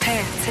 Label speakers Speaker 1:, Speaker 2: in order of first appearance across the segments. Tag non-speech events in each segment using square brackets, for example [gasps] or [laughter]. Speaker 1: P3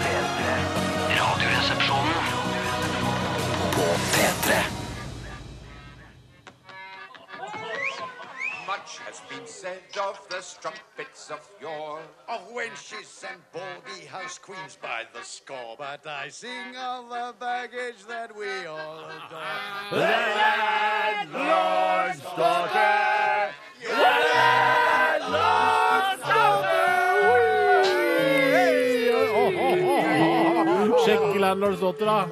Speaker 2: P3. Radioresepsjonen på P3.
Speaker 3: Much has been said of the strumpets of yore, of wenches and baldy house queens by the score. But I sing of the baggage that we all adore.
Speaker 4: Sjekk landlordsdotter, da.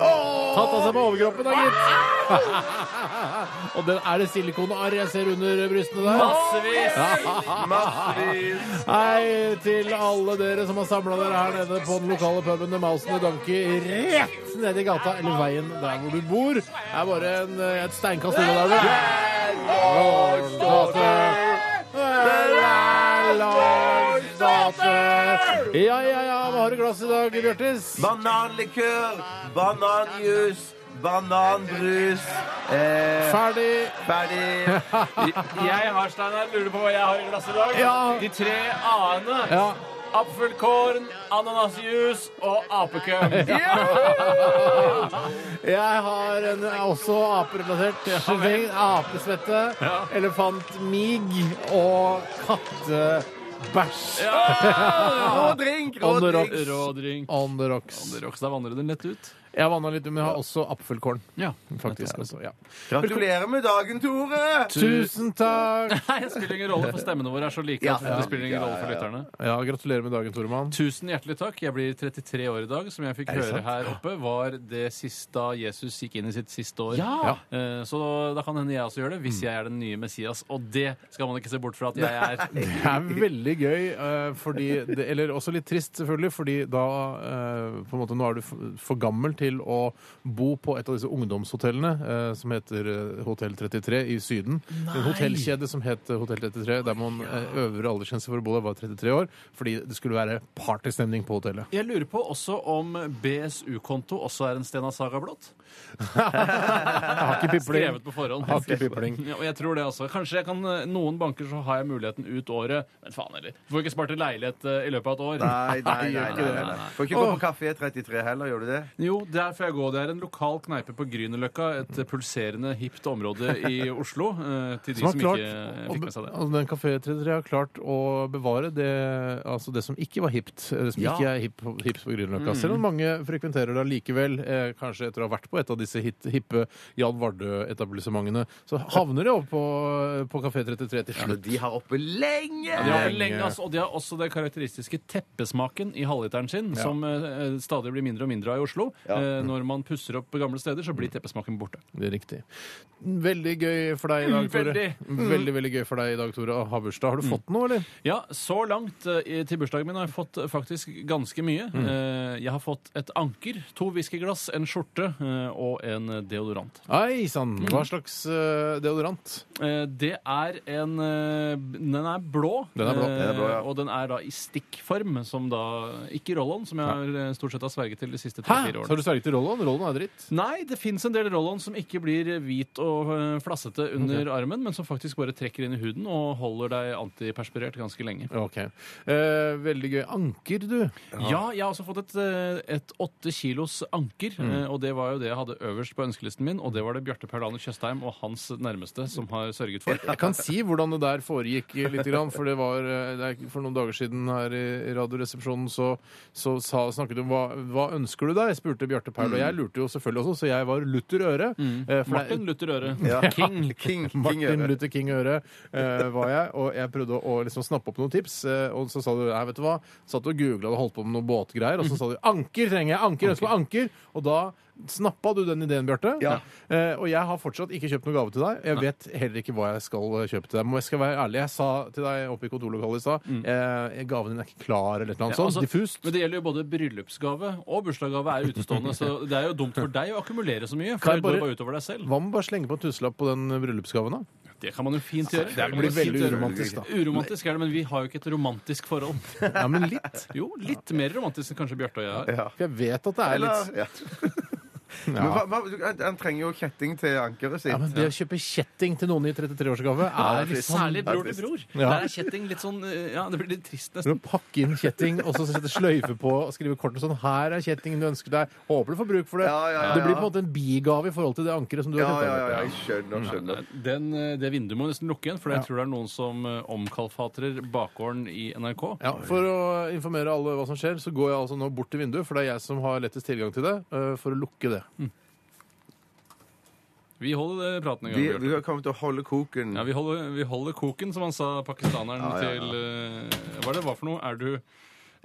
Speaker 4: Tatt av seg på overkroppen, da, gitt. [laughs] Og den er det silikonarr jeg ser under brystene der.
Speaker 5: Massevis! Massevis!
Speaker 4: Hei til alle dere som har samla dere her nede på den lokale puben The Mousen and Donkey rett nede i gata, eller veien der hvor du bor. Det er bare en, et steinkast unna der. vel? Landlordsdatter. Ja, ja, ja. Hva har du i glasset i dag, Bjørtis?
Speaker 5: Bananlikør, bananjus, bananbrus eh,
Speaker 4: Ferdig.
Speaker 5: Ferdig.
Speaker 6: Jeg har, Steinar, lurer på hva jeg har i glasset i dag.
Speaker 4: Ja.
Speaker 6: De tre a-ene.
Speaker 4: Ja.
Speaker 6: Apfelkorn, ananasjus og apekøm.
Speaker 4: Jeg har en, også aperelatert. Sveng, apesvette, elefantmig og kattebæsj.
Speaker 5: Rå drink, rå
Speaker 4: On
Speaker 5: drink.
Speaker 4: the rocks.
Speaker 6: Rådrink.
Speaker 4: On the rocks.
Speaker 6: Rockstad vandrer den lett ut.
Speaker 4: Jeg vanna litt, men jeg har også apfelkorn.
Speaker 6: Ja.
Speaker 4: Faktisk. Altså, ja.
Speaker 5: Gratulerer med dagen, Tore!
Speaker 4: Tusen takk!
Speaker 6: Nei, det spiller ingen rolle, for stemmene våre er så like. at det spiller ingen rolle for lytterne.
Speaker 4: Ja, Gratulerer med dagen, Toremann.
Speaker 6: Tusen hjertelig takk. Jeg blir 33 år i dag. Som jeg fikk
Speaker 4: det
Speaker 6: høre
Speaker 4: sant?
Speaker 6: her oppe, var det siste da Jesus gikk inn i sitt siste år. Eh, Så da kan hende jeg også gjør det, hvis jeg er den nye Messias. Og det skal man ikke se bort fra at jeg er.
Speaker 4: [laughs] Det er veldig gøy, eh, fordi det, Eller også litt trist, selvfølgelig, fordi da eh, på en måte, Nå er du f- for gammel til å bo på et av disse ungdomshotellene eh, som heter eh, Hotell 33 i Syden. En hotellkjede som het eh, Hotell 33, der man eh, øvre aldersgrense for å bo der var 33 år, fordi det skulle være partystemning på
Speaker 6: [laughs]
Speaker 4: hotellet.
Speaker 6: Jeg lurer på også om BSU-konto også er en Stena Saga blått.
Speaker 4: Jeg har ikke pipling.
Speaker 6: Skrevet på forhånd.
Speaker 4: Har ikke pipling.
Speaker 6: [laughs] Ja, og jeg tror det også. Kanskje jeg kan, eh, noen banker så har jeg muligheten ut året. Men faen heller. Får ikke spart til leilighet eh, i løpet av et år.
Speaker 5: Nei, nei, nei.
Speaker 4: ikke
Speaker 5: nei,
Speaker 4: det.
Speaker 5: nei. Får ikke gå på Kafé 33 heller, gjør du det?
Speaker 6: Jo, der får jeg gå. Det er en lokal kneipe på Grünerløkka. Et eh, pulserende, hipt område
Speaker 4: [laughs]
Speaker 6: i Oslo. eh, Til de
Speaker 4: Som
Speaker 6: som,
Speaker 4: har klart,
Speaker 6: ikke eh,
Speaker 4: og,
Speaker 6: fikk med seg det.
Speaker 4: og den Kafé 33 har klart å bevare det, altså det som ikke var hipt. eh, Det som
Speaker 6: Ja. Mm.
Speaker 4: ikke er hip, hipt på Grünerløkka. Selv om mange frekventerer det allikevel, eh, kanskje etter å ha vært på et av disse hit, hippe Jan Vardø-etablissementene, så havner de over på, på Kafé 33 til
Speaker 5: Men
Speaker 4: slutt.
Speaker 5: de har oppe lenge!
Speaker 6: De har,
Speaker 4: Lenge.
Speaker 6: lenge, altså, og de har også den karakteristiske teppesmaken i halvliteren sin, som eh, stadig blir mindre og mindre av i Oslo. Eh, når man pusser opp gamle steder, så blir teppesmaken borte.
Speaker 4: Det er riktig. Veldig gøy for deg i dag, Tore. Mm.
Speaker 6: Veldig. Mm.
Speaker 4: Veldig, veldig gøy for deg i dag, Tore. Å ha bursdag. Har du fått noe, eller?
Speaker 6: Ja, så langt eh, i- til bursdagen min har jeg fått eh, faktisk ganske mye.
Speaker 4: Mm.
Speaker 6: Eh, Jeg har fått et anker, to whiskyglass, en skjorte eh, og en deodorant.
Speaker 4: Ei sann! Hva slags eh, deodorant?
Speaker 6: Eh, Det er en eh, b- Den er blå.
Speaker 4: Den er blå.
Speaker 6: eh,
Speaker 5: Den er blå, ja.
Speaker 6: Og den er da i stikkform, som da Ikke roll-on, som jeg har eh, stort sett har sverget til de siste
Speaker 4: Hæ?
Speaker 6: tre-fire
Speaker 4: Så har
Speaker 6: årene.
Speaker 4: du sverget til Rollon? Rollon er dritt.
Speaker 6: Nei, det fins en del roll-on som ikke blir hvit og eh, flassete under armen, men som faktisk bare trekker inn i huden og holder deg antiperspirert ganske lenge.
Speaker 4: Ok. Eh, veldig gøy. Anker, du.
Speaker 6: Ja, jeg har også fått et, eh, et åtte kilos anker, eh, og det var jo det jeg hadde øverst på ønskelisten min, og det var det Bjarte Paulaner Tjøstheim og hans nærmeste som har sørget for.
Speaker 4: Jeg kan si hvordan det der foregikk litt, grann, for det var eh, det er for noen dager siden her i i Radioresepsjonen så, så sa, snakket du om hva, hva ønsker du deg, spurte Bjarte Paul, og jeg lurte jo selvfølgelig også, så jeg var Luther Øre. eh, for det er-
Speaker 6: Martin Luther
Speaker 5: King.
Speaker 6: Øre.
Speaker 5: [laughs] King, King
Speaker 4: Martin
Speaker 5: Øre.
Speaker 4: Luther King Øre eh, var jeg, og jeg prøvde å liksom snappe opp noen tips. eh, og så sa du nei, vet du hva, satt og googla og holdt på med noen båtgreier, og så sa du anker trenger jeg, anker, jeg ønsker meg anker. Og da snappa du den ideen, Bjarte.
Speaker 5: Ja.
Speaker 4: Eh, og jeg har fortsatt ikke kjøpt noen gave til deg. Jeg vet heller ikke hva jeg skal eh, kjøpe til deg. Men jeg skal være ærlig, jeg sa til deg oppe i kontorlokalet i stad
Speaker 5: Mm.
Speaker 4: eh, gaven din er ikke klar, eller et eller annet sånt.
Speaker 6: Altså,
Speaker 4: sånn, Diffust.
Speaker 6: Men det gjelder jo både bryllupsgave og bursdagsgave er utestående, så det er jo dumt for deg å akkumulere så mye,
Speaker 4: Kan
Speaker 6: for
Speaker 4: jeg
Speaker 6: det går
Speaker 4: bare-
Speaker 6: bare utover deg selv.
Speaker 4: Hva med bare slenge på en tusenlapp på den bryllupsgaven, da?
Speaker 6: Det kan man jo fint gjøre.
Speaker 4: Det blir veldig uromantisk, da.
Speaker 6: Uromantisk er det, men vi har jo ikke et romantisk forhold.
Speaker 4: Ja, men litt.
Speaker 6: Jo, litt mer romantisk enn kanskje Bjarte og jeg har.
Speaker 4: For jeg vet at det er litt
Speaker 5: Eller ja. Men hva, hva- han- han trenger jo kjetting til ankeret sitt.
Speaker 4: Ja, men det å kjøpe kjetting til noen i 33-årsgave
Speaker 5: Ja,
Speaker 4: er
Speaker 5: det er
Speaker 4: liksom
Speaker 6: Særlig bror til
Speaker 5: trist.
Speaker 6: bror.
Speaker 4: Ja.
Speaker 6: Der er kjetting litt sånn eh, Ja, det blir litt trist nesten.
Speaker 4: Når du pakker inn kjetting og så setter sløyfe på og skriver kort og sånn 'Her er kjettingen du ønsker deg. Håper du får bruk for det.'
Speaker 5: Ja, ja, ja,
Speaker 4: Det blir
Speaker 5: ja.
Speaker 4: på en måte en bigave i forhold til det ankeret som du
Speaker 5: Ja,
Speaker 4: har
Speaker 5: ja, ja,
Speaker 4: hentet.
Speaker 5: jeg skjønner. skjønner.
Speaker 6: Den, eh, det vinduet må nesten lukke igjen, for jeg
Speaker 4: Ja.
Speaker 6: tror det er noen som eh, omkalfatrer bakgården i NRK.
Speaker 4: Ja, For å informere alle hva som skjer, så går jeg altså nå bort til vinduet, for det er jeg som har lettest tilgang til det, øh, for å lukke det.
Speaker 6: Vi holder eh, praten i gang.
Speaker 5: Vi,
Speaker 6: Bjørte.
Speaker 5: vi har kommet til å holde koken.
Speaker 6: Ja, vi holder, vi holder koken, som han sa pakistaneren
Speaker 5: Ja, ja, ja.
Speaker 6: til eh, Hva er det var for noe? Er du,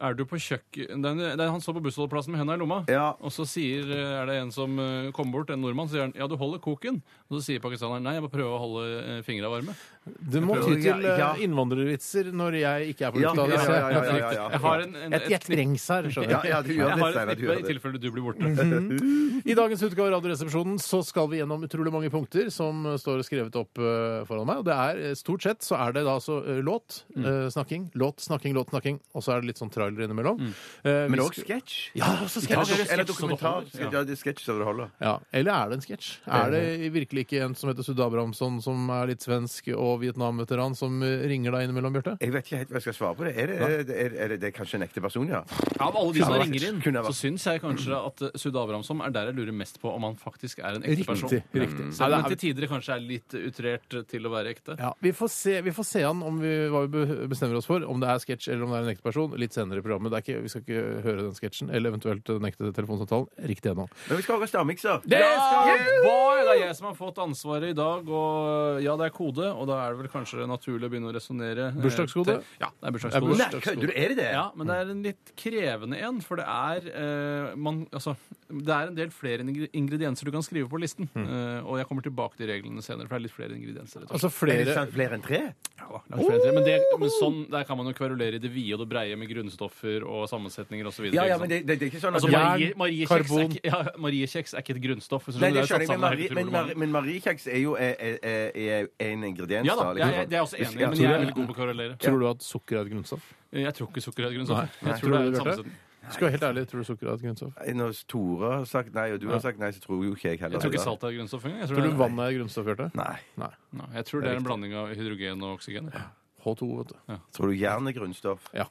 Speaker 6: er du på kjøkken det er, det er Han står på bussholdeplassen med henda i lomma,
Speaker 5: Ja.
Speaker 6: og så sier, eh, er det en som eh, kommer bort, en nordmann, så sier han ja, du holder koken. Og så sier pakistaneren nei, jeg må prøve å holde eh, fingra varme.
Speaker 4: Du må ty
Speaker 5: prøver-
Speaker 4: til øh,
Speaker 5: ja, ja.
Speaker 4: innvandrervitser når jeg ikke er på
Speaker 5: Ja,
Speaker 4: lufta.
Speaker 5: ja,
Speaker 4: det ser jeg.
Speaker 5: ja, ja, ja, ja.
Speaker 6: Jeg har en, en,
Speaker 4: Et
Speaker 6: et
Speaker 4: jeg trengs her, skjønner
Speaker 5: Ja,
Speaker 4: du.
Speaker 5: ja, du gjør
Speaker 6: jeg
Speaker 5: det,
Speaker 6: har et
Speaker 5: Steinar. Du
Speaker 6: knippe i
Speaker 5: gjør det. Mm.
Speaker 6: tilfelle du blir borte.
Speaker 4: I dagens utgave av Radioresepsjonen så skal vi gjennom utrolig mange punkter som eh, står skrevet opp eh, foran meg. Og det er eh, stort sett så er det da altså eh, låt, eh, snakking, låt, snakking, låt, snakking. Og så er det litt sånn trailer innimellom. Eh, vi
Speaker 5: Men
Speaker 4: sk-
Speaker 5: også sketsj.
Speaker 4: Ja, også
Speaker 5: Eller,
Speaker 4: sketsj.
Speaker 6: det er
Speaker 5: eller
Speaker 6: sketsj som det
Speaker 5: dokumentar.
Speaker 6: holder. Ja.
Speaker 5: Ja, det er sketsj som det holder.
Speaker 4: Ja, Eller er det en sketsj? Er det virkelig ikke en som heter Sudde Abrahamsson, som er litt svensk og Vietnam-veteran, som eh, ringer deg innimellom, Bjarte?
Speaker 5: Jeg vet ikke helt hva jeg skal svare på det. Er det, er det, er det, det er kanskje en ekte person, ja?
Speaker 6: Av alle de som
Speaker 5: Kunne vært.
Speaker 6: ringer inn,
Speaker 5: Kunne vært.
Speaker 6: så syns jeg kanskje at eh, Sud Abrahamsson er der jeg lurer mest på om han faktisk er en ekte person.
Speaker 4: Riktig. riktig.
Speaker 6: Selv om
Speaker 4: Nei, det
Speaker 6: han
Speaker 4: er-
Speaker 6: til tider kanskje er litt utrert til å være ekte.
Speaker 4: Ja, vi får se, vi får se an om vi, hva vi be- bestemmer oss for, om det er sketsj eller om det er en ekte person, litt senere i programmet. Det er ikke, vi skal ikke høre den sketsjen, eller eventuelt den ekte telefonsamtalen, riktig ennå.
Speaker 6: Eh,
Speaker 5: Men vi skal også ha stavmikser.
Speaker 6: Ja, boy! Det er jeg som har fått ansvaret i dag, og eh, ja, det er kode, og da er det vel kanskje naturlig å begynne å resonnere. eh,
Speaker 4: Bursdagskode?
Speaker 6: til- Ja, det er bursdagskode.
Speaker 5: Nei, kødder du? Er det det?
Speaker 6: Ja, men det er en litt krevende en, for det er eh, man, altså, Det er en del flere ingre- ingredienser du kan skrive på listen. Eh, og jeg kommer tilbake til reglene senere, for det er litt flere ingredienser. rett og slett.
Speaker 4: Altså
Speaker 5: Er det
Speaker 4: flere
Speaker 5: sant, flere enn tre?
Speaker 6: Ja, da, langt flere enn tre. men, det, men sånn, der kan man jo kverulere i det vide og det breie med grunnstoffer og sammensetninger osv.
Speaker 5: Ja, ja, men det, det, det er ikke sånn at
Speaker 6: Altså,
Speaker 4: Jern,
Speaker 6: Marie, Mariekjeks er,
Speaker 4: karbon.
Speaker 6: ikke- ja, Mariekjeks er ikke et grunnstoff. hvis du
Speaker 5: Nei,
Speaker 6: skjønner,
Speaker 5: det
Speaker 6: er
Speaker 5: skjønner jeg,
Speaker 6: satt
Speaker 5: men,
Speaker 6: sammen av
Speaker 5: Marie,
Speaker 6: helt
Speaker 5: men,
Speaker 6: utrolig
Speaker 5: Marie,
Speaker 6: mange.
Speaker 5: men Mariekjeks er jo er, er, er, er en ingrediens.
Speaker 6: Ja da,
Speaker 5: liksom.
Speaker 6: jeg, jeg, det er jeg også enig i, men jeg er veldig god på å kverulere.
Speaker 4: Tror du at sukker er et grunnstoff?
Speaker 6: Jeg tror ikke sukker er et grunnstoff.
Speaker 4: Nei.
Speaker 6: Jeg tror det er en
Speaker 4: Tror du det, Bjarte?
Speaker 6: sammensetning.
Speaker 4: Skal være helt ærlig, tror du sukker er et grunnstoff?
Speaker 5: Når Tore har sagt nei, og du har sagt nei, så tror jo ikke jeg heller
Speaker 6: Jeg tror ikke salt er et grunnstoff engang. Jeg tror,
Speaker 4: Tror du
Speaker 6: det,
Speaker 4: vann er et grunnstoff, Bjarte?
Speaker 5: Nei.
Speaker 4: Nei.
Speaker 6: er, Nei, jeg tror det er en blanding av hydrogen og oksygen. jeg.
Speaker 4: H2, vet du.
Speaker 5: Tror du jern er grunnstoff?
Speaker 4: Ja.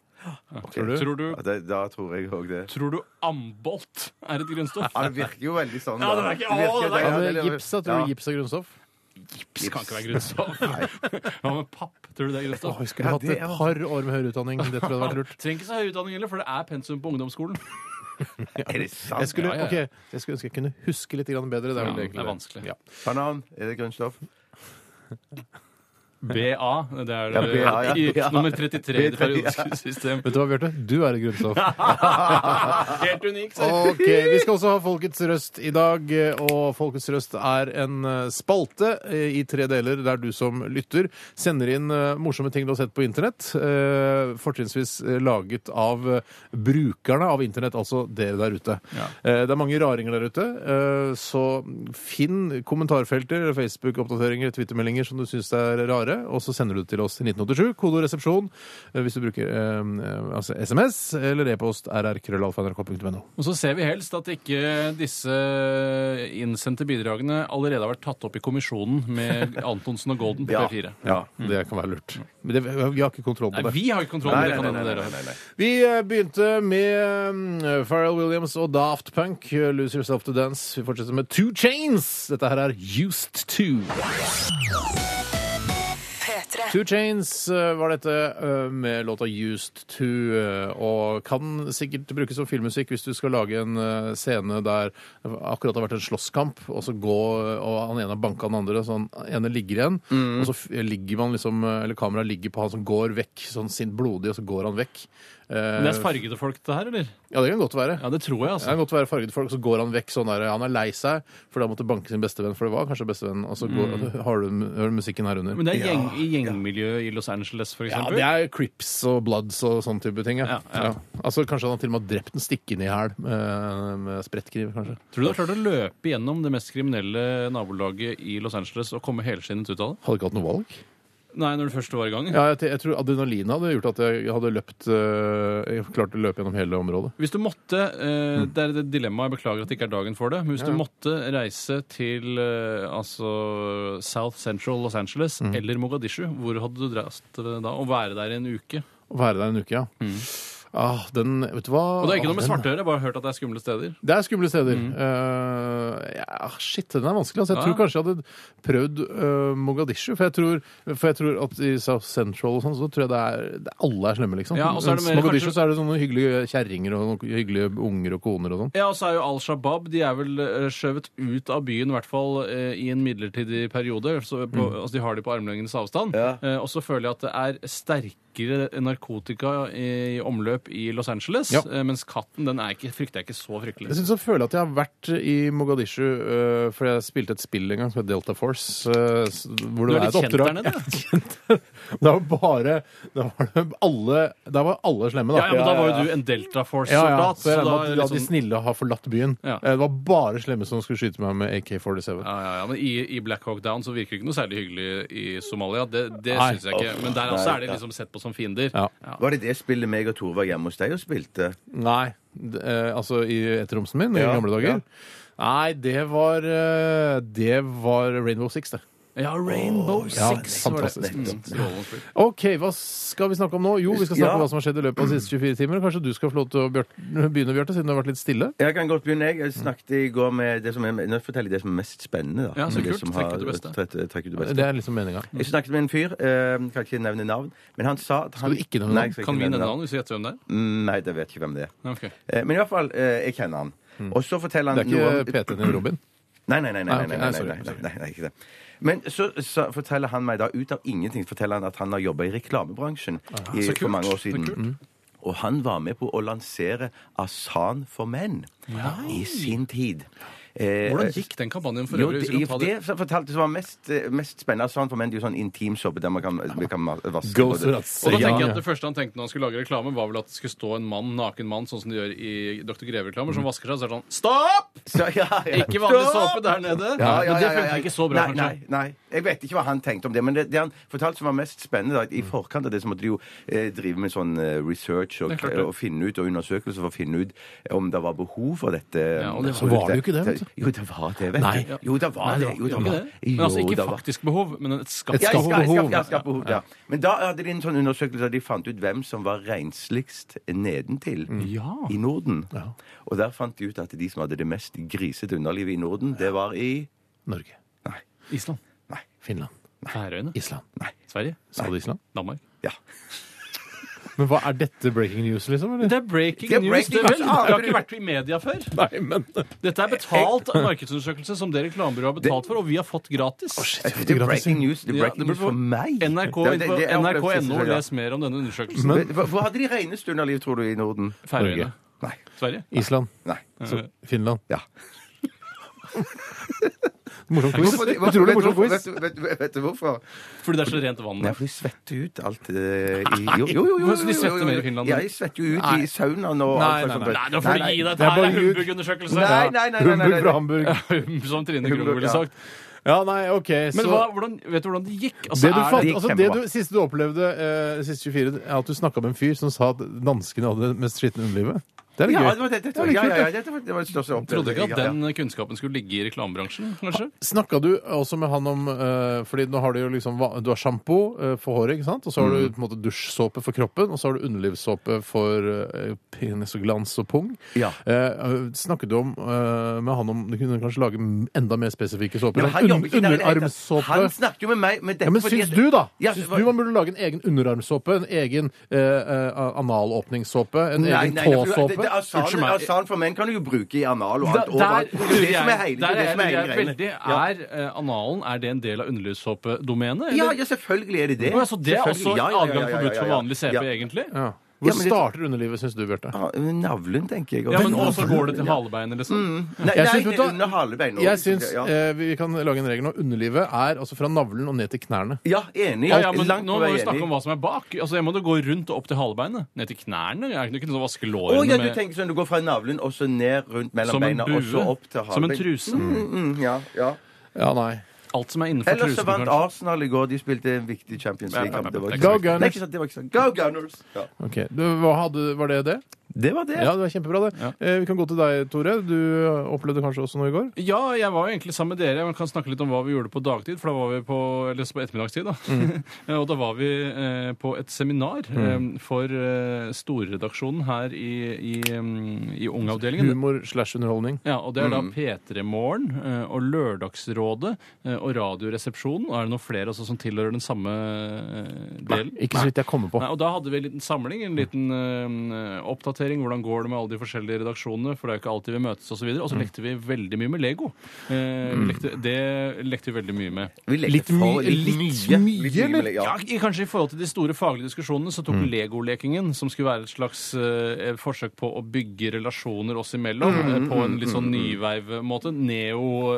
Speaker 6: Tror du, tror du,
Speaker 5: Ja, det, da tror jeg òg det.
Speaker 6: tror du ambolt er et grunnstoff?
Speaker 5: Ja, det virker jo veldig sånn.
Speaker 6: Ja, det
Speaker 5: da.
Speaker 6: virker- å, det der-
Speaker 4: Ja,
Speaker 5: ja,
Speaker 4: men
Speaker 5: det-
Speaker 4: gips, da, tror
Speaker 5: ja.
Speaker 4: du gips er grunnstoff?
Speaker 6: Gips kan ikke være grunnstoff. [laughs] Hva med papp? Tror du det er
Speaker 4: Å,
Speaker 6: grunnstoff?
Speaker 4: jeg skulle hatt
Speaker 5: det
Speaker 4: et
Speaker 5: er-
Speaker 4: par år med høyere utdanning. Det tror jeg hadde vært lurt.
Speaker 6: Trenger ikke så høy utdanning heller, for det er pensum på ungdomsskolen.
Speaker 5: Er det sant?
Speaker 4: Jeg skulle,
Speaker 6: Ja, ja,
Speaker 4: ok,
Speaker 6: ja.
Speaker 4: jeg skulle ønske jeg kunne huske litt grann bedre. Det er,
Speaker 6: Ja,
Speaker 4: vel egentlig
Speaker 6: det er vanskelig.
Speaker 4: Ja.
Speaker 5: Banan, er det grunnstoff?
Speaker 6: BA, det er
Speaker 5: Ja, BA, ja.
Speaker 6: i- i- nummer 33 i det periodiske
Speaker 5: [laughs]
Speaker 6: system.
Speaker 4: Vet du hva, Bjarte? Du er et grunnstoff.
Speaker 6: Helt unik, ser du.
Speaker 4: Ok, Vi skal også ha Folkets røst i dag. Og Folkets røst er en eh, spalte eh, i tre deler der du som lytter sender inn eh, morsomme ting du har sett på internett. eh, Fortrinnsvis eh, laget av eh, brukerne av internett, altså dere der ute. Eh, Det er mange raringer der ute, eh, så finn kommentarfelter, Facebook-oppdateringer, Twitter-meldinger som du syns er rare, og så sender du det til oss til 1987. Kode og resepsjon eh, hvis du bruker eh, altså SMS eller e-post rrkrøllalfa.nrk.no.
Speaker 6: Og så ser vi helst at ikke disse innsendte bidragene allerede har vært tatt opp i kommisjonen med Antonsen og Golden på
Speaker 5: Ja.
Speaker 6: P4.
Speaker 4: Ja, det kan være lurt. Men det, vi har ikke kontroll på
Speaker 6: Mm. Nei,
Speaker 4: det.
Speaker 6: vi har ikke kontroll
Speaker 5: Nei,
Speaker 6: med det
Speaker 5: nei,
Speaker 6: kan
Speaker 5: nei, nei,
Speaker 6: hende dere
Speaker 5: nei,
Speaker 6: har.
Speaker 5: nei, nei.
Speaker 4: Vi eh, begynte med mm, Pharrell Williams og Daft Punk, eh, Lose Yourself to Dance. Vi fortsetter med Two Chains. Dette her er Used To.
Speaker 1: P3.
Speaker 4: Two Chains eh, var dette eh, med låta Used To, eh, og kan sikkert brukes som filmmusikk hvis du skal lage en eh, scene der det akkurat har vært en slåsskamp, og så gå, eh, og han ene har banka den andre, så han ene ligger igjen,
Speaker 6: Mm.
Speaker 4: og så f- ligger man liksom, eh, eller kameraet ligger på han som går vekk, sånn sint blodig, og så går han vekk. Eh,
Speaker 6: Men Det er fargede folk, det her, eller?
Speaker 4: Ja, det kan godt være.
Speaker 6: Ja, det tror
Speaker 4: Det
Speaker 6: jeg, altså.
Speaker 4: kan godt være fargede folk, så går han vekk sånn der. Han er lei seg for da måtte banke sin bestevenn, for det var kanskje bestevennen. Og så går, har, du, hører du musikken her under.
Speaker 6: Mm. Men det er gjeng, i gjengmiljøet i Los Angeles, for
Speaker 4: ja,
Speaker 6: eksempel.
Speaker 4: det er Crips og Bloods og sånn type ting. Ja.
Speaker 6: Ja, ja.
Speaker 4: Ja. Altså, kanskje han har til og med drept en stikkende i hæl med, med sprettkniv, kanskje.
Speaker 6: Tror du du har klart å løpe gjennom det mest kriminelle nabolaget i Los Angeles og komme helskinnet ut av det?
Speaker 4: Hadde ikke hatt noe valg.
Speaker 6: Nei, når det først var i gang.
Speaker 4: Ja, jeg, t- jeg tror adrenalinet hadde gjort at jeg hadde løpt eh, Jeg klarte å løpe gjennom hele området.
Speaker 6: Hvis du måtte eh, Det er et dilemma, jeg beklager at det ikke er dagen for det. Men hvis du måtte reise til eh, altså South Central Los Angeles eller Mogadishu, hvor hadde du dratt eh, da? Og være der i en uke?
Speaker 4: Å være der en uke, ja. Ah, den, vet du hva
Speaker 6: Mm. Og det er ikke
Speaker 4: Ah,
Speaker 6: noe
Speaker 4: den-
Speaker 6: med svartøre, jeg har bare hørt at det er skumle steder.
Speaker 4: Det er skumle steder. Eh, ja, shit, den er vanskelig. Altså, jeg
Speaker 6: Mm. Ja.
Speaker 4: tror kanskje jeg hadde prøvd eh, Mogadishu. For jeg, tror, for jeg tror at i South Central og sånn, så tror jeg det er, det, alle er slemme, liksom.
Speaker 6: Ja, og så er det
Speaker 4: Mens
Speaker 6: mer
Speaker 4: Mogadishu
Speaker 6: kanskje-
Speaker 4: så er det sånne hyggelige kjerringer og noen hyggelige unger og koner og sånn.
Speaker 6: Ja, og så er jo Al Shabaab de er vel eh, skjøvet ut av byen, i hvert fall eh, i en midlertidig periode. Så på, altså, de har de på armlengdes avstand. Eh, og så føler jeg at det er sterkere narkotika i, i omløp i Los Angeles.
Speaker 4: Ja.
Speaker 6: eh, mens katten den er ikke, frykter jeg ikke så fryktelig.
Speaker 4: Jeg syns jeg føler at jeg har vært i Mogadishu, eh, for jeg spilte et spill en gang som het Delta Force. eh, s- hvor
Speaker 6: Du
Speaker 4: det
Speaker 6: er
Speaker 4: er et
Speaker 6: litt kjent der
Speaker 4: [laughs] oppdrag.
Speaker 6: nede?
Speaker 4: Da var bare Da var det alle, da var alle slemme, da.
Speaker 6: Ja, ja, men da var jo du en Delta
Speaker 4: Ja, ja.
Speaker 6: Force-soldat.
Speaker 4: Så jeg
Speaker 6: så da
Speaker 4: regner med at
Speaker 6: er det
Speaker 4: la
Speaker 6: litt
Speaker 4: de
Speaker 6: sånn-
Speaker 4: snille ha forlatt byen.
Speaker 6: Ja.
Speaker 4: Eh, Det var bare slemme som skulle skyte meg med AK-47.
Speaker 6: ja, ja, ja, men i, i Black Hawk Down så virker det ikke noe særlig hyggelig i Somalia. Det, det
Speaker 4: Nei.
Speaker 6: syns jeg ikke. Men der også er de liksom sett på som fiender.
Speaker 4: Ja.
Speaker 5: Var det det spillet meg og Tore var hjemme hos deg og spilte?
Speaker 4: Nei. d- eh, altså i etterromsen min i
Speaker 5: Ja,
Speaker 4: gamle dager?
Speaker 5: ja.
Speaker 4: Nei, det var eh, Det var Rainbow Six, det.
Speaker 6: Ja, Rainbow
Speaker 4: Ja,
Speaker 6: Six var det.
Speaker 4: fantastisk.
Speaker 6: Mm, strålende spill.
Speaker 4: OK, hva skal vi snakke om nå? Jo, vi skal snakke om
Speaker 5: Ja.
Speaker 4: hva som har skjedd i løpet av de siste 24 timer. Kanskje du skal få lov til å Bjørt- begynne, Bjarte, siden du har vært litt stille?
Speaker 5: Jeg kan godt begynne. jeg. Jeg snakket i går med det som er, Nå forteller jeg det som er mest spennende. da.
Speaker 6: Ja, så
Speaker 5: Det
Speaker 6: kult.
Speaker 5: som
Speaker 6: Trekk
Speaker 5: har-
Speaker 6: ut det beste.
Speaker 5: tre- Trekk ut det beste.
Speaker 4: Det er liksom meninga.
Speaker 5: Jeg snakket med en fyr, eh, kan ikke nevne navn, men han sa at han...
Speaker 4: du ikke nevne navn?
Speaker 5: Nei, jeg skal ikke
Speaker 6: Kan vi
Speaker 5: nevne
Speaker 6: nevne navn hvis vi gjetter hvem det er?
Speaker 5: Mm, Nei, jeg vet ikke hvem det er.
Speaker 6: Ja, ok.
Speaker 5: Eh, Men i hvert fall, eh, jeg kjenner han. Og så forteller han
Speaker 4: Det er ikke
Speaker 5: noe om-
Speaker 4: PT-en din, Robin?
Speaker 5: Nei, nei, nei. nei,
Speaker 6: Ah,
Speaker 4: Nei, ok.
Speaker 5: nei, nei,
Speaker 4: Nei,
Speaker 5: nei,
Speaker 4: sorry,
Speaker 5: nei, nei,
Speaker 4: sorry.
Speaker 5: nei, nei ikke det. Men så, så forteller han meg da, ut av ingenting, forteller han at han har jobba i reklamebransjen i,
Speaker 6: så
Speaker 5: for
Speaker 6: kult.
Speaker 5: mange år
Speaker 6: Så
Speaker 5: siden.
Speaker 6: kult.
Speaker 5: Mm. Og han var med på å lansere Asan for menn i sin tid. Eh,
Speaker 6: Hvordan gikk den kampanjen for
Speaker 5: jo,
Speaker 6: øvrig?
Speaker 5: det,
Speaker 6: hvis vi kan ta det?
Speaker 5: det som fortalte som var mest, eh, mest spennende sånn, for menn, det er jo sånn intim såpe der man kan, vi kan vaske
Speaker 4: Go
Speaker 5: både-
Speaker 4: for it.
Speaker 6: Og da
Speaker 4: Ja.
Speaker 6: tenker jeg at Det første han tenkte når han skulle lage reklame, var vel at det skulle stå en mann, naken mann, sånn som de gjør i Dr. Greve-reklamer, som vasker seg. Så er det sånn Stopp!
Speaker 5: Så, ja, ja.
Speaker 6: [laughs] Ikke vanlig
Speaker 5: Stopp!
Speaker 6: såpe der
Speaker 5: Ja, ja,
Speaker 6: nede. Men det
Speaker 5: ja, ja,
Speaker 6: funket
Speaker 5: ja.
Speaker 6: ikke så bra,
Speaker 5: nei,
Speaker 6: kanskje.
Speaker 5: Nei, nei, jeg vet ikke hva han tenkte om det. Men det, det han fortalte som var mest spennende, da, at
Speaker 6: Mm.
Speaker 5: i forkant av det så måtte de jo eh, drive med sånn eh, research og,
Speaker 6: Det er klart det.
Speaker 5: og finne ut, og undersøkelser for å finne ut eh, om det var behov for dette.
Speaker 6: Ja, og det
Speaker 4: Så var det jo ikke det, vet du.
Speaker 5: Jo, det var det, vet du.
Speaker 4: Nei.
Speaker 5: Jo, det var
Speaker 6: Nei,
Speaker 5: det. Jo,
Speaker 6: det
Speaker 5: det
Speaker 6: var
Speaker 5: var
Speaker 6: ikke det. Men altså
Speaker 5: Eh, Jo,
Speaker 6: ikke
Speaker 5: det var-
Speaker 6: faktisk behov, men et
Speaker 4: Et
Speaker 6: skapt
Speaker 5: ja,
Speaker 4: skapt
Speaker 5: jeg
Speaker 6: behov.
Speaker 5: skal, jeg skal,
Speaker 4: behov.
Speaker 5: jeg skal behov, ja. Men da hadde de en sånn undersøkelse der de fant ut hvem som var rensligst nedentil
Speaker 6: Mm. Ja.
Speaker 5: i Norden. Og der fant de ut at de som hadde det mest grisete underlivet i Norden, det var i
Speaker 4: Norge.
Speaker 5: Nei.
Speaker 6: Island.
Speaker 5: Nei.
Speaker 4: Finland.
Speaker 6: Færøyene.
Speaker 4: Island.
Speaker 6: Sverige.
Speaker 4: Sa du Island?
Speaker 6: Danmark.
Speaker 5: Ja.
Speaker 4: Men hva er dette breaking news, liksom? Eller?
Speaker 6: Det er breaking
Speaker 5: Det er
Speaker 6: news.
Speaker 5: breaking
Speaker 6: Det vel.
Speaker 5: news.
Speaker 6: Det har ikke vært i media før.
Speaker 4: Nei, men
Speaker 6: Dette er betalt markedsundersøkelse som det reklamebyrået har betalt for, og vi har fått gratis.
Speaker 5: Det er breaking news, det er
Speaker 6: Ja,
Speaker 5: breaking
Speaker 6: det
Speaker 5: news
Speaker 6: burde
Speaker 5: for meg. Det-
Speaker 6: NRK
Speaker 5: det- det- jeg opplevde det
Speaker 6: NRK.no,
Speaker 5: selvfølgelig, ja.
Speaker 6: les mer om denne undersøkelsen.
Speaker 5: Men Hva hva hadde de reneste underliv, tror du, i Norden?
Speaker 6: Færøyene.
Speaker 5: Nei.
Speaker 6: Sverige.
Speaker 4: Island.
Speaker 5: Nei.
Speaker 4: Så, Finland. [laughs]
Speaker 5: Ja.
Speaker 4: Morsom quiz.
Speaker 5: Hvorfor- hvorfor-
Speaker 4: Utrolig
Speaker 5: vet du
Speaker 4: morsom
Speaker 5: hvorfor-
Speaker 4: quiz.
Speaker 5: Vet, du- vet, vet du hvorfor?
Speaker 6: Fordi det er så rent vann
Speaker 5: Nei,
Speaker 6: der.
Speaker 5: for de svetter ut alt eh, i Jo, jo, jo. jo, jo,
Speaker 6: Men så de
Speaker 5: jo,
Speaker 6: svetter
Speaker 5: jo, jo.
Speaker 6: mer i Finland,
Speaker 5: Ja,
Speaker 6: da?
Speaker 5: de svetter jo ut
Speaker 4: Nei.
Speaker 5: i saunaen og
Speaker 4: Nei,
Speaker 5: alt
Speaker 4: nei,
Speaker 5: sånt.
Speaker 4: nei.
Speaker 6: Nei, nå får du gi deg.
Speaker 4: det er
Speaker 6: Dette her
Speaker 4: bare
Speaker 6: er
Speaker 4: ljug.
Speaker 6: humbugundersøkelse.
Speaker 5: Nei, nei, nei, nei, nei,
Speaker 4: Humbug
Speaker 5: nei.
Speaker 4: fra Hamburg.
Speaker 6: Som Trine Grung ville
Speaker 5: ja.
Speaker 6: sagt.
Speaker 4: Ja, nei, OK, så
Speaker 6: Men hva, hvordan, vet du hvordan det gikk? Altså,
Speaker 4: det du,
Speaker 6: er
Speaker 4: fant,
Speaker 5: gikk
Speaker 4: altså, det
Speaker 5: kjempebra.
Speaker 4: du siste du opplevde eh, siste 24, er at du snakka med en fyr som sa at danskene hadde det mest skitne underlivet. Det er litt
Speaker 5: Ja,
Speaker 4: gøy.
Speaker 5: det var det, det,
Speaker 4: er
Speaker 5: det,
Speaker 4: litt
Speaker 5: ja,
Speaker 4: kult,
Speaker 5: ja, ja,
Speaker 4: det.
Speaker 5: det, var- det var det største opplevelsen.
Speaker 6: Trodde ikke at
Speaker 5: Ja, ja.
Speaker 6: den kunnskapen skulle ligge i reklamebransjen, kanskje?
Speaker 4: Snakka du også med han om eh, Fordi nå har du jo liksom va- Du har sjampo eh, for håret, ikke sant? Og så har
Speaker 5: Mm.
Speaker 4: du på en måte dusjsåpe for kroppen, og så har du underlivssåpe for eh, penis og glans og pung.
Speaker 5: Ja.
Speaker 4: Eh, snakket du om eh, med han om Du kunne kanskje lage m- enda mer spesifikke såper?
Speaker 5: Men
Speaker 4: eller
Speaker 5: han jobber ikke der i det hele tatt.
Speaker 4: underarmsåpe?
Speaker 5: Han snakker jo med meg men dette
Speaker 4: Ja, men
Speaker 5: fordi
Speaker 4: syns
Speaker 5: at-
Speaker 4: du, da?
Speaker 5: Ja,
Speaker 4: syns
Speaker 5: hva-
Speaker 4: du man burde lage en egen underarmsåpe? En egen eh, eh, analåpningssåpe? En
Speaker 5: Nei,
Speaker 4: egen
Speaker 5: nei, det- det- altså-
Speaker 4: tåsåpe?
Speaker 5: det- asan-
Speaker 6: Unnskyld meg.
Speaker 5: Asan for menn kan du jo bruke i anal og
Speaker 6: Da-
Speaker 5: alt
Speaker 6: der
Speaker 5: overalt. Det er jo det som er hele
Speaker 6: der
Speaker 5: det er det som er
Speaker 6: jeg
Speaker 5: hele greia.
Speaker 6: veldig Er eh, analen er det en del av underlivssåpedomenet?
Speaker 5: Ja,
Speaker 6: eller?
Speaker 5: ja, selvfølgelig er det det.
Speaker 6: Å, ja, så det er også
Speaker 5: Selvfølgelig. Ja, ja, ja,
Speaker 6: adgang
Speaker 5: ja, ja,
Speaker 6: forbudt for
Speaker 5: ja.
Speaker 6: vanlig CP,
Speaker 5: Ja.
Speaker 6: egentlig?
Speaker 4: Ja.
Speaker 5: Ja,
Speaker 4: Hvor
Speaker 5: men det-
Speaker 4: starter underlivet, syns du, Bjarte?
Speaker 5: Ja, Navlen, tenker jeg.
Speaker 6: Ja, men også går det til halebeinet, liksom?
Speaker 5: Nei,
Speaker 4: Jeg
Speaker 5: nei,
Speaker 4: syns, vet du hva?
Speaker 5: under halebeinet.
Speaker 4: Jeg syns
Speaker 5: ja.
Speaker 4: eh, vi kan lage en regel nå. Underlivet er altså fra navlen og ned til knærne.
Speaker 5: ja, enig.
Speaker 6: Ja, ja, men
Speaker 5: Langt
Speaker 6: nå
Speaker 5: på
Speaker 6: må
Speaker 5: vei
Speaker 6: vi snakke om
Speaker 5: enig.
Speaker 6: hva som er bak. Altså, Jeg må da gå rundt og opp til halebeinet. Ned til knærne. Jeg kan ikke noe å vaske
Speaker 5: Å
Speaker 6: lårene
Speaker 5: ja, du
Speaker 6: med
Speaker 5: tenker sånn du går fra navlen og så ned rundt mellom
Speaker 6: som en
Speaker 5: beina og så
Speaker 6: bue.
Speaker 5: opp til halebeinet.
Speaker 6: Som en truse.
Speaker 5: Mm, ja, ja.
Speaker 4: Ja, nei.
Speaker 6: alt som er innenfor
Speaker 5: Ellers så
Speaker 6: trusen.
Speaker 5: vant
Speaker 6: kanskje.
Speaker 5: Arsenal i går. De spilte en viktig Champions League-kamp. Det var ikke
Speaker 4: Go
Speaker 5: sant.
Speaker 4: Gunners.
Speaker 5: Nei, ikke sant, det var ikke sånn. sant. Go Gunners! Ja.
Speaker 4: Ok, du, hva hadde, Var det det?
Speaker 5: Det var det.
Speaker 4: Ja, det var kjempebra, det.
Speaker 6: Ja.
Speaker 4: Eh, vi kan gå til deg, Tore. Du opplevde kanskje også noe i går?
Speaker 6: Ja, jeg var jo egentlig sammen med dere. Man kan snakke litt om hva vi gjorde på dagtid. For da var vi på, eller på ettermiddagstid, da.
Speaker 5: Mm.
Speaker 6: [laughs] og da var vi eh, på et seminar eh, for eh, storredaksjonen her i, i, eh, i Ungavdelingen.
Speaker 4: Humor slash underholdning.
Speaker 6: Ja, og Det er da
Speaker 4: Mm.
Speaker 6: P3 Morgen eh, og Lørdagsrådet eh, og Radioresepsjonen. Og er det noen flere også som tilhører den samme eh, delen?
Speaker 4: Ikke så vidt jeg kommer på.
Speaker 6: Nei, og Da hadde vi en liten samling, en liten eh, oppdatering. Hvordan går det med alle de forskjellige redaksjonene? For det er jo ikke alltid vi møtes, osv. Og så videre. Og
Speaker 4: Mm.
Speaker 6: så lekte vi veldig mye med Lego. Eh, vi lekte, det lekte vi veldig mye med.
Speaker 5: Vi lekte
Speaker 4: Litt
Speaker 5: for-
Speaker 4: mye-
Speaker 5: litt
Speaker 4: litt
Speaker 5: mye.
Speaker 4: mye,
Speaker 5: Litt mye,
Speaker 4: eller?
Speaker 5: men- Ja.
Speaker 6: Ja, i- Kanskje i forhold til de store faglige diskusjonene så tok legolekingen, som skulle være et slags eh, forsøk på å bygge relasjoner oss imellom eh, på en litt sånn nyveiv måte,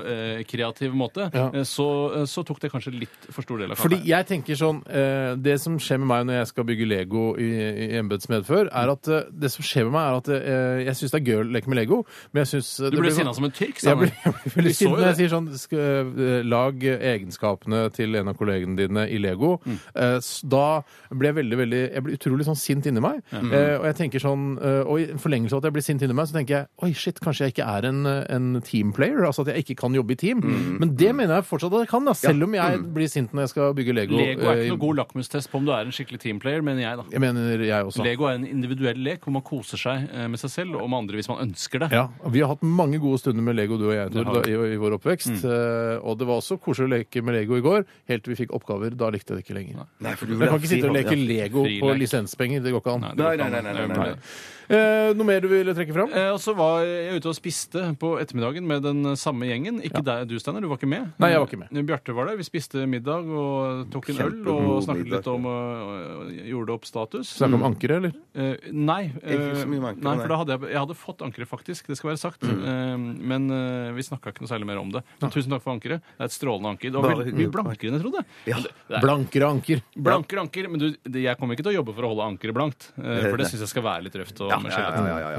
Speaker 6: neokreativ måte,
Speaker 4: Ja.
Speaker 6: eh, så, eh, så tok det kanskje litt for stor del av
Speaker 4: Fordi
Speaker 6: kampen.
Speaker 4: jeg tenker sånn eh, Det som skjer med meg når jeg skal bygge Lego i, i embetsmedfør, er at eh, det som skjer med meg, er at eh, jeg syns det er gøy å leke med Lego, men jeg syns eh,
Speaker 6: Du ble sinna som en tyrk, sa
Speaker 4: jeg
Speaker 6: du.
Speaker 4: blir, [laughs] jeg blir veldig
Speaker 6: Vi så
Speaker 4: sint
Speaker 6: jo
Speaker 4: når jeg
Speaker 6: det.
Speaker 4: sier sånn sk- eh, Lag egenskapene til en av kollegene dine i Lego.
Speaker 6: Mm.
Speaker 4: Eh, s- Da blir jeg veldig, veldig Jeg blir utrolig sånn sint inni meg. Eh, Og jeg tenker sånn eh, Og i forlengelse av at jeg blir sint inni meg, så tenker jeg Oi, shit, kanskje jeg ikke er en, eh, en teamplayer? Altså at jeg ikke kan jobbe i team.
Speaker 6: Mm.
Speaker 4: Men det mener jeg fortsatt at jeg kan, da, selv om jeg blir sint når jeg skal bygge Lego.
Speaker 6: Lego er
Speaker 4: eh,
Speaker 6: ikke noe god lakmustest på om du er en skikkelig teamplayer, mener jeg, da.
Speaker 4: Jeg mener jeg også.
Speaker 6: Lego er en individuell lek hvor man koser seg eh, med seg selv og med andre hvis man ønsker det.
Speaker 4: Ja, Vi har hatt mange gode stunder med Lego, du og jeg, Tor,
Speaker 6: har Mm.
Speaker 4: da, i, i vår oppvekst. Eh, og det var også koselig å leke med Lego i går, helt til vi fikk oppgaver. Da likte jeg det ikke lenger.
Speaker 5: Nei, for du
Speaker 4: Men jeg kan ikke sitte og leke
Speaker 5: Ja.
Speaker 4: Lego
Speaker 6: Fri
Speaker 4: på
Speaker 6: lek.
Speaker 4: lisenspenger. Det går ikke an.
Speaker 6: det går
Speaker 5: Nei, nei,
Speaker 6: ikke an.
Speaker 5: nei, nei,
Speaker 6: Det
Speaker 5: nei,
Speaker 6: går
Speaker 5: nei.
Speaker 6: ikke.
Speaker 4: Eh, noe mer du ville trekke fram?
Speaker 6: Eh, Og så var jeg ute og spiste på ettermiddagen med den samme gjengen. Ikke deg, du, Steinar. Du var ikke med.
Speaker 4: Nei, jeg var ikke med.
Speaker 6: Eh, Bjarte var der. Vi spiste middag og tok en øl
Speaker 5: Kjempegod
Speaker 6: og snakket
Speaker 5: middag.
Speaker 6: litt om eh, Gjorde opp status.
Speaker 4: Snakke om ankeret, eller?
Speaker 6: Eh, nei,
Speaker 5: Ikke så mye med ankeret,
Speaker 6: eh, nei,
Speaker 5: nei. Mm.
Speaker 6: for da hadde jeg, jeg hadde fått ankeret, faktisk. Det skal være sagt. Eh, men eh, vi snakka ikke noe særlig mer om det. Men tusen takk for ankeret. Det er et strålende anker. Det var
Speaker 5: Bare
Speaker 6: veldig
Speaker 5: hyggelig.
Speaker 6: mye blankere enn jeg trodde.
Speaker 5: Ja.
Speaker 6: Men det- det er-
Speaker 4: Blankere anker.
Speaker 6: Blankere anker, men du, det- jeg kommer ikke til å jobbe for å holde ankeret blankt. eh, For det syns jeg skal være litt røft. Og,
Speaker 5: Ja, ja, ja, ja, ja.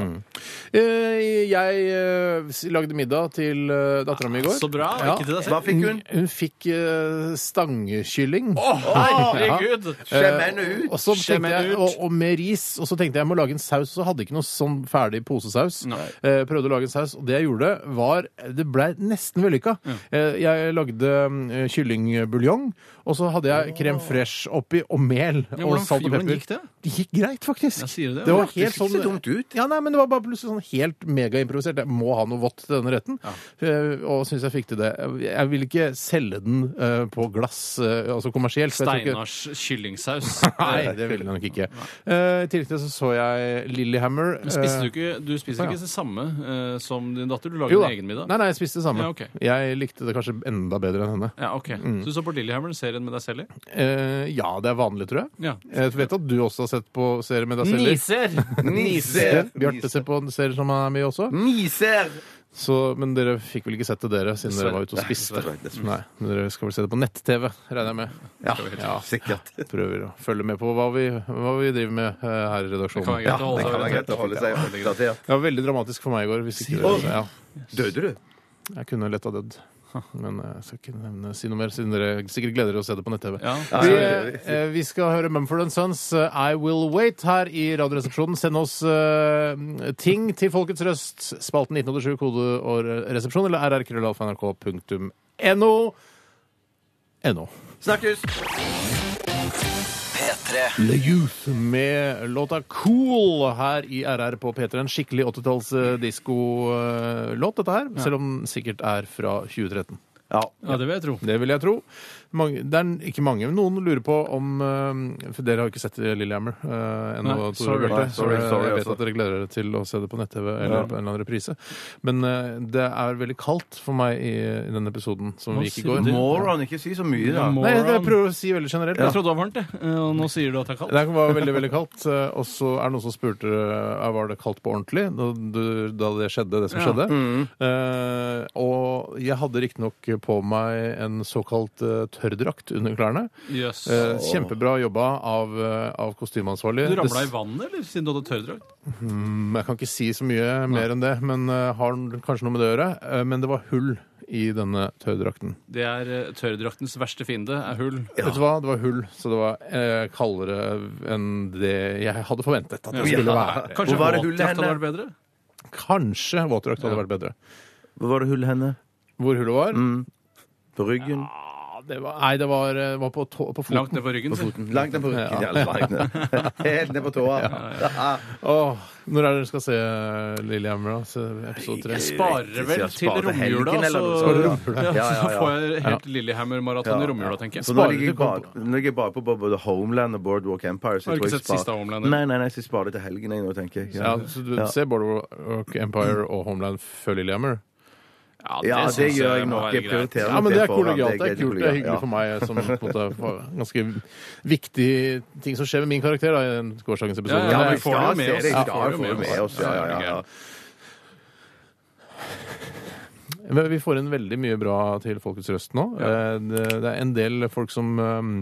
Speaker 4: Eh, jeg eh, s- lagde middag til uh, dattera mi i går.
Speaker 6: Så bra.
Speaker 4: Ja.
Speaker 6: Ikke til deg selv.
Speaker 5: Hva fikk hun?
Speaker 4: Hun fikk eh, stangkylling.
Speaker 6: Herregud!
Speaker 5: Skjem henne ut!
Speaker 4: Eh, Og, så
Speaker 6: Skjem
Speaker 4: tenkte jeg,
Speaker 6: henne ut.
Speaker 4: og, og med ris. Og så tenkte jeg jeg må lage en saus, og så hadde jeg ikke noe sånn ferdig posesaus.
Speaker 6: Nei.
Speaker 4: Eh, prøvde å lage en saus, og det jeg gjorde, var Det blei nesten vellykka. Eh, jeg lagde eh, kyllingbuljong, og så hadde jeg krem fresh oppi, og mel
Speaker 6: Ja,
Speaker 4: og
Speaker 6: hvordan-
Speaker 4: salt og
Speaker 6: hvordan
Speaker 4: pepper.
Speaker 6: gikk det?
Speaker 4: Det gikk greit, faktisk.
Speaker 6: Jeg sier det.
Speaker 4: det var
Speaker 6: Det
Speaker 4: helt
Speaker 5: ikke
Speaker 4: sånn
Speaker 5: så dumt ut.
Speaker 4: Ja, nei, men det var bare plutselig sånn helt megaimprovisert. Jeg må ha noe vått til denne retten. Eh, og syns jeg fikk til det. Jeg vil ikke selge den eh, på glass, eh, altså kommersielt. for jeg tror ikke-
Speaker 6: Steinars
Speaker 5: [laughs]
Speaker 6: kyllingsaus.
Speaker 4: Nei, det ville jeg nok ikke. Eh, I tillegg til det så så jeg Lillehammer.
Speaker 6: Men Spiste
Speaker 5: Eh,
Speaker 6: du ikke, du spiser
Speaker 4: ja.
Speaker 6: ikke det samme eh, som din datter? Du lager
Speaker 4: Jo da.
Speaker 6: din egen middag?
Speaker 4: Nei, nei, jeg spiste det samme.
Speaker 6: Ja, ok.
Speaker 4: Jeg likte det kanskje enda bedre enn henne.
Speaker 6: Ja, ok.
Speaker 5: Mm.
Speaker 6: Så du så på Lillehammer, serien med deg selv i?
Speaker 4: Eh, ja, det er vanlig, tror jeg.
Speaker 6: Ja.
Speaker 4: Jeg vet at du også har sett på serier med deg selv.
Speaker 6: Niser!
Speaker 5: Niser!
Speaker 4: Bjarte ser på en serie som er med også.
Speaker 5: Niser!
Speaker 4: Så, men dere fikk vel ikke sett det, dere, siden dere var ute og
Speaker 5: Nei,
Speaker 4: spiste.
Speaker 5: dessverre, dessverre.
Speaker 4: Nei, men Dere skal vel se det på nett-TV, regner jeg med.
Speaker 5: Ja,
Speaker 4: Ja.
Speaker 5: sikkert.
Speaker 4: Prøver å følge med på hva vi, hva vi driver med eh, her i
Speaker 6: Det kan være
Speaker 4: redaksjonen.
Speaker 5: Ja,
Speaker 6: greit
Speaker 5: det
Speaker 6: å holde
Speaker 5: kan
Speaker 6: seg
Speaker 5: være greit å
Speaker 6: orientert.
Speaker 5: holde seg oppdatert.
Speaker 4: Det var veldig dramatisk for meg i går. Hvis ikke
Speaker 5: Oi.
Speaker 4: dere, ja.
Speaker 5: Døde du?
Speaker 4: Jeg kunne lett ha dødd. Men eh, jeg skal ikke nevne, si noe mer, siden dere sikkert gleder dere å se det på nett-TV.
Speaker 6: Ja.
Speaker 4: Vi, eh, vi skal høre Mumford Sons' eh, I Will Wait her i Radioresepsjonen. Send oss eh, ting til Folkets Røst, spalten 1987, kode og resepsjon, eller rrkrøllalfa.nrk.no. NO.
Speaker 5: Snakkes!
Speaker 2: P3
Speaker 4: The Youth med låta Cool her i RR på P3. En skikkelig 80-talls diskolåt, dette her. Selv om den sikkert er fra 2013.
Speaker 5: Ja.
Speaker 6: Ja, det vil jeg tro.
Speaker 4: Det vil jeg tro. Mange, det er ikke mange, men noen lurer på om eh, For dere har jo ikke sett Lillehammer eh, ennå,
Speaker 6: Nei,
Speaker 4: Tore og
Speaker 6: sorry.
Speaker 4: Bjarte.
Speaker 5: Nei,
Speaker 4: Så eh,
Speaker 5: sorry, sorry,
Speaker 4: jeg vet
Speaker 5: altså.
Speaker 4: at dere gleder dere til å se det på nett-TV eller
Speaker 5: Ja.
Speaker 4: på en eller annen reprise. Men eh, det er veldig kaldt for meg i, i denne episoden som
Speaker 6: Hva
Speaker 4: vi gikk i
Speaker 6: sier
Speaker 4: går.
Speaker 6: du?
Speaker 5: Moron, ikke si så mye, da.
Speaker 6: Ja, må-
Speaker 4: Nei, jeg, jeg prøver å si veldig generelt.
Speaker 6: Jeg
Speaker 4: Jeg tror-
Speaker 6: trodde det var varmt, jeg. eh, Og nå sier du at det er kaldt.
Speaker 4: Det var veldig veldig kaldt, eh, og så er det noen som spurte eh, var det kaldt på ordentlig da, du- da det skjedde, det som
Speaker 6: Ja.
Speaker 4: skjedde. Eh, og jeg hadde riktignok på meg en såkalt eh, tørrdrakt under klærne.
Speaker 6: Jøss.
Speaker 4: Eh, kjempebra jobba av, eh, av kostymeansvarlig.
Speaker 6: Du ramla i vannet, eller? Siden du hadde tørrdrakt?
Speaker 4: Mm, Jeg kan ikke si så mye mer enn det, men eh, har kanskje noe med det å gjøre. Eh, men det var hull i denne tørrdrakten?
Speaker 6: Det er eh, tørrdraktens verste fiende, er hull.
Speaker 4: Vet du hva? Det var hull, så det var eh, kaldere enn det jeg hadde forventet at det
Speaker 6: Ja.
Speaker 4: skulle være.
Speaker 6: Kanskje
Speaker 5: Hvor var det hullet
Speaker 6: våtdrakt hadde
Speaker 5: henne?
Speaker 6: vært bedre?
Speaker 4: Kanskje våtdrakt hadde vært bedre.
Speaker 5: Hvor var det hullet henne? Mm.
Speaker 4: Hvor hullet var?
Speaker 6: Mm.
Speaker 5: På ryggen?
Speaker 4: Ja, det var nei, det var, eh, var på, tå, på
Speaker 6: Langt
Speaker 4: foten.
Speaker 6: ned på ryggen. så.
Speaker 5: Langt ned på ryggen. Ja.
Speaker 4: [laughs]
Speaker 5: langt ned. Helt ned på tåa.
Speaker 4: Åh, når er det dere skal se Lillehammer, da? Se episode
Speaker 6: Jeg
Speaker 4: tre?
Speaker 6: sparer
Speaker 5: Riktig,
Speaker 6: vel
Speaker 5: jeg
Speaker 6: til
Speaker 5: sparer
Speaker 6: romjula,
Speaker 5: helgen, eller
Speaker 6: så,
Speaker 5: noe
Speaker 4: Sparer
Speaker 5: sånt.
Speaker 4: romjula.
Speaker 6: Ja,
Speaker 5: Ja, ja,
Speaker 6: [laughs] så
Speaker 5: ja.
Speaker 6: får jeg helt Lillehammer-maraton i romjula,
Speaker 5: Så
Speaker 6: tenker jeg.
Speaker 5: nå
Speaker 4: Sparer
Speaker 5: ligger jeg
Speaker 4: du
Speaker 5: bare,
Speaker 4: kompo-
Speaker 5: nå ligger jeg bare på både Homeland og Boardwalk Empire. Så
Speaker 6: Har
Speaker 5: jeg tror
Speaker 6: du ikke
Speaker 5: jeg
Speaker 6: sett siste
Speaker 5: sparer-
Speaker 6: av Homeland, eller?
Speaker 5: Nei, nei, nei, så jeg sparer det til helgen jeg nå, tenker jeg.
Speaker 4: Ja, så du
Speaker 5: Ja.
Speaker 4: ser Boardwalk Empire og Homeland før Lillehammer?
Speaker 5: Ja, det,
Speaker 6: synes
Speaker 5: gjør
Speaker 6: må
Speaker 5: jeg nok.
Speaker 6: være
Speaker 5: Jeg
Speaker 6: greit.
Speaker 5: prioriterer
Speaker 4: Ja, men det er
Speaker 5: foran.
Speaker 4: kollegialt. Det er
Speaker 5: greit,
Speaker 4: kult. Det er
Speaker 5: kollegialt.
Speaker 4: hyggelig for meg som på en måte var ganske viktig ting som skjer med min karakter da, i den gårsdagens episode.
Speaker 6: Ja,
Speaker 5: Ja, men
Speaker 4: Men det
Speaker 5: vi
Speaker 4: er-
Speaker 5: får det jo med oss. Ja,
Speaker 6: Vi får det jo
Speaker 5: vi får det
Speaker 6: med
Speaker 5: med
Speaker 6: oss.
Speaker 5: oss. Ja, ja, ja.
Speaker 4: eh, Men vi får inn veldig mye bra til Folkets Røst nå. Eh, Det det er en del folk som um,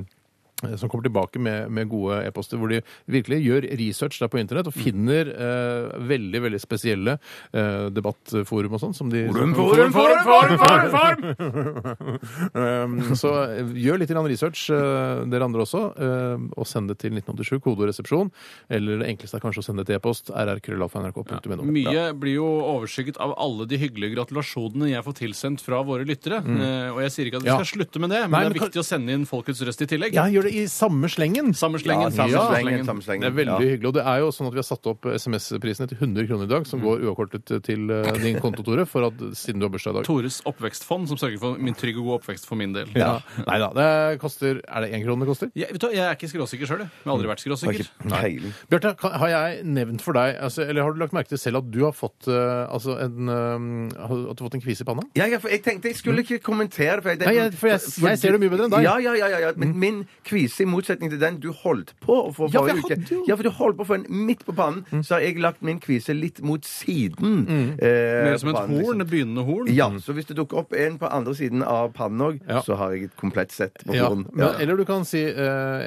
Speaker 4: som kommer tilbake med, med gode e-poster, hvor de virkelig gjør research der på internett og finner eh, veldig veldig spesielle eh, debattforum og sånn. som de-
Speaker 5: Forum, forum, forum, forum, forum!
Speaker 4: Um, så eh, gjør litt grann research, eh, dere andre også, eh, og send det til 1987, kode og resepsjon. Eller det enkleste er kanskje å sende det til e-post rrkrøllalfa.nrk.no.
Speaker 6: Mye blir jo overskygget av alle de hyggelige gratulasjonene jeg får tilsendt fra våre lyttere. Eh, Og jeg sier ikke at vi
Speaker 4: Ja.
Speaker 6: skal slutte med det, men
Speaker 4: Nei,
Speaker 6: det
Speaker 4: men
Speaker 6: er
Speaker 4: kan-
Speaker 6: viktig å sende inn Folkets røst i tillegg.
Speaker 4: Ja, gjør det i samme slengen.
Speaker 5: Ja,
Speaker 6: Samme slengen.
Speaker 5: samme
Speaker 4: Ja.
Speaker 5: slengen, samme slengen.
Speaker 4: Det er veldig
Speaker 5: Ja.
Speaker 4: hyggelig. Og det er jo sånn at vi har satt opp SMS-prisene til 100 kroner i dag, som går uavkortet til eh, din konto, Tore, for at, siden du har bursdag i dag.
Speaker 6: Tores oppvekstfond, som sørger for min trygg og god oppvekst for min del.
Speaker 4: Ja. Nei da. Det koster Er det én krone det koster?
Speaker 6: Jeg, vet du, hva, jeg er ikke skråsikker sjøl, jeg. Jeg har aldri vært
Speaker 5: Har
Speaker 6: skråsikker.
Speaker 5: ikke peiling.
Speaker 4: Bjarte, kan- har jeg nevnt for deg, altså, eller har du lagt merke til selv at du har fått, eh, altså en, eh, at du har fått en kvise i panna?
Speaker 5: Ja, ja, for jeg tenkte jeg skulle ikke kommentere for jeg,
Speaker 4: Nei, jeg- Mm. for jeg- jeg ser det mye bedre enn deg. Mm.
Speaker 5: Ja, ja, ja, ja, ja. Men min kvise, i motsetning til den du holdt på å få
Speaker 4: Ja, for
Speaker 5: forrige
Speaker 4: jeg
Speaker 5: uke
Speaker 4: hadde jo- Mm.
Speaker 5: Ja, for du holdt på å få en midt på pannen, så har jeg lagt min kvise litt mot siden. eh,
Speaker 6: Mer som
Speaker 5: på
Speaker 6: et
Speaker 5: pannen, liksom.
Speaker 6: horn, et begynnende horn.
Speaker 5: Ja, så hvis det dukker opp en på andre siden av pannen òg,
Speaker 4: Mm. Ja.
Speaker 5: så har jeg et komplett sett på
Speaker 4: Ja,
Speaker 5: horn.
Speaker 4: men, Eller du kan si eh,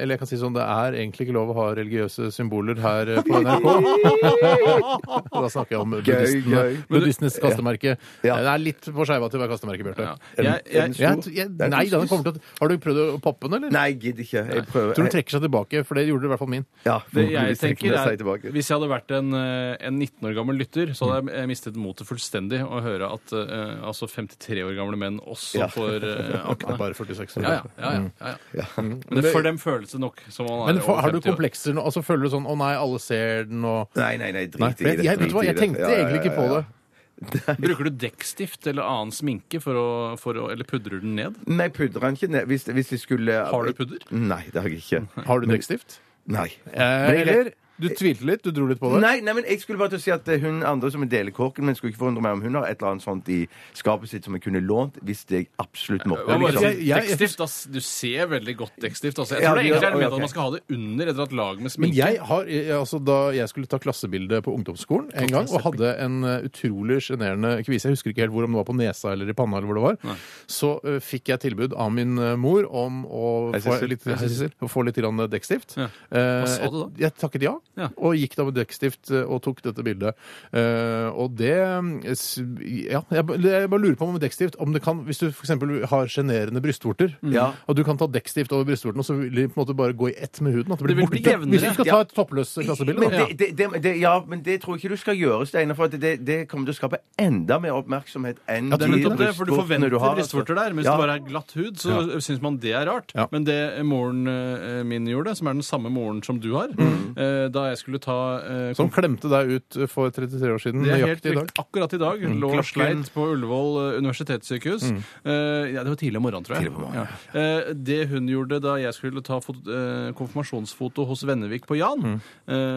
Speaker 4: Eller jeg kan si sånn Det er egentlig ikke lov å ha religiøse symboler her
Speaker 5: [laughs]
Speaker 4: eh, på NRK. [laughs] da snakker jeg om buddhistene.
Speaker 5: gøy.
Speaker 4: Buddhistenes kastemerke.
Speaker 5: Ja.
Speaker 4: Det er litt for skeiva til å være kastemerke, Bjarte.
Speaker 6: Ja. Jeg, jeg,
Speaker 5: stor?
Speaker 4: Jeg- jeg- Nei, den kommer til å Har du prøvd å poppe den, eller?
Speaker 5: Nei, jeg gidder ikke. Jeg prøver.
Speaker 4: Tror du trekker seg tilbake, for det gjorde i hvert fall min.
Speaker 5: Ja,
Speaker 6: det jeg
Speaker 5: forhåpentligvis trekker
Speaker 6: tenker
Speaker 5: den seg
Speaker 6: er,
Speaker 5: tilbake.
Speaker 6: Hvis jeg hadde vært en, eh, en 19 år gammel lytter, så hadde jeg eh, mistet motet fullstendig å høre at eh, altså 53 år gamle menn også
Speaker 5: Ja.
Speaker 6: får eh, akne.
Speaker 4: Bare 46 år.
Speaker 6: Ja, ja, ja, ja, ja, Mm. ja. Men det, for dem føles det nok som om man er
Speaker 4: Men fa-
Speaker 6: over
Speaker 4: har du
Speaker 6: 50 år.
Speaker 4: komplekser nå? Altså Føler du sånn 'Å nei, alle ser den', og
Speaker 5: Nei, nei, nei, drit
Speaker 4: Nei,
Speaker 5: i
Speaker 4: for jeg,
Speaker 5: det.
Speaker 4: jeg, vet
Speaker 5: drit
Speaker 4: du hva,
Speaker 5: i
Speaker 4: jeg
Speaker 5: det.
Speaker 4: tenkte
Speaker 5: Ja, ja, ja,
Speaker 4: egentlig ikke på
Speaker 5: ja.
Speaker 4: det.
Speaker 6: Bruker du dekkstift eller annen sminke for å, for å Eller pudrer du den ned?
Speaker 5: Nei, pudrer han ikke ned. Hvis, hvis jeg skulle
Speaker 6: Har du pudder?
Speaker 5: Nei, det har jeg ikke.
Speaker 4: Har du dekkstift?
Speaker 5: Nei.
Speaker 4: Eh,
Speaker 5: Men jeg-
Speaker 4: eller du tvilte litt? Du dro litt på det?
Speaker 5: Nei, nei, men jeg skulle bare til å si at eh, hun andre som deler kåken, men skulle ikke forundre meg om hun har et eller annet sånt i skapet sitt som jeg kunne lånt hvis jeg absolutt måtte.
Speaker 6: Hva var
Speaker 5: Liksom.
Speaker 6: det?
Speaker 4: jeg- jeg-
Speaker 6: dekkstift, ass. Du ser veldig godt dekkstift. Altså. Jeg
Speaker 5: Ja,
Speaker 6: tror det
Speaker 5: ja,
Speaker 6: egentlig er
Speaker 5: ja,
Speaker 6: ment
Speaker 5: ok.
Speaker 6: at man skal ha det under et eller annet lag med
Speaker 4: Men
Speaker 6: sminke.
Speaker 4: jeg har, jeg, altså Da jeg skulle ta klassebilde på ungdomsskolen en gang, og hadde en eh, utrolig sjenerende kvise, jeg husker ikke helt hvor, om det var på nesa eller i panna, eller hvor det var, så eh, fikk jeg tilbud av min eh, mor om å få
Speaker 5: Heisesel.
Speaker 4: litt, heisesel, å få litt grann, eh, dekkstift.
Speaker 6: Ja.
Speaker 4: Eh,
Speaker 6: sa du da?
Speaker 4: Jeg, jeg takket ja,
Speaker 6: Ja.
Speaker 4: og gikk da med dekkstift eh, og tok dette bildet. Eh, og det eh, s- Ja, jeg, ba- jeg bare lurer på om dekkstift om det kan, Hvis du f.eks. har sjenerende brystvorter,
Speaker 5: Ja.
Speaker 4: og du kan ta dekkstift over brystvorten, og så vil de på en måte bare gå i ett med huden. At det blir
Speaker 6: Det vil bli
Speaker 4: borte.
Speaker 6: jevnere.
Speaker 4: Hvis du skal
Speaker 5: Ja.
Speaker 4: ta et toppløst klassebilde,
Speaker 5: Men
Speaker 4: da.
Speaker 5: det, det, det, det, ja, men det tror jeg ikke du skal gjøre, Steinar. For at det, det kommer til å skape enda mer oppmerksomhet enn
Speaker 4: Ja,
Speaker 6: Det er
Speaker 4: de
Speaker 6: nettopp det, for du
Speaker 5: brystvortene
Speaker 6: forventer
Speaker 5: har, altså.
Speaker 6: brystvorter der. Mens
Speaker 5: Ja.
Speaker 6: det bare er glatt hud, så syns man det er rart.
Speaker 4: Ja.
Speaker 6: Men det moren eh, min gjorde, som er den samme moren som du har, eh, da jeg skulle ta eh,
Speaker 4: Som klemte deg ut for 33 år siden.
Speaker 6: Det er helt
Speaker 4: Nøyaktig i dag. Mm.
Speaker 6: riktig. Akkurat i dag lå og
Speaker 5: Klokken-
Speaker 6: sleit på Ullevål eh, universitetssykehus. Eh, ja, det var tidlig om morgenen, tror jeg.
Speaker 5: Tidlig på morgenen,
Speaker 6: Ja. Eh, det hun gjorde da jeg skulle ta fot eh, konfirmasjonsfoto hos Vennevik på Jan eh,
Speaker 4: Mm.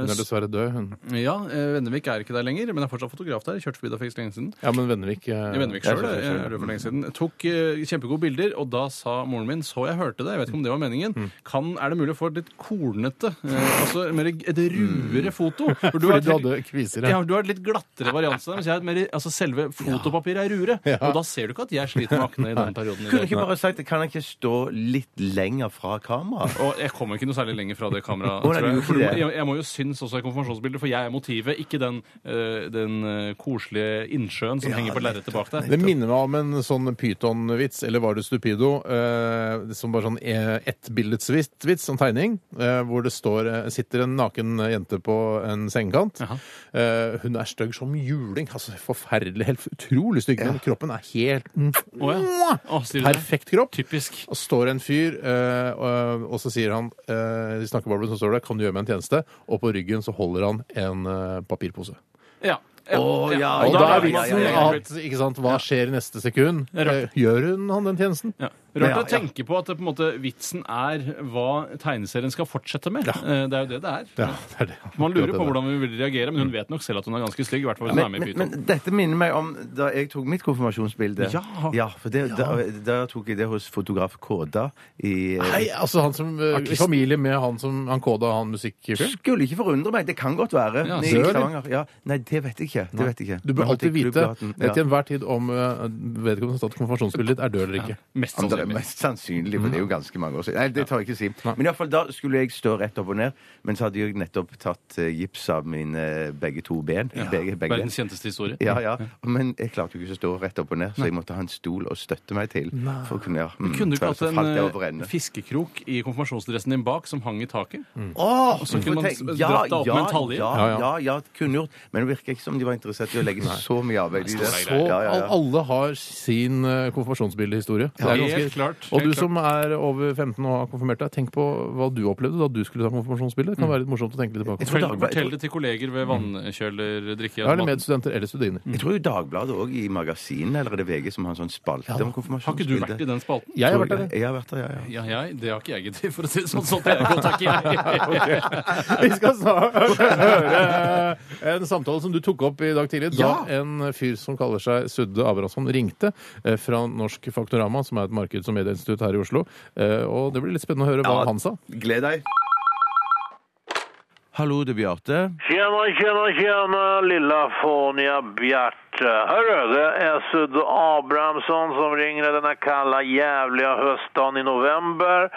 Speaker 4: Hun er
Speaker 6: s-
Speaker 4: dessverre død, hun.
Speaker 6: Ja, eh, Vennevik er ikke der lenger, men er fortsatt fotograf der. Kjørte forbi der for ikke så lenge siden.
Speaker 4: Ja, men Vennevik eh,
Speaker 6: I Vennevik
Speaker 5: Jeg
Speaker 6: selv,
Speaker 5: skjønner, jeg
Speaker 6: jeg
Speaker 5: skjønner.
Speaker 6: gjorde det for
Speaker 4: Mm.
Speaker 6: lenge siden. Tok eh, kjempegode bilder, og da sa moren
Speaker 4: Mm.
Speaker 6: min, så jeg hørte det, jeg vet ikke om det var meningen, kan, er det mulig å få et litt kornete, eh, altså mer et ruere foto. For
Speaker 4: Fordi Mm. du
Speaker 6: har et
Speaker 4: hadde
Speaker 6: litt-
Speaker 4: kviser
Speaker 6: ja,
Speaker 4: her.
Speaker 6: du har et litt glattere variant. der, Mens jeg har et mer, altså selve fotopapiret er ruere. Og da ser du ikke at jeg sliter med akne i
Speaker 5: [laughs]
Speaker 6: den perioden. i
Speaker 5: Kunne
Speaker 6: det.
Speaker 5: ikke bare sagt det? Kan jeg ikke stå litt lenger fra
Speaker 6: [laughs]
Speaker 5: kameraet?
Speaker 6: Og jeg kommer ikke noe særlig lenger fra det kameraet.
Speaker 5: Å, nei,
Speaker 6: tror
Speaker 5: du gjorde
Speaker 6: jeg. For du
Speaker 5: ikke
Speaker 6: må-
Speaker 5: det.
Speaker 6: jeg, jeg må jo synes også i konfirmasjonsbildet, for jeg er motivet, ikke den, eh, den eh, koselige innsjøen som henger på lerretet bak der.
Speaker 4: Det minner meg om en sånn pyton-vits, eller var det stupido, eh, som bare sånn eh, ettbildetsvits, vits, sånn tegning, eh, hvor det står, eh, sitter en naken jente på en sengekant. Eh, hun er stygg som juling, altså forferdelig, helt utrolig stygg, men kroppen er helt
Speaker 6: Å, ja. Å, sier du det?
Speaker 4: perfekt kropp.
Speaker 6: Typisk.
Speaker 4: Og står en fyr, eh, og, og så sier han, eh, i snakkeboblen så står det, kan du gjøre meg en tjeneste? Og på ryggen så holder han en eh, papirpose.
Speaker 6: Ja. ja,
Speaker 5: Å, ja,
Speaker 4: Og
Speaker 5: ja,
Speaker 4: da er
Speaker 5: ja,
Speaker 4: vitsen
Speaker 5: ja, ja.
Speaker 4: at ikke sant, hva skjer i neste sekund?
Speaker 6: Det er rart.
Speaker 4: Eh, Gjør hun han den tjenesten?
Speaker 6: Ja.
Speaker 5: Men
Speaker 6: Rart
Speaker 5: ja,
Speaker 6: å tenke på at det, på en måte, vitsen er hva tegneserien skal fortsette med. Eh, Det er jo det det er.
Speaker 4: Ja, det er det.
Speaker 6: Man lurer på
Speaker 4: Akkurat det
Speaker 6: hvordan vi vil reagere, men hun vet nok selv at hun er ganske stygg. I hvert fall hvis hun er
Speaker 5: Men,
Speaker 6: med
Speaker 5: men,
Speaker 6: i Pyton.
Speaker 5: men dette minner meg om da jeg tok mitt konfirmasjonsbilde.
Speaker 6: Ja.
Speaker 5: for det, Da, da tok jeg det hos fotograf Kåda i eh,
Speaker 4: der. Nei, altså han som eh, I familie med han som han koda han musikkfyren.
Speaker 5: Skulle ikke forundre meg. Det kan godt være.
Speaker 6: Ja,
Speaker 5: I
Speaker 4: søren.
Speaker 5: Stavanger. Ja. Nei, det vet jeg ikke. Det vet jeg ikke.
Speaker 4: Du bør
Speaker 5: Men
Speaker 4: alltid
Speaker 5: jeg
Speaker 4: vite
Speaker 5: klubber at den-
Speaker 4: til enhver tid om eh, vedkommende som har tatt konfirmasjonsbildet ditt, er død eller ikke.
Speaker 6: Mest
Speaker 5: Ja, men Det er
Speaker 6: sannsynlig.
Speaker 5: mest sannsynlig, men det er
Speaker 6: Mm.
Speaker 5: jo ganske mange år siden. Nei, det tar jeg ikke å si. Men i alle fall, da skulle jeg stå rett opp og ned, men så hadde jeg nettopp tatt eh, gips av mine eh, begge to ben. Begge, begge ben.
Speaker 6: Verdens kjenteste historie.
Speaker 5: Ja, ja. Men jeg klarte jo ikke å stå rett opp og ned, så jeg måtte ha en stol å støtte meg til. For å kunne, ja, mm,
Speaker 6: Kunne du ikke
Speaker 5: for
Speaker 6: hatt
Speaker 5: så falt jeg over
Speaker 6: en
Speaker 5: ende.
Speaker 6: eh, fiskekrok i konfirmasjonsdressen din bak som hang i taket?
Speaker 5: Mm. Åh,
Speaker 6: så kunne man
Speaker 5: tenk-
Speaker 6: dratt deg opp med en talje.
Speaker 5: Ja,
Speaker 4: Ja,
Speaker 5: ja,
Speaker 4: ja.
Speaker 5: ja, kunne gjort. Men det virker ikke som de var interessert i å legge så mye arbeid i det.
Speaker 4: Så al- alle har sin eh, konfirmasjonsbildehistorie. Det er
Speaker 6: Helt klart,
Speaker 4: Og du
Speaker 6: helt
Speaker 4: som er over 15 og har konfirmert deg, tenk på hva du opplevde da du skulle ta konfirmasjonsbilde.
Speaker 6: Mm.
Speaker 4: Det kan være litt morsomt å tenke litt tilbake på.
Speaker 5: tror
Speaker 6: Fortell,
Speaker 5: Dagbladet-
Speaker 6: fortell det til kolleger
Speaker 5: Mm.
Speaker 6: ved vannkjøler,
Speaker 4: Ja, eller
Speaker 6: drikkeautomaten.
Speaker 4: medstudenter eller studiner.
Speaker 6: Mm.
Speaker 5: Jeg tror jo Dagbladet òg i magasinet, eller er det VG som har en sånn spalte om konfirmasjonsbilder?
Speaker 6: Har ikke du vært i den spalten?
Speaker 4: Jeg har vært der.
Speaker 5: Jeg, jeg har vært der, ja, ja.
Speaker 6: Ja, jeg, det har ikke jeg giddet, for å si det sånn. Sånt er jeg godt,
Speaker 5: [laughs]
Speaker 6: takk jeg.
Speaker 4: Vi skal snart høre en samtale som du tok opp i dag tidlig, da en fyr som kaller seg Sudde Abrahamsson ringte eh, fra Norsk Faktorama, som er et markeds- og medieinstitutt her i Oslo. Eh, Og det blir litt spennende å høre hva
Speaker 5: Ja.
Speaker 4: han sa.
Speaker 5: Gled deg. Hallo, det er Bjarte.
Speaker 1: Tjena, tjena, tjena lilla fåniga Bjarte. Hörru, eh, det är Sudde Abrahamsson som ringer denna kalla jävliga höstdagen i november.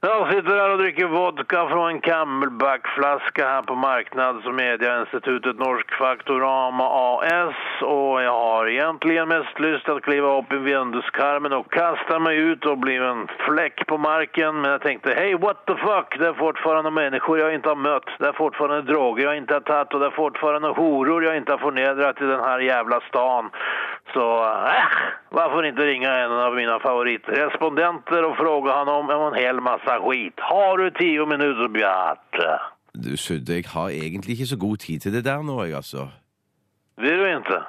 Speaker 1: Jag sitter här och dricker vodka från en Camelback-flaska här på Marknads och mediainstitutet Norsk Faktorama AS och jag har egentligen mest lust att kliva upp i vinduskarmen och kasta mig ut och bli en fläck på marken. Men jag tänkte, hey what the fuck, det är fortfarande människor jag inte har mött. Det är fortfarande droger jag inte har tagit och det är fortfarande horor jag inte har förnedrat i den här jävla stan. Så, äh, varför inte ringa en av mina favoritrespondenter och fråga honom om en hel massa skit. Har du tio minuter, Bjarte?
Speaker 5: Du, Sudde, jeg har egentlig ikke så god tid til det der nå, jeg, altså.
Speaker 1: Vill du inte?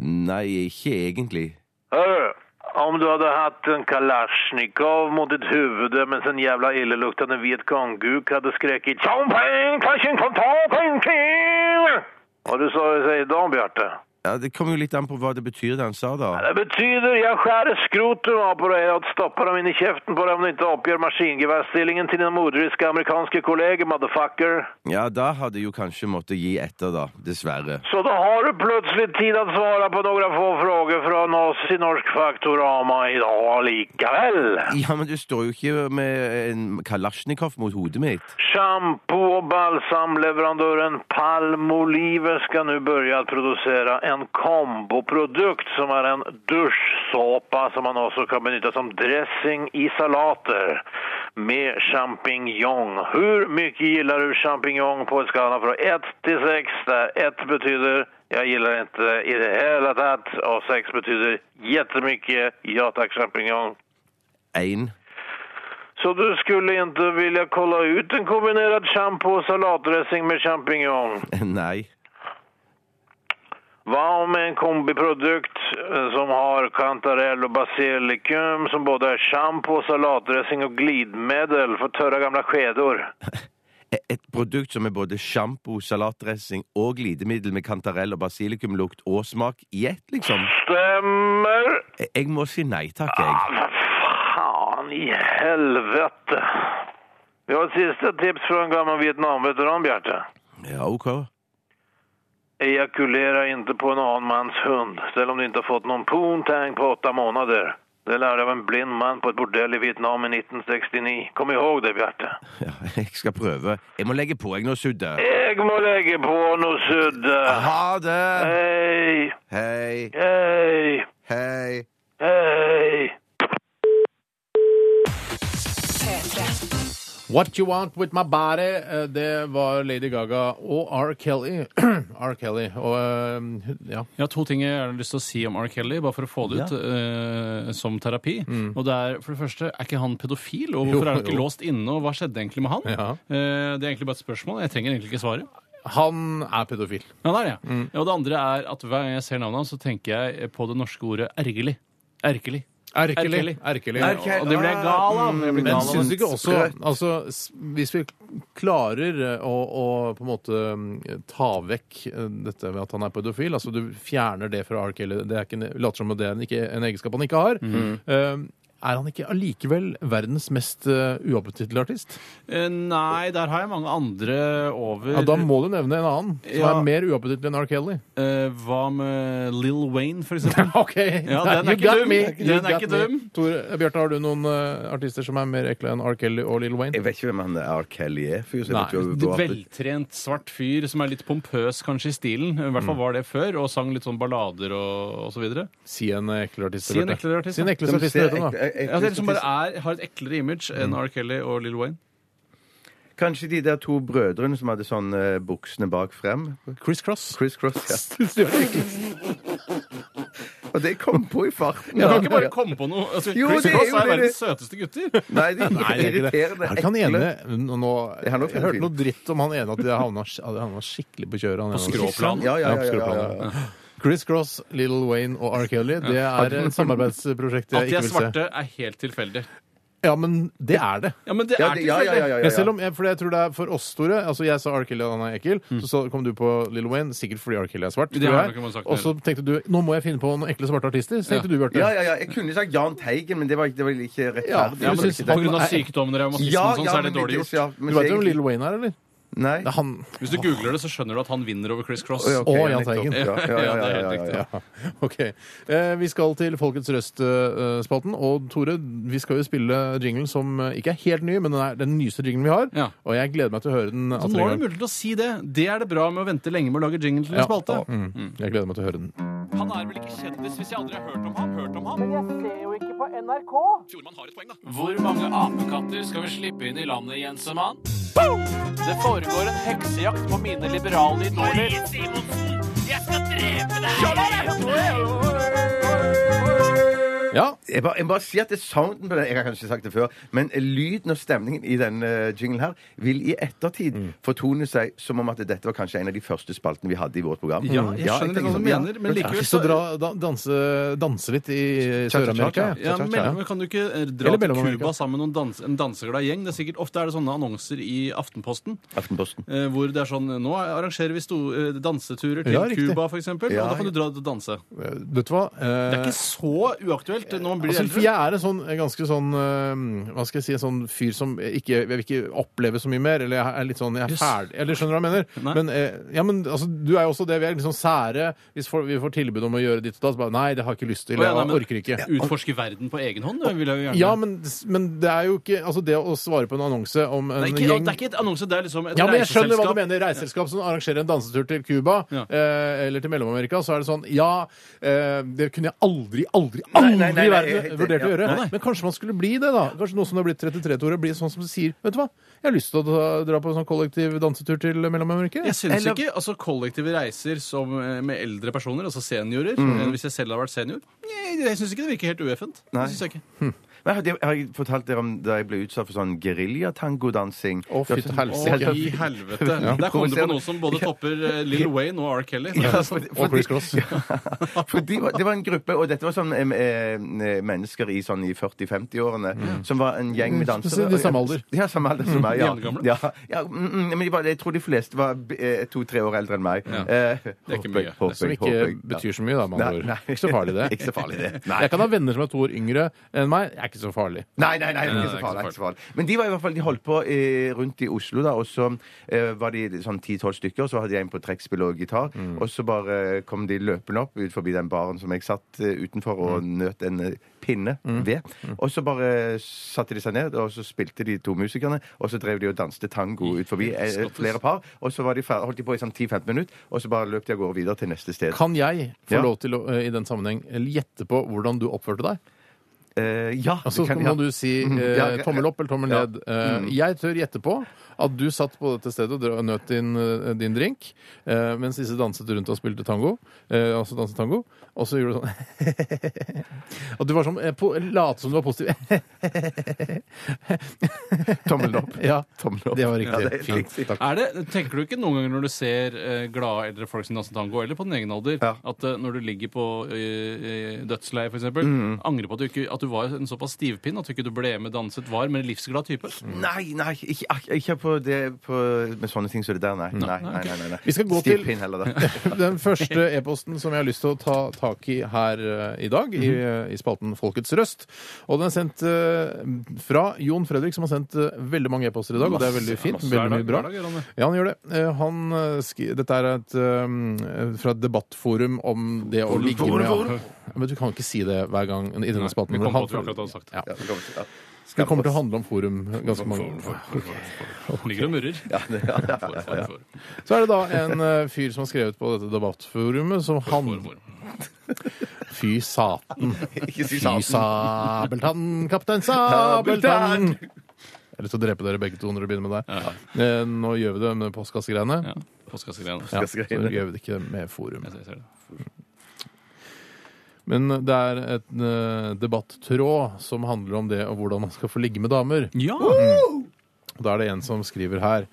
Speaker 5: Nei, ikke egentlig.
Speaker 1: Hörru, om du hade haft en kalasjnikov mot ditt huvud med en jävla illeluktande vit gångguk hade skräckit Champagne, klashin, kontan, kontin! Vad du sa det sig idag, Bjarte?
Speaker 5: Ja, Det kommer jo litt an på hva det betyr, det han sa, da.
Speaker 1: Det betyder jag skär skroten av på dig och stoppar dem in i käften på dig om du inte uppger maskingevärsstillingen till dina modryska amerikanska kollegor, motherfucker.
Speaker 5: Ja, da hadde jeg jo kanskje måttet gi etter, da. Dessverre.
Speaker 1: Så då har du plötsligt tid att svara på några få frågor från oss i Norsk Faktorama idag likaväl.
Speaker 5: Ja, men du står jo ikke med en kalasjnikov mot hodet mitt.
Speaker 1: Shampoo och balsamleverantören Palmolive ska nu börja att producera en komboprodukt som är en duschsåpa som man också kan benytta som dressing i salater med champignon. Hur mycket gillar du champignon på en skala från 1 till 6 där 1 betyder jag gillar inte i det hela tatt och 6 betyder jättemycket. Ja tack champignon.
Speaker 5: Én.
Speaker 1: Så du skulle inte vilja kolla ut en kombinerad shampoo och salatdressing med champignon?
Speaker 5: Nei.
Speaker 1: Vad om en kombiprodukt eh, som har kantarell och basilikum som både är shampoo, salatdressing och glidmedel för törra gamla skedor?
Speaker 5: Et produkt som er både sjampo, salatdressing og glidemiddel med kantarell og basilikumlukt og smak i ett, liksom.
Speaker 1: Stämmer!
Speaker 5: Jeg- Jeg
Speaker 1: Ah.
Speaker 5: må si nei takk, jeg.
Speaker 1: Vad fan i helvete! Vi har et siste tips fra en gammel Vietnam-veteran, Bjarte.
Speaker 5: Ja, OK.
Speaker 1: Ejakulera inte på en annen manns hund, selv om du ikke har fått noen poontang på åtte måneder. Det lærte av en blind mann på et bordell i Vietnam i 1969. Kom ihåg det, Bjarte.
Speaker 5: Ja, [laughs] jeg skal prøve. Jeg må legge på, jeg, nå, Sudde.
Speaker 1: Jeg må legge på noe sudde.
Speaker 5: Ha
Speaker 1: Eh.
Speaker 5: det!
Speaker 1: Hei,
Speaker 5: Hei,
Speaker 1: hei,
Speaker 5: hei.
Speaker 1: hei.
Speaker 4: What You Want With My Body, eh, det var Lady Gaga og R. Kelly. [clears throat] R. Kelly. Og eh, ja.
Speaker 6: Jeg har to ting jeg gjerne har lyst til å si om R. Kelly, bare for å få det ut eh, som terapi. Og det er, for det første, er ikke han pedofil? Og hvorfor
Speaker 4: Mm. Jo,
Speaker 6: er han ikke
Speaker 4: jo.
Speaker 6: låst inne, og hva skjedde egentlig med han?
Speaker 4: Ja.
Speaker 6: Eh, det er egentlig bare et spørsmål. Jeg trenger egentlig ikke svaret.
Speaker 4: Han er pedofil.
Speaker 6: Ja, det er det.
Speaker 4: Mm.
Speaker 6: Og det andre er at hver gang jeg ser navnet hans, så tenker jeg på det norske ordet ergerlig. Erkelig.
Speaker 4: Erkelig. Erkelig.
Speaker 5: Erkelig.
Speaker 6: Og det blir jeg gal av. Jeg blir
Speaker 4: Men
Speaker 6: gal av.
Speaker 4: syns du ikke også
Speaker 5: Sprøtt.
Speaker 4: altså, s- Hvis vi klarer eh, å, å på en måte mm, ta vekk eh, dette ved at han er pedofil altså Du fjerner det fra R. Kelly, det er ikke, en- later som om det er en, ikke, en egenskap han ikke har.
Speaker 6: Mhm.
Speaker 4: Eh, er han ikke allikevel verdens mest uh, uappetittlige artist?
Speaker 6: Eh, Nei, der har jeg mange andre over.
Speaker 4: Ja, da må du nevne en annen som
Speaker 6: Eh, Ja.
Speaker 4: er mer uappetittlig enn R.
Speaker 6: [laughs]
Speaker 4: Kelly.
Speaker 6: Eh, hva med Lil Wayne,
Speaker 4: [laughs]
Speaker 6: for eksempel?
Speaker 4: OK!
Speaker 6: den
Speaker 4: You
Speaker 6: er ikke
Speaker 4: got
Speaker 6: dum.
Speaker 4: me.
Speaker 6: Den
Speaker 4: You
Speaker 6: er
Speaker 4: got
Speaker 6: ikke
Speaker 4: me.
Speaker 6: dum.
Speaker 4: Tore, eh, Bjarte, har du noen eh, artister som er mer ekle enn R. Kelly og Lill Wayne?
Speaker 5: Jeg vet ikke hvem han R. Kelly er. For jeg
Speaker 4: Nei,
Speaker 5: vet jo
Speaker 6: Det
Speaker 5: hvor-
Speaker 6: Veltrent svart fyr som er litt pompøs kanskje i stilen. I hvert fall var det før, og sang litt sånn ballader og, og så videre.
Speaker 4: Si en ekkel artist.
Speaker 6: Si en
Speaker 4: Bjarte.
Speaker 6: eklere artist,
Speaker 4: Si en
Speaker 6: da.
Speaker 5: De
Speaker 4: ekleste artist.
Speaker 5: ser
Speaker 4: vet du, da.
Speaker 5: ek- ek- ek-
Speaker 6: Ja, det er liksom bare er, har et eklere image
Speaker 5: Mm.
Speaker 6: enn R. Kelly og Lil Wayne.
Speaker 5: Kanskje de der to brødrene som hadde sånn eh, buksene bak frem.
Speaker 4: Chris
Speaker 6: [laughs]
Speaker 4: Cross.
Speaker 5: Criss Cross, [laughs] ja. Og det kom på i farten.
Speaker 6: Jeg kan ikke bare komme på noe. Altså,
Speaker 5: Jo,
Speaker 6: Chris
Speaker 5: det er
Speaker 6: Cross
Speaker 5: jo
Speaker 6: er
Speaker 5: det-
Speaker 6: verdens søteste gutter.
Speaker 5: Nei, [laughs] det er irriterende.
Speaker 4: Er ikke han
Speaker 5: ekle.
Speaker 4: ene nå, nå-
Speaker 5: er han nok
Speaker 4: Jeg hørte noe dritt om han ene at jeg havna, jeg havna skikkelig på kjøret. Han ene.
Speaker 6: skråplanet. skråplan.
Speaker 5: Ja, ja, ja, ja, ja,
Speaker 4: skråplanet. Chris Cross, Little Wayne og R. Kelly, det er et samarbeidsprosjekt
Speaker 6: At
Speaker 4: jeg
Speaker 6: de
Speaker 4: ikke
Speaker 6: er
Speaker 4: vil se.
Speaker 6: svarte, er helt tilfeldig.
Speaker 4: Ja, men det er det.
Speaker 6: Ja, men det
Speaker 5: Ja,
Speaker 6: er
Speaker 5: det- ja, ja, ja,
Speaker 6: tilfeldig.
Speaker 5: ja,
Speaker 4: Ja,
Speaker 5: ja.
Speaker 4: selv om jeg, for jeg tror det er for oss, Tore. Altså Jeg sa R. Kelly og han er ekkel. Så, sa- kom du på Little Wayne, sikkert fordi R. Kelly er svart.
Speaker 6: Mm. Det
Speaker 4: tror
Speaker 6: har
Speaker 4: jeg.
Speaker 6: nok man sagt
Speaker 4: Og så tenkte du nå må jeg finne på noen ekle svarte artister. Så tenkte du, Bjarte.
Speaker 5: Ja, ja, ja. Jeg kunne sagt Jahn Teigen, men det var ikke, det var ikke rettferdig.
Speaker 4: Ja,
Speaker 6: Ja,
Speaker 4: men
Speaker 6: men
Speaker 4: synes
Speaker 6: På
Speaker 4: han-
Speaker 6: grunn av sykdommen og revmatisme og sånn, så er det
Speaker 5: men
Speaker 6: dårlig gjort.
Speaker 5: ja, men
Speaker 4: Du veit
Speaker 5: så
Speaker 4: hvem
Speaker 5: egentlig-
Speaker 4: Little Wayne er, eller?
Speaker 5: Nei.
Speaker 4: Det er han.
Speaker 6: Hvis du googler det, så skjønner du at han vinner over Chris Cross.
Speaker 5: Å, ja, ok,
Speaker 4: Å,
Speaker 5: ja,
Speaker 4: Jahn
Speaker 5: nettopp.
Speaker 4: Teigen.
Speaker 5: Ja, ja, ja, ja, ja, ja, ja.
Speaker 4: Ja, [laughs] ok. Eh, vi skal til Folkets Røst-spalten. Og Tore, vi skal jo spille jinglen som eh, ikke er helt ny, men den er den nyeste jinglen vi har.
Speaker 6: Ja.
Speaker 4: Og jeg gleder meg til å høre den.
Speaker 6: Så
Speaker 4: atter en
Speaker 6: nå er det
Speaker 4: gang.
Speaker 6: mulig til å si det. Det er det bra med å vente lenge med å lage jingle til en
Speaker 4: Ja,
Speaker 6: spalte.
Speaker 4: og- mm, jeg gleder meg til å høre den.
Speaker 6: Han er vel ikke kjendis hvis jeg aldri har hørt om ham? Hørt om ham? Men jeg ser jo ikke på NRK. Fjordmann har et poeng, da. Hvor mange apekatter skal vi slippe inn i landet, Jensemann? Det foregår en heksejakt på mine liberale idoler.
Speaker 4: Ja,
Speaker 5: Jeg bare, jeg bare sier at det er sounden på det, jeg har kanskje sagt det før, men lyden og stemningen i denne eh, jinglen her vil i ettertid
Speaker 4: Mm.
Speaker 5: fortone seg som om at dette var kanskje en av de første spaltene vi hadde i vårt program.
Speaker 6: Ja, jeg skjønner
Speaker 5: tenker
Speaker 6: hva du
Speaker 5: sånn, ja.
Speaker 6: mener, men
Speaker 4: jeg har
Speaker 6: likevel
Speaker 4: lyst til
Speaker 6: så
Speaker 4: å dra, da, danse, danse litt i Sør-Amerika. jeg.
Speaker 6: ja, mellom, Kan du ikke eh, dra
Speaker 4: Eller
Speaker 6: til
Speaker 4: Mellom-Amerika.
Speaker 6: Cuba sammen med noen dans, en danseglad gjeng? Det er sikkert, ofte er det sånne annonser i Aftenposten.
Speaker 5: Aftenposten.
Speaker 6: Eh, hvor det er sånn Nå arrangerer vi sto, eh, danseturer til
Speaker 4: Ja, riktig.
Speaker 6: Cuba, f.eks. eksempel
Speaker 5: Ja,
Speaker 6: og da kan du dra og danse.
Speaker 4: Vet du hva? Eh,
Speaker 6: Det er ikke så uaktuelt når man blir
Speaker 4: Altså, for
Speaker 6: eldre.
Speaker 4: jeg er en sånn en ganske sånn eh, Hva skal jeg si, en sånn fyr som ikke, jeg vil ikke oppleve så mye mer. Eller jeg er litt sånn Jeg er
Speaker 6: Yes.
Speaker 4: ferdig Eller skjønner du hva jeg
Speaker 6: Nei.
Speaker 4: mener? Men, eh, ja, men altså, du er jo også det. Vi er litt sånn sære. Hvis for, vi får tilbud om å gjøre ditt og datt, så bare Nei, det har jeg ikke lyst til.
Speaker 6: Å, ja, nei,
Speaker 4: jeg
Speaker 6: men-
Speaker 4: orker ikke.
Speaker 6: Utforske verden på egen hånd, det vil jeg jo gjerne.
Speaker 4: Ja, men, men det er jo ikke Altså, det å svare på en annonse om en
Speaker 6: det, er ikke,
Speaker 4: gjeng
Speaker 6: det er ikke et annonse, det er liksom et
Speaker 4: ja, men jeg skjønner hva
Speaker 6: reiseselskap.
Speaker 4: du mener. Reiseselskap som arrangerer en dansetur til Cuba
Speaker 6: Ja.
Speaker 4: eh, eller til Mellom-Amerika, så er det sånn Ja, eh, det kunne jeg aldri, aldri,
Speaker 5: Nei,
Speaker 4: aldri
Speaker 5: nei, nei, nei, jeg-
Speaker 4: verden vurdert å
Speaker 5: ja,
Speaker 4: gjøre.
Speaker 6: nei.
Speaker 4: Men kanskje man skulle bli det, da. Kanskje noen som har blitt 33, Tore, blir sånn som sier Vet du hva, jeg har lyst til å dra, dra på en sånn kollektiv dansetur til Mellom-Amerika.
Speaker 6: Jeg syns
Speaker 4: Eller-
Speaker 6: ikke altså kollektive reiser som, eh, med eldre personer, altså seniorer, eh, hvis jeg selv har vært senior Nei, Jeg syns ikke det virker helt ueffent. Det
Speaker 5: Nei.
Speaker 6: synes jeg ikke.
Speaker 5: Men har, jeg, har jeg fortalt dere om da jeg ble utsatt for sånn geriljatangodansing?
Speaker 4: Å, fytti
Speaker 6: Å,
Speaker 4: helsike.
Speaker 6: i helvete. Der kom du på noe som både topper eh, Lil Wayne og R. Kelly.
Speaker 5: Ja, fordi-
Speaker 4: Og Chris Cross.
Speaker 5: [laughs] For de var, det var en gruppe, og dette var sånn em, eh, mennesker i, sånn, i 40-50-årene, som var en gjeng med dansere.
Speaker 4: Så de er Mm. samme alder.
Speaker 5: Ja, samme alder som meg. Ja.
Speaker 6: De andre gamle?
Speaker 5: Ja, ja, mm, mm, men de var, jeg tror de fleste var eh, to-tre år eldre enn meg. Eh,
Speaker 6: Det er ikke
Speaker 5: håper jeg,
Speaker 6: mye.
Speaker 5: håper
Speaker 4: Som
Speaker 5: jeg,
Speaker 4: ikke
Speaker 5: håper jeg. Ja.
Speaker 4: betyr så mye, da, med
Speaker 5: Nei,
Speaker 4: andre ord.
Speaker 5: nei.
Speaker 4: Ikke så farlig, det.
Speaker 5: Ikke så farlig, det. Nei.
Speaker 4: Jeg kan ha venner som er to år yngre enn meg. Jeg ikke så farlig.
Speaker 5: Nei, nei, nei, det er
Speaker 6: Nei,
Speaker 5: ikke så
Speaker 6: nei, det er
Speaker 5: farlig.
Speaker 6: ikke
Speaker 5: Ikke så farlig. Men de var i hvert fall, de holdt på eh, rundt i Oslo, da, og så eh, var de sånn 10-12 stykker, og så hadde jeg en på trekkspill og gitar,
Speaker 4: Mm.
Speaker 5: og så bare eh, kom de løpende opp ut forbi den baren som jeg satt eh, utenfor og
Speaker 4: Mm.
Speaker 5: nøt en eh, pinne ved, og så bare satte de seg ned, og så spilte de to musikerne, og så drev de og danste tango ut forbi eh,
Speaker 6: Skottis.
Speaker 5: flere par, og så var de ferdig, holdt de på i sånn 10-15 minutter, og så bare løp de av gårde videre til neste sted.
Speaker 4: Kan jeg få
Speaker 5: Ja.
Speaker 4: lov til å eh, i den sammenheng gjette på hvordan du oppførte deg?
Speaker 5: Eh, ja,
Speaker 4: Og så
Speaker 5: det kan
Speaker 4: Altså, må
Speaker 5: jeg-
Speaker 4: du si eh,
Speaker 5: Ja, ja, ja.
Speaker 4: tommel opp eller tommel
Speaker 5: Ja. Mhm.
Speaker 4: ned. Eh, jeg tør gjette på at du satt på dette stedet og dra- nøt din, eh, din drink, eh, mens disse danset rundt og spilte tango. Eh, altså danset tango. Og så gjorde du sånn [laughs] Og du var sånn eh, po- Late som du var
Speaker 5: [laughs]
Speaker 4: positiv.
Speaker 5: Tommelen opp.
Speaker 4: [laughs] ja,
Speaker 5: Tommelen opp.
Speaker 4: det var
Speaker 5: Ja, det er
Speaker 4: riktig.
Speaker 5: helt
Speaker 4: Fint.
Speaker 5: riktig.
Speaker 4: Takk.
Speaker 6: Er det, tenker du ikke noen ganger når du ser eh, glade eldre folk som danser tango, eller på din egen alder,
Speaker 5: Ja.
Speaker 6: at eh, når du ligger på eh, dødsleiet f.eks., eksempel angrer på at du, ikke, at du var en såpass stivpinn at du ikke du ble med danset var, men en livsglad type?
Speaker 5: Nei, nei, ikke, ak- ikke på det på, med sånne ting som det der, nei. Nei, nei, nei, nei, nei.
Speaker 4: Vi skal gå
Speaker 5: Stiv
Speaker 4: til-
Speaker 5: pinn heller, da.
Speaker 4: Den første e-posten som jeg har lyst til å ta tak i her eh, i dag, i,
Speaker 5: Mhm.
Speaker 4: eh, i spalten Folkets røst. Og den er sendt eh, fra Jon Fredrik, som har sendt eh, veldig mange e-poster i dag, og det er veldig fint.
Speaker 6: Hver
Speaker 4: Veldig
Speaker 6: dag-
Speaker 4: mye bra.
Speaker 6: hver dag gjør han det.
Speaker 4: Ja, han gjør det. Eh, Han eh, skri... Dette er et, eh, fra et debattforum om det å ligge med Ja, Men du kan ikke si det hver gang i denne
Speaker 6: Nei,
Speaker 4: spalten.
Speaker 6: vi
Speaker 4: hvor
Speaker 6: kom på
Speaker 4: han-
Speaker 6: at vi akkurat hadde sagt det.
Speaker 4: Ja.
Speaker 5: Ja, det kommer til- ja.
Speaker 4: Det kommer til å handle om forum ganske mange
Speaker 6: Ligger og murrer. For, for, for.
Speaker 4: Så er det da en eh, fyr som har skrevet på dette debattforumet, som
Speaker 6: For,
Speaker 4: han
Speaker 6: for.
Speaker 4: Fy saten.
Speaker 5: Ikke si sånn.
Speaker 4: Fy
Speaker 5: saten.
Speaker 4: sabeltann, kaptein Sabeltann! Jeg har lyst til å drepe dere begge to når det begynner med deg. Eh, Nå gjør vi det med postkassegreiene.
Speaker 6: Ja. Postkassegreiene.
Speaker 4: Ja, så
Speaker 5: Postkassegreiene.
Speaker 4: gjør vi det ikke med forum.
Speaker 6: Jeg ser- jeg ser det.
Speaker 4: Men det er et eh, debattråd som handler om det og hvordan man skal få ligge med damer.
Speaker 6: Ja!
Speaker 4: Og Da er det en som skriver her.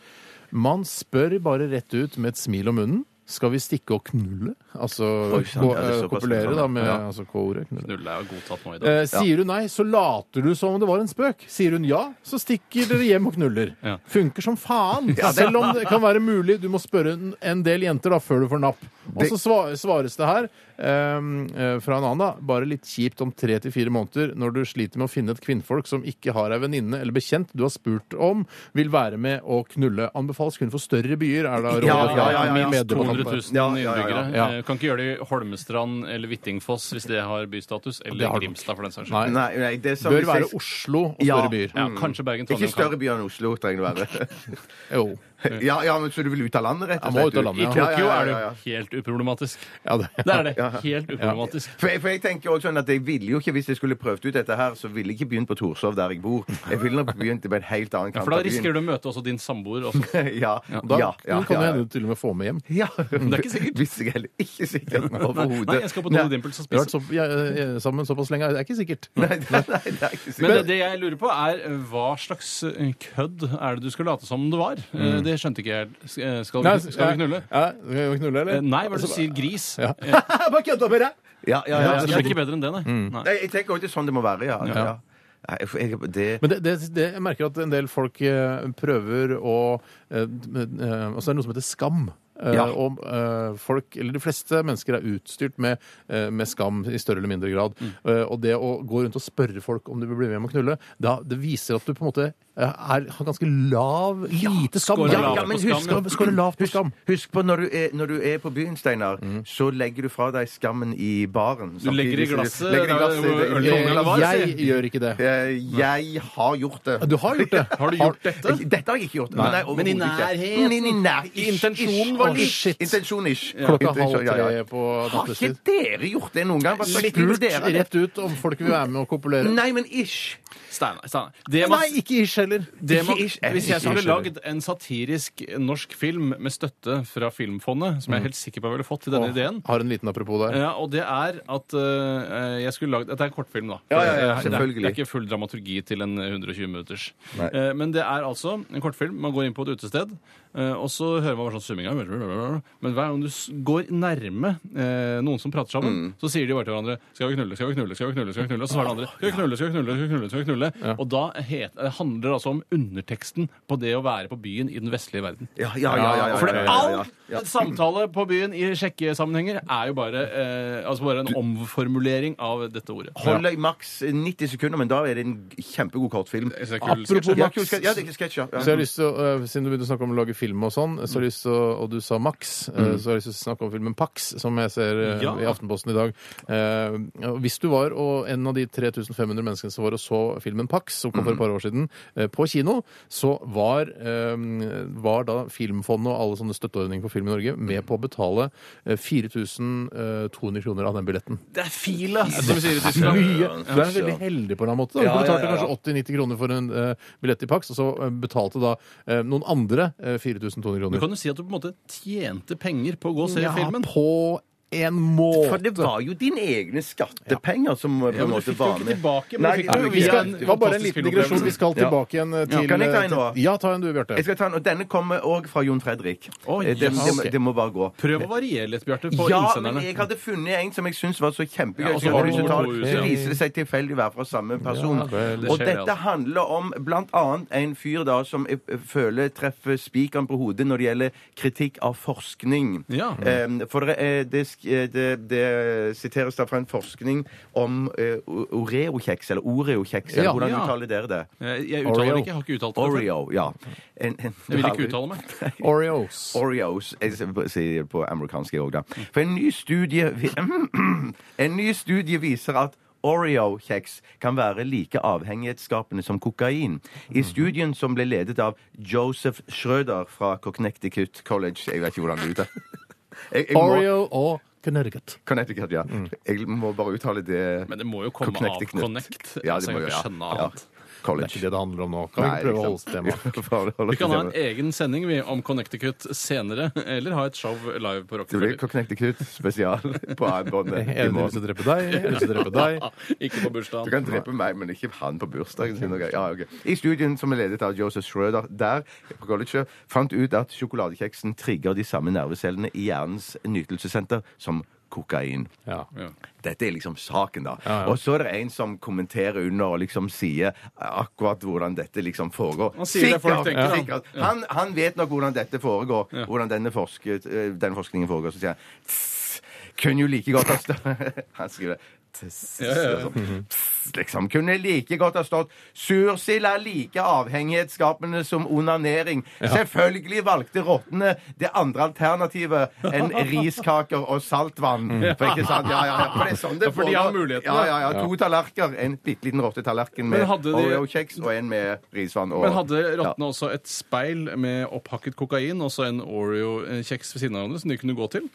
Speaker 4: Man spør bare rett ut med et smil om munnen. Skal vi stikke og knulle? Altså
Speaker 5: Oi, sant,
Speaker 4: ko-
Speaker 5: ja, det er
Speaker 4: eh,
Speaker 5: såpass
Speaker 4: kopulere,
Speaker 5: sånn,
Speaker 4: da,
Speaker 5: ja.
Speaker 4: med
Speaker 5: Ja.
Speaker 4: altså, K-ordet. knulle.
Speaker 6: Null er jo godtatt nå i dag.
Speaker 4: Eh, sier hun nei, så later du som om det var en spøk. Sier hun ja, så stikker dere hjem og knuller.
Speaker 6: Ja.
Speaker 4: Funker som faen! Selv om det kan være mulig. Du må spørre en- en del jenter da, før du får napp. Og så sva- svares det her eh, eh, fra en annen, da. Bare litt kjipt om tre til fire måneder når du sliter med å finne et kvinnfolk som ikke har ei venninne eller bekjent du har spurt om, vil være med å knulle. Anbefales kun for større byer, er da rådet
Speaker 5: Ja, ja, ja, ja, ja.
Speaker 4: min
Speaker 6: Minst
Speaker 5: Ja,
Speaker 4: meddebattant.
Speaker 6: 200 000
Speaker 5: ja, ja, ja.
Speaker 6: innbyggere.
Speaker 4: Ja.
Speaker 6: Eh, Kan ikke gjøre det i Holmestrand eller Hvittingfoss hvis det har bystatus.
Speaker 4: Det
Speaker 6: Eller
Speaker 4: har det nok.
Speaker 6: Grimstad, for den saks skyld.
Speaker 4: Nei.
Speaker 5: Nei, nei, det er som
Speaker 4: Bør
Speaker 5: hvis jeg-
Speaker 4: være Oslo og
Speaker 5: Ja.
Speaker 4: større byer.
Speaker 6: Ja, kanskje Bergen
Speaker 5: Ikke
Speaker 6: Trondheim.
Speaker 5: større
Speaker 6: kan.
Speaker 5: by enn Oslo, trenger det være.
Speaker 4: Jo.
Speaker 5: Ja, ja, men Så du vil ut av landet, rett
Speaker 4: Jeg
Speaker 5: og
Speaker 4: må
Speaker 5: slett?
Speaker 4: ut av landet, ja.
Speaker 6: I
Speaker 5: Ja, ja,
Speaker 6: Tokyo
Speaker 5: ja,
Speaker 6: er det
Speaker 5: ja, ja.
Speaker 6: jo helt uproblematisk.
Speaker 4: Ja, det.
Speaker 6: Der er det. Helt uproblematisk.
Speaker 5: For jeg, for jeg tenker også sånn at jeg ville jo ikke, Hvis jeg skulle prøvd ut dette her, så ville jeg ikke begynt på Torshov, der jeg bor. Jeg ville nok begynt på en helt annen
Speaker 6: Ja,
Speaker 5: kant
Speaker 6: for da risikerer du å møte også din samboer. Også.
Speaker 5: [laughs] Ja,
Speaker 4: Da
Speaker 5: ja, ja,
Speaker 4: kan det
Speaker 5: ja,
Speaker 4: hende du til og med får med hjem.
Speaker 5: ja.
Speaker 6: er ikke sikkert.
Speaker 5: Hvis jeg heller ikke sikkert
Speaker 6: Nei,
Speaker 5: overhodet.
Speaker 6: nei, jeg skal på
Speaker 5: Nei.
Speaker 6: Dolly Dimples og
Speaker 4: Vi har vært
Speaker 6: spise
Speaker 4: så, ja, ja, sammen såpass lenge, det er ikke sikkert.
Speaker 6: Mm.
Speaker 5: Nei, nei, nei, det er ikke sikkert.
Speaker 6: Men det, det jeg lurer på, er eh, hva slags eh, kødd er det du skal late som om det var? Eh, Det skjønte ikke jeg. S- eh, Skal, vi- skal vi knulle?
Speaker 4: Ja, skal vi knulle,
Speaker 6: Eh,
Speaker 4: eller?
Speaker 6: Nei, hva er det du sier? Gris?
Speaker 4: Ja.
Speaker 6: Eh,
Speaker 5: Ah, Bare kødda med deg! Ja, ja, ja.
Speaker 6: Det blir ikke bedre enn det, nei. nei.
Speaker 5: Nei, jeg tenker også det er sånn det må være, ja. ja. Nei, for jeg, det...
Speaker 4: Men det, det, det, jeg merker at en del folk eh, prøver å eh, eh, Altså, det er noe som heter skam. Eh,
Speaker 5: Ja.
Speaker 4: Og eh, folk, eller de fleste mennesker er utstyrt med, eh, med skam i større eller mindre grad.
Speaker 6: Mm.
Speaker 4: Eh, og det å gå rundt og spørre folk om du vil bli med hjem og knulle, da, det viser at du på en måte eh, er, har ganske lav, lite skam.
Speaker 6: scorer
Speaker 5: lavt på skam, ja.
Speaker 4: scorer lavt på skam.
Speaker 5: Husk på når du, er, når du er på byen, Steinar, så legger du fra deg skammen i baren.
Speaker 6: Mhm. Du legger i
Speaker 5: Samtidig som
Speaker 6: glasset,
Speaker 5: legger i
Speaker 6: der
Speaker 5: glasset,
Speaker 6: hvor
Speaker 5: det-
Speaker 6: ølen
Speaker 5: det-
Speaker 6: kommer
Speaker 4: Eh,
Speaker 6: Hvordan var det,
Speaker 4: jeg gjør ikke det.
Speaker 5: Eh, Jeg har gjort det.
Speaker 4: Du har gjort det.
Speaker 6: Har du gjort dette?
Speaker 5: Dette har jeg ikke gjort. Nei,
Speaker 6: Men i
Speaker 5: overhodet ikke.
Speaker 6: nærheten.
Speaker 5: Men i nær- ish,
Speaker 6: Intensjonen
Speaker 5: ish,
Speaker 6: var
Speaker 5: ish.
Speaker 4: litt- shit.
Speaker 5: Intensjon ish.
Speaker 4: Klokka
Speaker 5: Intensjon,
Speaker 4: halv
Speaker 5: ja, ja.
Speaker 4: tre på
Speaker 5: Har
Speaker 4: nattestid.
Speaker 5: ikke dere gjort det noen gang? Hva slags liv
Speaker 4: Spurt
Speaker 5: dere?
Speaker 4: rett ut om folk vil være med og kopulere.
Speaker 5: Nei, men ish.
Speaker 6: Steinar. Steinar. Det man-
Speaker 4: ikke ish heller.
Speaker 6: det man-
Speaker 5: Ikke ish.
Speaker 6: Hvis jeg skulle
Speaker 5: Ikke ish,
Speaker 6: lagd en satirisk norsk film med støtte fra Filmfondet, som jeg er helt sikker på jeg ville fått til denne ideen
Speaker 4: Har en liten apropos der.
Speaker 6: ja, og det er at eh, jeg skulle lagd Dette er en kortfilm, da. Eh,
Speaker 5: Ja, ja, ja,
Speaker 6: Det er-
Speaker 5: selvfølgelig.
Speaker 6: Det er ikke full dramaturgi til en 120 minutters. Eh, men det er altså en kortfilm. Man går inn på et utested, eh, og så hører man bare sånn summinga. Men hver gang du s- går nærme eh, noen som prater sammen,
Speaker 5: Mm.
Speaker 6: så sier de bare til hverandre 'Skal vi knulle? Skal vi knulle? Skal vi knulle?' skal vi knulle? Og så svarer de andre 'Skal vi knulle? Skal vi knulle? Skal vi knulle?' Skal vi knulle? Og da het, det handler det altså om underteksten på det å være på byen i den vestlige verden.
Speaker 5: Ja, ja, ja. ja, ja,
Speaker 6: For
Speaker 5: ja,
Speaker 6: det,
Speaker 5: ja, ja, ja.
Speaker 6: all samtale på byen i sjekkesammenhenger er jo bare, eh, altså bare en omformulering av dette ordet.
Speaker 5: Hold deg maks 90 sekunder, men da er det en kjempegod kortfilm. Ah,
Speaker 6: Jeg synes det er kul
Speaker 4: Apropos
Speaker 6: sketsj.
Speaker 5: Ja, kul sketsj. Ja, det er sketsj, ja.
Speaker 4: Så jeg har
Speaker 5: ja.
Speaker 4: lyst til å, øh, Siden du begynte å snakke om å lage film og sånn, så har jeg lyst til å, og du sa Max, øh, så har jeg lyst til å snakke om filmen Pax, som jeg ser øh,
Speaker 6: Ja.
Speaker 4: i Aftenposten i dag. Eh, og hvis du var og en av de 3500 menneskene som var og så filmen Pax, som kom for et par år siden, eh, på kino, så var, eh, var da Filmfondet og alle sånne støtteordninger for film i Norge med på å betale eh, 4200 kroner av den billetten.
Speaker 6: Det er fil, ass! Som vi sier i Tyskland.
Speaker 4: Mye. Du er veldig heldig på en eller annen måte. da. Du
Speaker 5: Ja, ja,
Speaker 4: betalte
Speaker 5: ja, ja.
Speaker 4: kanskje 80-90 kroner for en eh, billett i Pax, og så eh, betalte da eh, noen andre eh, 4200
Speaker 6: Du
Speaker 4: kroner.
Speaker 6: kan jo si at du på en måte tjente penger på å gå og se filmen.
Speaker 4: på
Speaker 5: For
Speaker 4: en måte.
Speaker 5: det var jo dine egne skattepenger som på
Speaker 6: Ja,
Speaker 5: en
Speaker 6: men du
Speaker 5: måte
Speaker 6: fikk jo
Speaker 5: var
Speaker 6: ikke
Speaker 5: med.
Speaker 6: tilbake, men
Speaker 5: Nei,
Speaker 6: du fikk
Speaker 5: ja,
Speaker 6: det jo
Speaker 4: Vi
Speaker 5: ikke.
Speaker 4: skal,
Speaker 6: en
Speaker 4: det var bare en
Speaker 6: fantastisk
Speaker 4: liten digresjon.
Speaker 6: filmopplevelse.
Speaker 4: Vi skal
Speaker 5: Ja.
Speaker 4: tilbake igjen eh,
Speaker 5: Ja,
Speaker 4: til
Speaker 5: kan jeg ta
Speaker 4: eh,
Speaker 5: en nå?
Speaker 4: til- Ja, ta en du, Bjarte.
Speaker 5: Jeg skal ta den, og Denne kommer òg fra Jon Fredrik.
Speaker 6: Å,
Speaker 5: Eh, det,
Speaker 6: ja,
Speaker 5: det,
Speaker 4: ok.
Speaker 5: det må bare gå.
Speaker 6: Prøv å variere litt, Bjarte, på
Speaker 5: Ja, men
Speaker 6: innsenderne.
Speaker 5: jeg hadde funnet en som jeg syntes var så kjempegøy.
Speaker 6: Ja, og så
Speaker 5: så
Speaker 6: var
Speaker 5: jeg
Speaker 6: det
Speaker 5: hadde
Speaker 6: to
Speaker 5: betalt.
Speaker 6: hus,
Speaker 5: så
Speaker 6: ja.
Speaker 5: viser det seg tilfeldig å være fra samme person.
Speaker 4: Ja, vel, det
Speaker 5: og
Speaker 6: skjer,
Speaker 5: dette
Speaker 6: altså.
Speaker 5: handler om blant annet en fyr da som jeg føler treffer spikeren på hodet når det gjelder kritikk av forskning.
Speaker 6: Ja.
Speaker 5: Eh, For det, er- det, sk- eh, det, det siteres da fra en forskning om eh, o- Oreo-kjeks, eller Oreo-kjeks. eller
Speaker 4: Ja.
Speaker 5: Hvordan
Speaker 6: Ja.
Speaker 5: uttaler dere det?
Speaker 6: Jeg, jeg uttaler
Speaker 4: Oreo.
Speaker 6: det ikke. Jeg har ikke uttalt det. før.
Speaker 5: Oreo, ja. En- en-
Speaker 6: Jeg vil ikke uttale meg.
Speaker 4: Oreos.
Speaker 5: Oreos. Jeg sier på amerikansk jeg òg, da. For en ny studie vi- [clears throat] En ny studie viser at Oreo-kjeks kan være like avhengighetsskapende som kokain. I studien som ble ledet av Joseph Schrøder fra Connecticut College Jeg vet ikke hvordan det uttaler Jeg- jeg må-
Speaker 4: Oreo Mm. og Connecticut.
Speaker 5: Connecticut, ja. Jeg må bare uttale det
Speaker 6: Men det må jo komme av
Speaker 5: Connecticut.
Speaker 6: Connect.
Speaker 5: Ja,
Speaker 6: altså,
Speaker 5: det
Speaker 6: jeg
Speaker 5: må jo
Speaker 6: kan ikke
Speaker 5: ja.
Speaker 6: skjønne
Speaker 5: Ja.
Speaker 6: annet.
Speaker 4: Det er ikke
Speaker 5: College.
Speaker 4: det det handler om nå. Kan vi ikke prøve å holde oss til
Speaker 5: [laughs]
Speaker 4: det?
Speaker 6: Vi kan ha en
Speaker 5: temaet.
Speaker 6: egen sending vi, om Connecticut senere, eller ha et show live på
Speaker 5: Det blir
Speaker 6: Rockefeller.
Speaker 5: Connecticut spesial [laughs] på båndet i
Speaker 4: Jeg vil
Speaker 5: morgen.
Speaker 4: ikke drepe deg, jeg vil ikke drepe deg.
Speaker 6: Ikke på
Speaker 5: Du
Speaker 6: bursdagen.
Speaker 5: kan drepe meg, men ikke han på bursdagen sin. og greier. Ja, ok. I studien som er ledet av Joseph Schrøder der på college, fant ut at sjokoladekjeksen trigger de samme nervecellene i hjernens nytelsessenter som kokain.
Speaker 4: Ja.
Speaker 6: Ja.
Speaker 5: Dette er liksom saken, da.
Speaker 4: Ja, ja.
Speaker 5: Og så er det en som kommenterer under og liksom sier akkurat hvordan dette liksom foregår.
Speaker 6: Han sier det folk tenker, han.
Speaker 5: sikkert. Han, han vet nok hvordan dette foregår, hvordan denne, forsket, eh, denne forskningen foregår. Så sier han «Tss, kunne jo like godt ha stått [laughs] Han skriver «Tss»,
Speaker 6: Ja, ja, ja.
Speaker 5: liksom. «Tss», Liksom, kunne like godt ha stått 'Sursild er like avhengighetsskapende som onanering'. Selvfølgelig valgte rottene det andre alternativet
Speaker 6: [laughs]
Speaker 5: enn riskaker og saltvann. For ikke sant? Ja, ja, ja. For det er sånn det
Speaker 6: Ja, for de har
Speaker 5: foregår.
Speaker 6: muligheten,
Speaker 5: Ja, ja, ja. To tallerkener. En bitte liten rottetallerken med
Speaker 6: Men hadde de-
Speaker 5: Oreo-kjeks og en med risvann. Og...
Speaker 6: Men hadde rottene også et speil med opphakket kokain og så en Oreo-kjeks ved siden av hverandre som de kunne gå til?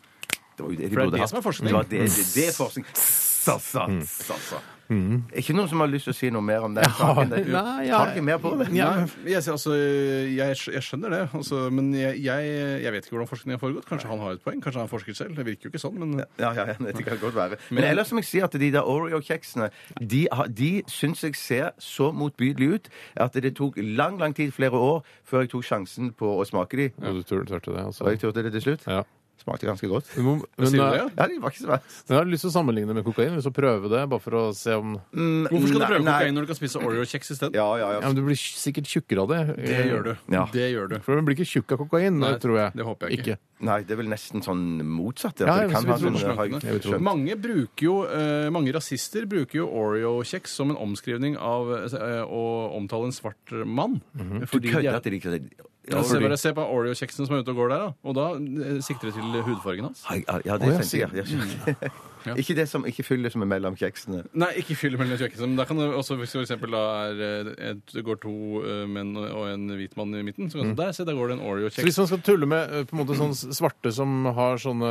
Speaker 5: Det var jo det de
Speaker 6: For det er
Speaker 5: burde
Speaker 6: det
Speaker 5: hatt.
Speaker 6: som er forskning.
Speaker 5: Det var det, det, det er
Speaker 4: [laughs]
Speaker 5: forskning. Sassa,
Speaker 4: Mm.
Speaker 5: sassa. Er ikke noen som har lyst til å si noe mer om den saken? der?
Speaker 4: Nei, ja.
Speaker 5: Har dere mer på det?
Speaker 4: Ja.
Speaker 6: Nei, jeg, sier altså, jeg, skj- jeg skjønner det, altså, men jeg, jeg, jeg vet ikke hvordan forskningen har foregått. Kanskje han har et poeng? Kanskje han forsker selv? Det virker jo ikke sånn, men
Speaker 5: Ja, ja, ja, det kan godt være. Men ellers må jeg si at de der Oreo-kjeksene de, har- de syns jeg ser så motbydelige ut at det tok lang lang tid, flere år, før jeg tok sjansen på å smake de.
Speaker 4: Ja, du tur- turte det,
Speaker 5: Og jeg
Speaker 4: altså.
Speaker 5: turte det til slutt.
Speaker 4: Ja.
Speaker 5: Smakte ganske godt.
Speaker 4: Du må- Men,
Speaker 6: sier du
Speaker 4: eh,
Speaker 6: det, ja?
Speaker 5: Ja, de var ikke så verst.
Speaker 4: men jeg har lyst til å sammenligne med kokain. Hvis du prøver det, bare for å se om
Speaker 6: hvorfor skal du prøve
Speaker 5: Mm, Nei, nei.
Speaker 6: kokain når du kan spise Oreo-kjeks isteden?
Speaker 5: Ja, ja,
Speaker 4: Ja,
Speaker 5: ja.
Speaker 4: men Du blir sikkert tjukkere av det. Eh,
Speaker 6: Det gjør du.
Speaker 5: Ja.
Speaker 6: Det gjør du.
Speaker 4: For den blir ikke tjukk av kokain,
Speaker 6: Nei,
Speaker 4: tror jeg.
Speaker 6: det håper jeg ikke.
Speaker 5: Nei, det er vel nesten sånn motsatt. at
Speaker 4: Ja,
Speaker 5: det
Speaker 4: jeg
Speaker 5: kan
Speaker 4: vil
Speaker 5: ha sånn
Speaker 4: tro
Speaker 5: noen-
Speaker 4: det.
Speaker 5: har jeg
Speaker 4: Jeg vil tro
Speaker 5: skjønt.
Speaker 4: det.
Speaker 6: Mange bruker jo, eh, mange rasister bruker jo Oreo-kjeks som en omskrivning av eh, å omtale en svart mann.
Speaker 5: Mhm. Du
Speaker 6: Fordi de
Speaker 5: kødder
Speaker 6: er,
Speaker 5: at de ikke
Speaker 6: ja, se,
Speaker 5: Oreo-
Speaker 6: bare se på Oreo-kjeksen som er ute og går der, da. Og da eh, sikter det til hudfargen hans.
Speaker 5: Ai, ai, Ja,
Speaker 4: Å,
Speaker 5: det
Speaker 4: ja,
Speaker 5: tenkte jeg. ja, ja. Ikke det som ikke fyller som er mellom kjeksene.
Speaker 6: Nei, ikke fyll mellom kjøkkenet. Men da kan det også, hvis for eksempel da er, eh, et, det går to eh, menn og en hvit mann i midten, så kan du der se, der går det en
Speaker 4: Så hvis
Speaker 6: Oreo-kjeks.
Speaker 4: man skal tulle med eh, på en måte sånne svarte som har sånne,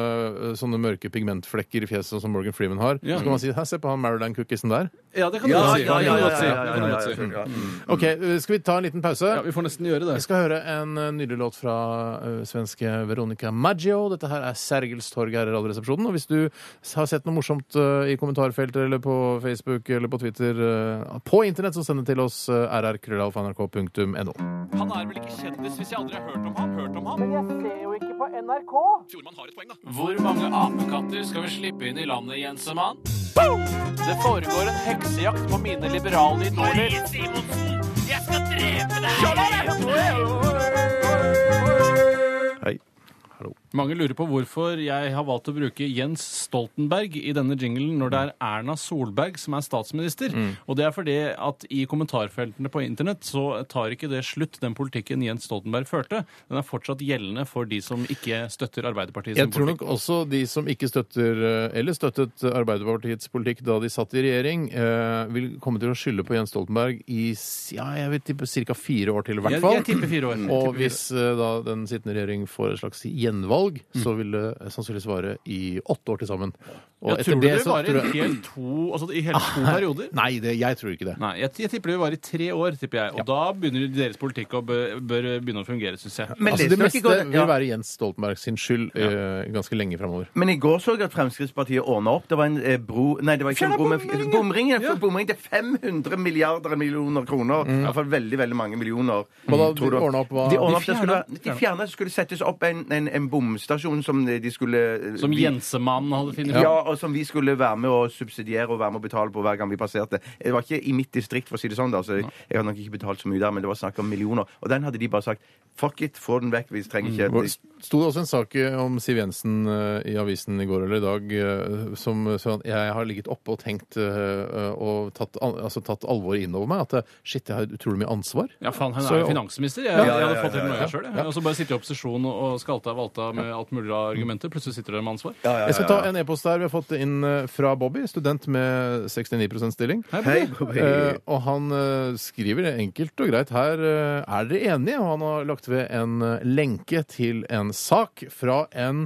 Speaker 4: eh, sånne mørke pigmentflekker i fjeset, sånn som Morgan Freeman har,
Speaker 6: Ja.
Speaker 4: så kan man si Hæ, se på han Maryland-cookiesen der.
Speaker 6: Ja, det kan du godt si. Det kan du godt si. Det kan du godt si.
Speaker 5: ja, ja.
Speaker 4: OK, eh, skal vi ta en liten pause?
Speaker 6: Mm. Ja, vi får nesten gjøre det.
Speaker 4: Vi skal høre en en eh, nydelig låt fra eh, svenske Veronica Maggio. Dette her er Sergels torg her i Radioresepsjonen. Og hvis du s- har sett noe morsomt eh, i kommentarfeltet eller på Facebook eller på Twitter eh, på internett, så send det til oss eh, rrkrøllalfa.nrk.no.
Speaker 7: Han er vel ikke kjendis hvis jeg aldri har hørt om ham. Hørt om ham. Men jeg ser jo ikke på NRK. Fjordmann har et poeng, da. Hvor mange apekatter skal vi slippe inn i landet, Jensemann? Det foregår en heksejakt på mine liberale idoler. Marie Simonsen, jeg skal drepe deg!
Speaker 5: Hei.
Speaker 6: Mange lurer på hvorfor jeg har valgt å bruke Jens Stoltenberg i denne jinglen når det er Erna Solberg som er statsminister.
Speaker 4: Mm.
Speaker 6: Og det er fordi at i kommentarfeltene på internett så tar ikke det slutt, den politikken Jens Stoltenberg førte. Den er fortsatt gjeldende for de som ikke støtter Arbeiderpartiet
Speaker 4: Jeg
Speaker 6: sin
Speaker 4: tror
Speaker 6: politikk.
Speaker 4: nok også de som ikke støtter eh, eller støttet Arbeiderpartiets politikk da de satt i regjering, eh, vil komme til å skylde på Jens Stoltenberg i s- ja, jeg vil tippe ca. fire år til, i hvert
Speaker 6: Jeg,
Speaker 4: fall.
Speaker 6: jeg tipper fire år.
Speaker 4: Og
Speaker 6: Jeg tipper fire år.
Speaker 4: hvis eh, da den sittende regjering får et slags gjenvalg,
Speaker 6: Mm.
Speaker 4: så vil det eh, sannsynligvis vare i åtte år til sammen. Og
Speaker 6: Jeg tror det, det varer i hele to, altså i hele
Speaker 4: Ah.
Speaker 6: to perioder.
Speaker 4: Nei, det, jeg tror ikke det.
Speaker 6: Nei, jeg, jeg tipper det vil vare i tre år, tipper jeg. Og da begynner deres politikk å bør, bør begynne å fungere, syns jeg.
Speaker 5: Men
Speaker 4: Altså,
Speaker 5: leser
Speaker 4: det
Speaker 5: dere
Speaker 4: meste
Speaker 5: ikke godt-
Speaker 4: vil være Jens Stoltenberg sin skyld eh, ganske lenge framover.
Speaker 5: Men i går så jeg at Fremskrittspartiet ordna opp. Det var en eh, bro Nei, det var ikke en bro, men f- bomring. ja, for bomring til 500 milliarder millioner kroner. I hvert fall veldig, veldig mange millioner.
Speaker 4: Hva da?
Speaker 5: Tror du-
Speaker 4: De ordnet opp hva-
Speaker 5: De ordnet
Speaker 6: De
Speaker 5: opp, det skulle
Speaker 6: fjernet-
Speaker 5: være- de fjerna skulle settes opp en, en, en bomstasjon som de skulle eh,
Speaker 6: Som
Speaker 5: vi-
Speaker 6: Jensemann hadde funnet
Speaker 5: Ja. og som vi skulle være med å subsidiere og være med å betale på hver gang vi passerte. Det var ikke i mitt distrikt, for å si det sånn. Da. Så jeg, jeg har nok ikke betalt så mye der, men det var snakk om millioner. Og den hadde de bare sagt fuck it, få den vekk, vi trenger ikke
Speaker 4: Hvor- Sto det også en sak om Siv Jensen eh, i avisen i går eller i dag eh, som sa at jeg har ligget oppe og tenkt eh, og tatt, al altså, tatt alvoret innover meg? At eh, shit, jeg har utrolig mye ansvar.
Speaker 6: Ja, faen, hun
Speaker 4: Så-
Speaker 6: er jo finansminister. Jeg,
Speaker 4: Ja,
Speaker 5: ja,
Speaker 6: jeg hadde
Speaker 5: ja,
Speaker 6: fått
Speaker 5: ja,
Speaker 6: til
Speaker 5: ja,
Speaker 6: noe sjøl. Og så bare sitte i opposisjon og skalte og valta med alt mulig av argumenter. Plutselig sitter dere med ansvar.
Speaker 4: Jeg skal ta en e-post der vi har fått inn eh, fra Bobby, student med 69 stilling.
Speaker 5: Hei, Bobby.
Speaker 4: [laughs] Eh, og han eh, skriver enkelt og greit her eh, Er dere enige? Og han har lagt ved en eh, lenke til en sak fra en,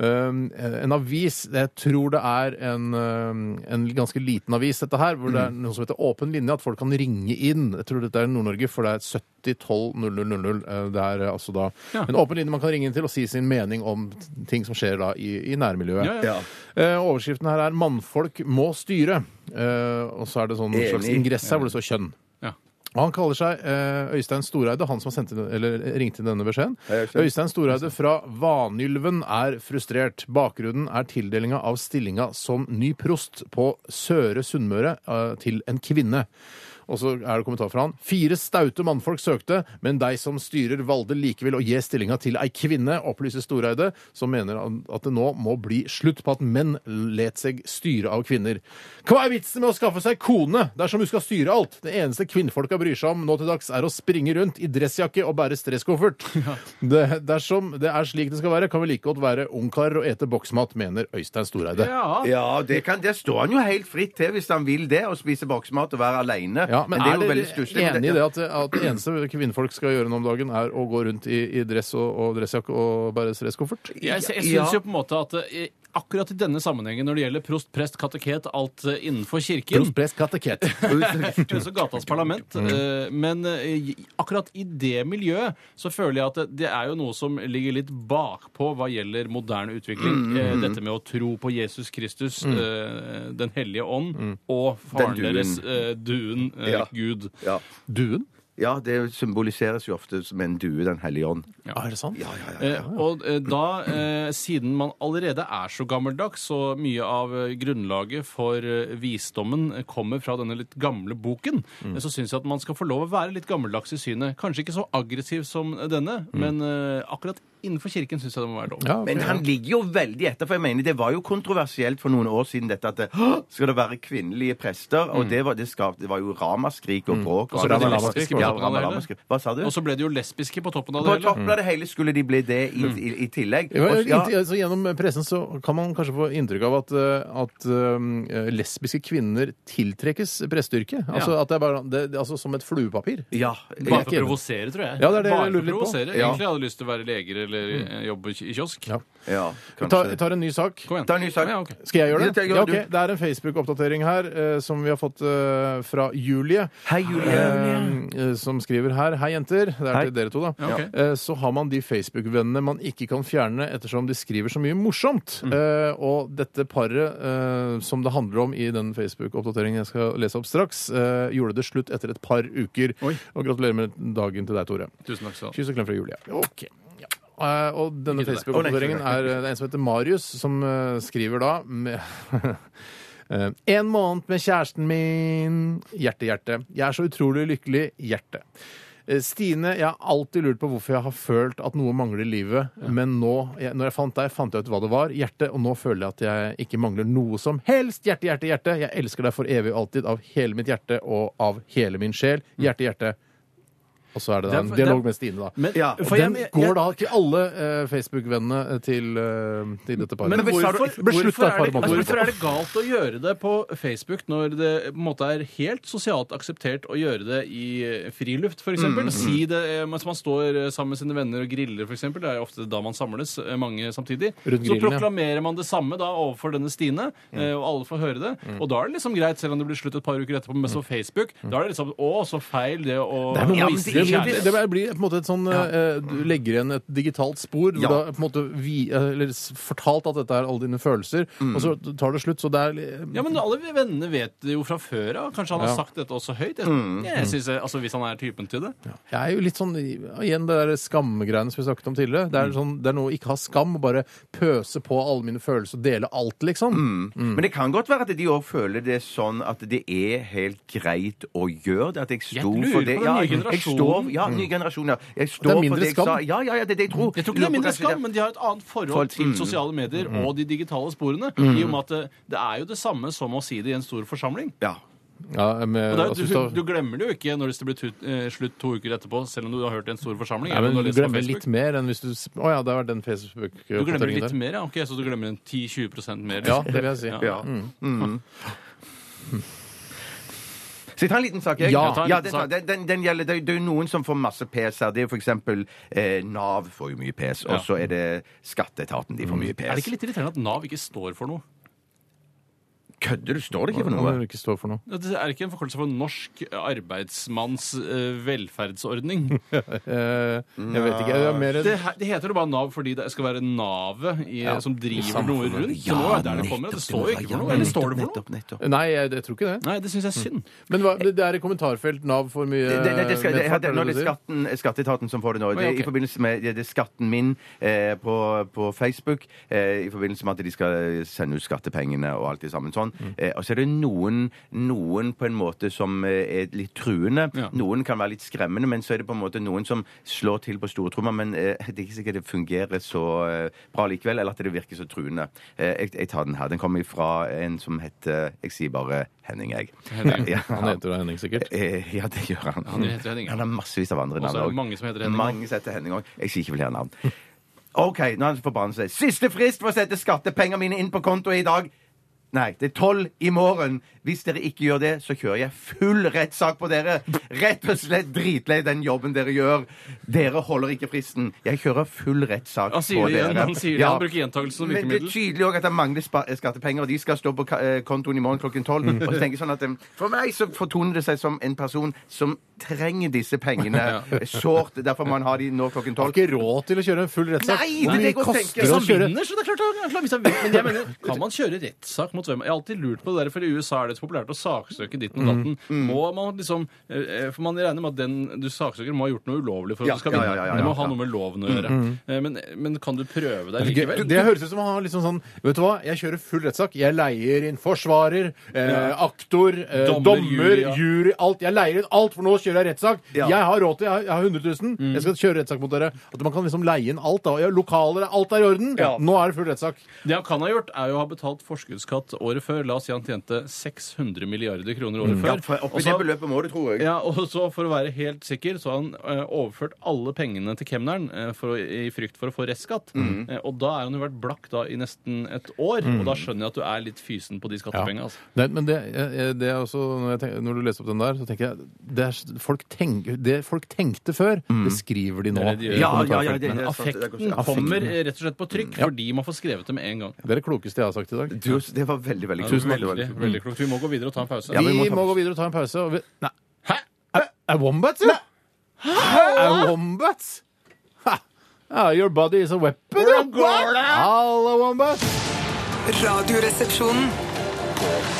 Speaker 4: eh, en avis Jeg tror det er en, eh, en ganske liten avis, dette her, hvor det
Speaker 6: Mm.
Speaker 4: er noe som heter Åpen linje, at folk kan ringe inn. Jeg tror dette er Nord-Norge, for det er 70 12 00 00. Eh, Det er eh, altså da
Speaker 6: Ja.
Speaker 4: en åpen linje man kan ringe inn til og si sin mening om t- ting som skjer da i, i nærmiljøet.
Speaker 6: Ja, ja.
Speaker 4: Eh, overskriften her er 'Mannfolk må styre'. Eh, og så er det sånn
Speaker 5: Enig.
Speaker 4: slags ingress her hvor det står kjønn.
Speaker 6: Ja.
Speaker 4: Og han kaller seg eh, Øystein Storeide, han som har sendt inn, eller ringt inn denne beskjeden. Øystein Storeide fra Vanylven er frustrert. Bakgrunnen er tildelinga av stillinga som ny prost på Søre Sunnmøre eh, til en kvinne. Og så er det kommentar fra han. Fire staute mannfolk søkte, men de som styrer valgte likevel å gi stillinga til ei kvinne, opplyser Storeide, som mener han at det nå må bli slutt på at menn let seg styre av kvinner. Hva er vitsen med å skaffe seg kone dersom hun skal styre alt? Det eneste kvinnfolka bryr seg om nå til dags, er å springe rundt i dressjakke og bære
Speaker 5: [laughs]
Speaker 4: stresskoffert. Det, dersom det er slik det skal være, kan vi like godt være ungkarer og ete boksmat, mener Øystein Storeide.
Speaker 5: Ja, det, kan, det står han jo helt fritt til hvis han vil det, å spise boksmat og være aleine.
Speaker 4: Ja, men,
Speaker 5: det er, jo
Speaker 4: er,
Speaker 5: veldig stusslig.
Speaker 4: dere enig i det at, at det eneste kvinnfolk skal gjøre nå om dagen, er å gå rundt i, i dress og, og dressjakke og bære stresskoffert?
Speaker 6: Jeg, jeg
Speaker 5: Ja.
Speaker 6: syns jo på en måte at eh, akkurat i denne sammenhengen, når det gjelder prost, prest, kateket, alt eh, innenfor kirken
Speaker 5: [laughs]
Speaker 4: Prest, kateket.
Speaker 6: Også gatas parlament.
Speaker 5: Mm.
Speaker 6: eh, Men eh, i- akkurat i det miljøet så føler jeg at det- det er jo noe som ligger litt bakpå hva gjelder moderne
Speaker 5: Mm.
Speaker 6: utvikling. Eh, Dette med å tro på Jesus Kristus, eh, Den hellige ånd, og
Speaker 5: Mm. Den
Speaker 6: faren
Speaker 5: duen.
Speaker 6: deres, eh, duen, eh,
Speaker 5: Ja.
Speaker 6: Gud.
Speaker 5: Ja.
Speaker 4: Duen?
Speaker 5: ja, det symboliseres jo ofte som en due, Den hellige ånd.
Speaker 4: Ah, er det sant?
Speaker 6: Eh, og eh, da, eh, siden man allerede er så gammeldags, og mye av eh, grunnlaget for eh, visdommen eh, kommer fra denne litt gamle boken, eh, så syns jeg at man skal få lov å være litt gammeldags i synet. Kanskje ikke så aggressiv som eh, denne, men eh, akkurat innenfor kirken syns jeg det må være lov.
Speaker 4: Ja, ok.
Speaker 5: Men han ligger jo veldig etter, for jeg mener det var jo kontroversielt for noen år siden dette at det, «Hå! skal det være kvinnelige prester? Og det var, det skapte, det var jo ramaskrik og bråk.
Speaker 6: Mm. Og så ble
Speaker 5: alt
Speaker 6: de
Speaker 5: det der.
Speaker 6: lesbiske på
Speaker 5: Ja,
Speaker 6: toppen av det hele.
Speaker 5: rama-ramaskrik. Hva sa du?
Speaker 6: Og så ble det jo lesbiske på toppen av
Speaker 5: På
Speaker 6: det Mm. hele.
Speaker 5: toppen av det hele skulle de bli det i, i, i tillegg.
Speaker 4: Ja,
Speaker 5: Og- ja.
Speaker 4: inntil- altså, gjennom pressen så kan man kanskje få inntrykk av at, eh, at um, eh, lesbiske kvinner tiltrekkes presteyrket. Altså, at det er bare, det, det- altså som et fluepapir.
Speaker 5: Ja,
Speaker 6: Bare
Speaker 4: Jeg
Speaker 6: for
Speaker 4: er
Speaker 6: å
Speaker 4: ikke
Speaker 6: provosere, tror jeg.
Speaker 4: Ja, det er det jeg
Speaker 6: Bare for
Speaker 4: lurer
Speaker 6: å
Speaker 4: litt på.
Speaker 6: provosere.
Speaker 5: Ja.
Speaker 6: Egentlig hadde jeg lyst til å være leger eller eh, jobbe i kiosk.
Speaker 4: Ja.
Speaker 5: ja,
Speaker 4: Vi tar,
Speaker 5: kanskje.
Speaker 4: vi tar en ny sak.
Speaker 6: Kom igjen.
Speaker 5: Ta en ny sak.
Speaker 6: Ja, ok.
Speaker 4: Skal jeg gjøre
Speaker 5: Ja,
Speaker 4: det?
Speaker 5: gjør
Speaker 4: Ja,
Speaker 5: det,
Speaker 4: ok. Det er en Facebook-oppdatering her eh, som vi har fått eh, fra Julie.
Speaker 5: Hei, Julie.
Speaker 4: Eh, som skriver her. Hei, jenter. Det er
Speaker 5: Hei.
Speaker 4: til dere to, da.
Speaker 6: Ja, ok.
Speaker 4: Eh, Så har man de Facebook-vennene man ikke kan fjerne ettersom de skriver så mye morsomt.
Speaker 6: Mm.
Speaker 4: Eh, Og dette paret eh, som det handler om i den Facebook-oppdateringen jeg skal lese opp straks, eh, gjorde det slutt etter et par uker.
Speaker 6: Oi.
Speaker 4: Og gratulerer med dagen til deg, Tore.
Speaker 6: Tusen takk skal du ha.
Speaker 4: Kyss og klem fra Julie. Ok. Ja. Eh, Og denne
Speaker 6: Ikke til deg.
Speaker 4: Facebook-oppdateringen er det er en som heter Marius, som eh, skriver da med [laughs] Eh, En måned med kjæresten min. Hjerte, hjerte. Jeg er så utrolig lykkelig. Hjerte. Eh, Stine, jeg har alltid lurt på hvorfor jeg har følt at noe mangler i livet, men nå, jeg, når jeg fant deg, fant jeg ut hva det var, hjerte, og nå føler jeg at jeg ikke mangler noe som helst. Hjerte, hjerte, hjerte. Jeg elsker deg for evig og alltid, av hele mitt hjerte og av hele min sjel. Hjerte, hjerte. Og så er det da en
Speaker 6: Det er-
Speaker 4: dialog
Speaker 6: det er-
Speaker 4: med Stine, da.
Speaker 6: Men,
Speaker 5: Ja,
Speaker 4: Og
Speaker 6: for
Speaker 4: den
Speaker 6: jeg, jeg,
Speaker 4: går da til alle eh, Facebook-vennene til, eh, til dette paret.
Speaker 6: men
Speaker 5: hvis
Speaker 6: hvorfor,
Speaker 5: har du-
Speaker 4: Beslutt
Speaker 6: hvorfor,
Speaker 4: deg,
Speaker 6: er det,
Speaker 4: Parma.
Speaker 6: altså, hvorfor er det galt å gjøre det på Facebook når det på en måte er helt sosialt akseptert å gjøre det i eh, friluft, f.eks.?
Speaker 4: Mm,
Speaker 6: eksempel Si det eh, mens man står eh, sammen med sine venner og griller, f.eks. Det er jo ofte da man samles, eh, mange samtidig.
Speaker 4: Rundt grillen, ja.
Speaker 6: Så
Speaker 4: Mm.
Speaker 6: proklamerer man det samme da overfor denne Stine, eh, og alle får høre det. Og da er det liksom greit, selv om det blir slutt et par uker etterpå, men så Facebook, da er det liksom Å, så feil det å
Speaker 4: Mm. Det, er noe
Speaker 6: Ja,
Speaker 4: med-
Speaker 6: men
Speaker 4: det,
Speaker 6: det-
Speaker 4: blir- det blir på en måte et sånn eh, Du legger igjen et digitalt spor. Hvor
Speaker 5: Ja.
Speaker 4: du har på en måte vi, eh, eller s- fortalt at dette er alle dine følelser, og så tar det slutt. Så det er li-
Speaker 6: Mm. Ja, men alle vennene vet det jo fra før av. Kanskje han har
Speaker 4: Ja. Mm.
Speaker 6: sagt dette også høyt? Jeg, jeg synes, jeg- altså, Hvis han er typen til det.
Speaker 4: Jeg er jo litt sånn Igjen det der skamgreiene som vi snakket om tidligere. Det
Speaker 6: Mm.
Speaker 4: er, sånn, det er noe å ikke ha skam, og bare pøse på alle mine følelser og dele alt, liksom.
Speaker 6: Mm.
Speaker 5: Mm. Men det kan godt være at de òg føler det sånn at det er helt greit å gjøre det. At jeg
Speaker 6: Jeg
Speaker 5: sto
Speaker 6: lurer
Speaker 5: for
Speaker 6: på
Speaker 5: det.
Speaker 6: den
Speaker 5: Ja,
Speaker 6: nye
Speaker 5: jeg står,
Speaker 6: generasjonen.
Speaker 5: ja, ny generasjon, ja. Jeg står
Speaker 4: Det er
Speaker 5: for
Speaker 4: mindre
Speaker 5: det jeg
Speaker 4: skam.
Speaker 5: sa. Ja, ja, ja, det er det jeg tror.
Speaker 6: Jeg tror ikke det er mindre skam, men de har et annet forhold
Speaker 5: Forhold-
Speaker 4: Mm.
Speaker 6: til sosiale medier og de digitale sporene. I og med at det, det er jo det samme som å si det i en stor forsamling.
Speaker 5: Ja.
Speaker 4: Ja, med,
Speaker 6: Og det
Speaker 4: altså,
Speaker 6: er, jo-
Speaker 4: hvis du har-
Speaker 6: du, du glemmer det jo ikke når det blir tut, eh, slutt to uker etterpå, selv om du har hørt det i en stor forsamling.
Speaker 4: Nei,
Speaker 6: eller
Speaker 4: men
Speaker 6: om
Speaker 4: du
Speaker 6: har lest det på
Speaker 4: glemmer
Speaker 6: Facebook.
Speaker 4: litt mer enn hvis du s- Å ja, det har vært den
Speaker 6: du glemmer
Speaker 4: Facebook-oppdateringen
Speaker 6: litt
Speaker 4: der.
Speaker 6: mer, ja. Ok, Så du glemmer en 10-20 mer?
Speaker 4: Ja, det vil jeg si.
Speaker 6: Ja.
Speaker 5: ja. Mm. Så jeg tar en liten sak, jeg.
Speaker 4: Ja,
Speaker 5: ja,
Speaker 6: ta en liten
Speaker 5: det, tar-
Speaker 6: sak.
Speaker 5: den, den, den gjelder, det, det er jo noen som får masse pes her. Det er jo for eksempel eh, Nav får jo mye pes, og så er det Skatteetaten de får mye pes.
Speaker 6: Mm. Er det ikke litt irriterende at Nav ikke står for noe?
Speaker 5: Kødder du? Står det ikke for
Speaker 4: Hva
Speaker 5: noe?
Speaker 4: kan du ikke stå for noe?
Speaker 6: Det er ikke en forkortelse for Norsk arbeidsmanns eh, velferdsordning.
Speaker 4: Eh, jeg vet ikke. Det er mer
Speaker 6: Det, he- det heter jo bare Nav fordi det skal være navet i, som driver noe rundt. Så nå er det der det kommer. Det står jo ikke for noe. Eller står det for noe?
Speaker 5: Nettopp, nettopp.
Speaker 4: Nei, jeg, jeg tror ikke det.
Speaker 6: Nei, det syns jeg er synd.
Speaker 4: Men hva, det er i kommentarfelt Nav for mye
Speaker 5: Det, det, det, skal, det,
Speaker 4: medfart,
Speaker 5: det,
Speaker 4: er
Speaker 5: nå er det
Speaker 4: det du sier?
Speaker 5: skatten, eh, Skatteetaten som får det nå. Det, er
Speaker 6: ok.
Speaker 5: I forbindelse med det, det er skatten min eh, på, på Facebook, eh, i forbindelse med at de skal eh, sende ut skattepengene og alt det sammen sånn.
Speaker 4: Mm.
Speaker 5: Eh, og så er det noen, noen på en måte som eh, er litt truende.
Speaker 6: Ja.
Speaker 5: Noen kan være litt skremmende, men så er det på en måte noen som slår til på stortromma, men eh, [laughs] det er ikke sikkert det fungerer så eh, bra likevel, eller at det virker så truende. Eh, jeg, jeg tar den her. Den kommer fra en som heter Jeg sier bare Henning, jeg.
Speaker 6: Henning.
Speaker 5: [laughs] Ja.
Speaker 4: Han heter da Henning, sikkert.
Speaker 5: Eh, Ja, det gjør han.
Speaker 6: Han heter Henning, ja.
Speaker 5: Han har massevis av andre
Speaker 6: Og så
Speaker 5: navn
Speaker 6: er det
Speaker 5: også.
Speaker 6: mange som heter Henning
Speaker 5: Mange som heter Henning også. Jeg sier ikke flere navn. [laughs] OK, nå er han forbannet seg. Siste frist for å sette skattepengene mine inn på konto i dag. Nei, det er tolv i morgen. Hvis dere ikke gjør det, så kjører jeg full rettssak på dere. Rett og slett dritlei den jobben dere gjør. Dere holder ikke fristen. Jeg kjører full rettssak
Speaker 6: Han
Speaker 5: på
Speaker 6: sier det
Speaker 5: dere.
Speaker 6: igjen. Han sier det.
Speaker 5: Ja.
Speaker 6: Han bruker gjentakelsen som
Speaker 5: Men det er
Speaker 6: virkemiddel.
Speaker 5: tydelig også at det mangler spa- eh, skattepenger, og de skal stå på ka- eh, kontoen i morgen klokken
Speaker 6: [laughs]
Speaker 5: tolv. Og så tenker jeg sånn at eh, For meg så fortoner det seg som en person som trenger disse
Speaker 6: [laughs]
Speaker 5: pengene eh, sårt. Derfor må han ha de nå klokken
Speaker 4: Har
Speaker 5: tolv.
Speaker 4: ikke råd til å kjøre en full rettssak.
Speaker 5: Nei, det
Speaker 4: Hvor
Speaker 5: er
Speaker 4: mye
Speaker 5: det jeg også tenker.
Speaker 4: koster det
Speaker 6: Hvis
Speaker 4: å
Speaker 6: han
Speaker 4: kjøre
Speaker 6: vinner, så det er klart han, han, klarer- hvis han vinner. Men jeg mener, kan man kjøre rettssak mot hvem? Jeg har alltid lurt på det der, for i USA er det så populært å saksøke ditten og datten. Må man liksom eh, For man regner med at den du saksøker, må ha gjort noe ulovlig for at
Speaker 5: Ja,
Speaker 6: du skal
Speaker 5: ja,
Speaker 6: vinne.
Speaker 5: ja, ja, ja,
Speaker 6: det må
Speaker 5: ja.
Speaker 6: ha noe med loven å gjøre. Eh, Men, men kan du prøve deg
Speaker 4: Gøy.
Speaker 6: likevel?
Speaker 4: Det høres ut som han har liksom sånn Vet du hva, jeg kjører full rettssak. Jeg leier inn forsvarer, eh, aktor, eh,
Speaker 6: Dommer,
Speaker 4: dommer,
Speaker 6: jury, ja.
Speaker 4: jury, alt. Jeg leier inn alt, for nå kjører jeg rettssak.
Speaker 5: Ja.
Speaker 4: Jeg har råd til jeg har, jeg har 100 000. Jeg skal kjøre rettssak mot dere. At man kan liksom leie inn alt. da ja, Lokaler, alt er i orden. Nå er det full rettssak.
Speaker 6: Det han kan ha gjort, er jo å ha betalt forskuddsskatt året før. La oss si han tjente 600 milliarder kroner året før.
Speaker 5: Mm, For
Speaker 6: Og
Speaker 5: Oppi
Speaker 6: så-
Speaker 5: det beløpet må du, tror jeg.
Speaker 6: Ja, og så For å være helt sikker så har han eh, overført alle pengene til kemneren eh, for å, i frykt for å få restskatt.
Speaker 5: Mm.
Speaker 6: Eh, og da er han jo vært blakk da i nesten et år, og da skjønner jeg at du er litt fysen på de skattepengene. Altså.
Speaker 4: Nei, men det, eh, det er også, når, jeg tenker, når du leser opp den der, så tenker jeg det, er, folk, tenker, det folk tenkte før, Mm. det skriver de nå.
Speaker 6: Det er det de gjør.
Speaker 4: i
Speaker 5: Ja, ja, ja,
Speaker 4: kommentarfeltene.
Speaker 5: det- det er sant, det er godt
Speaker 6: Affekten
Speaker 5: sagt.
Speaker 6: kommer eh, rett og slett på trykk fordi man får skrevet det med en gang.
Speaker 4: Det er det klokeste jeg har sagt i dag.
Speaker 5: Du, det var veldig, veldig klokt.
Speaker 6: veldig, veldig, klokt. Vi må gå videre og ta en pause.
Speaker 5: Ja,
Speaker 4: vi,
Speaker 5: vi må
Speaker 4: må,
Speaker 5: ta
Speaker 4: gå videre og ta en pause. Og vi, nei.
Speaker 6: Hæ?
Speaker 4: Er, er Wombats, jo? Er wombats? Ha. Ah, your body is a weapon. Halla, wombats.
Speaker 8: Radioresepsjonen.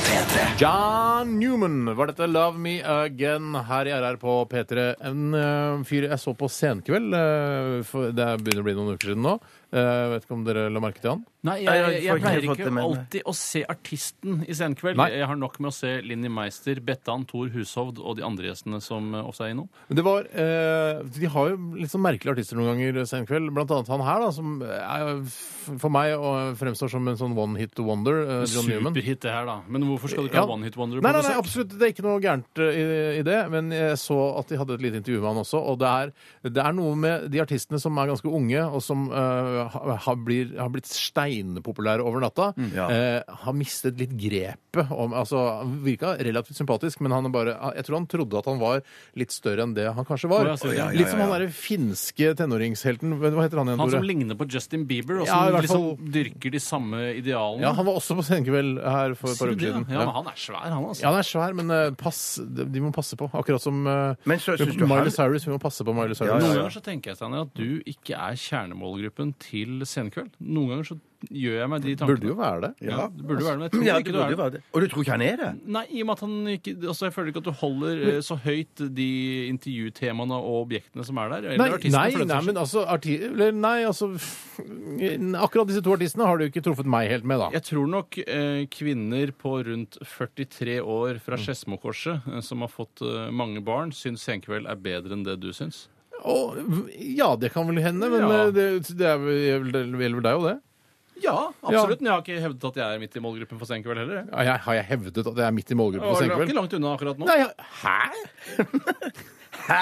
Speaker 2: P3.
Speaker 4: John Newman var dette Love Me Again her i RR på P3. En eh, fyr jeg så på Senkveld. eh, for det er- begynner å bli noen uker siden nå. Eh, vet ikke om dere la merke til han?
Speaker 6: Nei, jeg,
Speaker 5: jeg
Speaker 6: jeg,
Speaker 5: har
Speaker 6: jeg,
Speaker 5: ikke
Speaker 6: pleier
Speaker 5: fått
Speaker 6: ikke
Speaker 5: det med meg.
Speaker 6: alltid å se artisten i Senkveld.
Speaker 4: Nei.
Speaker 6: Jeg har nok med å se Linni Meister, Bettan, Thor Hushovd og de andre gjestene som eh, også er i nå.
Speaker 4: Men Det var, eh, de har jo litt sånn merkelige artister noen ganger sen kveld. Blant annet han her, da, som er, for meg og fremstår som en sånn one hit wonder. Eh, John Newman.
Speaker 6: Superhit, det her, da. Men hvorfor skal du ikke
Speaker 4: Ja.
Speaker 6: ha One Hit Wonder? på
Speaker 4: Nei, nei, nei,
Speaker 6: besøk?
Speaker 4: absolutt. Det er ikke noe gærent eh, i, i det. Men jeg så at de hadde et lite intervju med han også. Og det er, det er noe med de artistene som er ganske unge, og som eh, ha- har, blir, har blitt steinpopulære over natta,
Speaker 6: Mm.
Speaker 5: Ja.
Speaker 4: eh, har mistet litt grepet om Altså, han virka relativt sympatisk, men han er bare Jeg tror han trodde at han var litt større enn det han kanskje var.
Speaker 6: Å, ja, sier du det?
Speaker 4: Litt som han derre finske tenåringshelten Hva heter han igjen,
Speaker 6: Han
Speaker 4: Tore?
Speaker 6: som ligner på Justin Bieber, og
Speaker 4: Ja, i
Speaker 6: som
Speaker 4: hvert
Speaker 6: liksom
Speaker 4: fall-
Speaker 6: dyrker de samme idealene.
Speaker 4: Ja, han var også på Senkveld her for et
Speaker 6: Sier
Speaker 4: par
Speaker 6: du
Speaker 4: uker
Speaker 6: det, da?
Speaker 4: siden.
Speaker 6: Ja, men han er svær, han, altså.
Speaker 4: Ja, den er svær, men eh, pass, de de må passe på. Akkurat som eh,
Speaker 5: Men så synes du han-
Speaker 4: Miley Cyrus. Vi må passe på Miley Cyrus.
Speaker 5: Ja,
Speaker 6: Noen
Speaker 5: ja.
Speaker 6: ganger så tenker jeg Steiner, at du ikke er kjernemålgruppen til Senkveld. Noen ganger så gjør jeg meg de tankene.
Speaker 4: Burde jo være det.
Speaker 6: Ja, det burde være det, men jeg tror
Speaker 5: Ja,
Speaker 6: ikke
Speaker 5: det
Speaker 6: du
Speaker 5: burde
Speaker 6: er
Speaker 5: jo være det. Og du tror ikke han er det?
Speaker 6: Nei, i og med at han ikke altså Jeg føler ikke at du holder eh, så høyt de intervjutemaene og objektene som er der. Eller
Speaker 4: Nei,
Speaker 6: artistene,
Speaker 4: nei,
Speaker 6: for den
Speaker 4: nei,
Speaker 6: saks skyld.
Speaker 4: men altså, arti eller, nei, altså [laughs] pff, Akkurat disse to artistene har du ikke truffet meg helt med, da.
Speaker 6: Jeg tror nok eh, kvinner på rundt 43 år fra
Speaker 4: Mm.
Speaker 6: Skedsmokorset eh, som har fått eh, mange barn, syns Senkveld er bedre enn det du syns.
Speaker 4: Og, ja, det kan vel hende, men
Speaker 6: Ja.
Speaker 4: eh, det, det er vel- gjelder vel deg jo det?
Speaker 6: Ja, absolutt. Men jeg har ikke hevdet at jeg er midt i målgruppen for Senkveld heller. jeg.
Speaker 4: Ja, jeg, har jeg hevdet at jeg er midt i målgruppen på
Speaker 6: Og jeg er ikke
Speaker 4: Senkveld?
Speaker 6: langt unna akkurat nå.
Speaker 4: Nei, jeg- hæ? Hæ?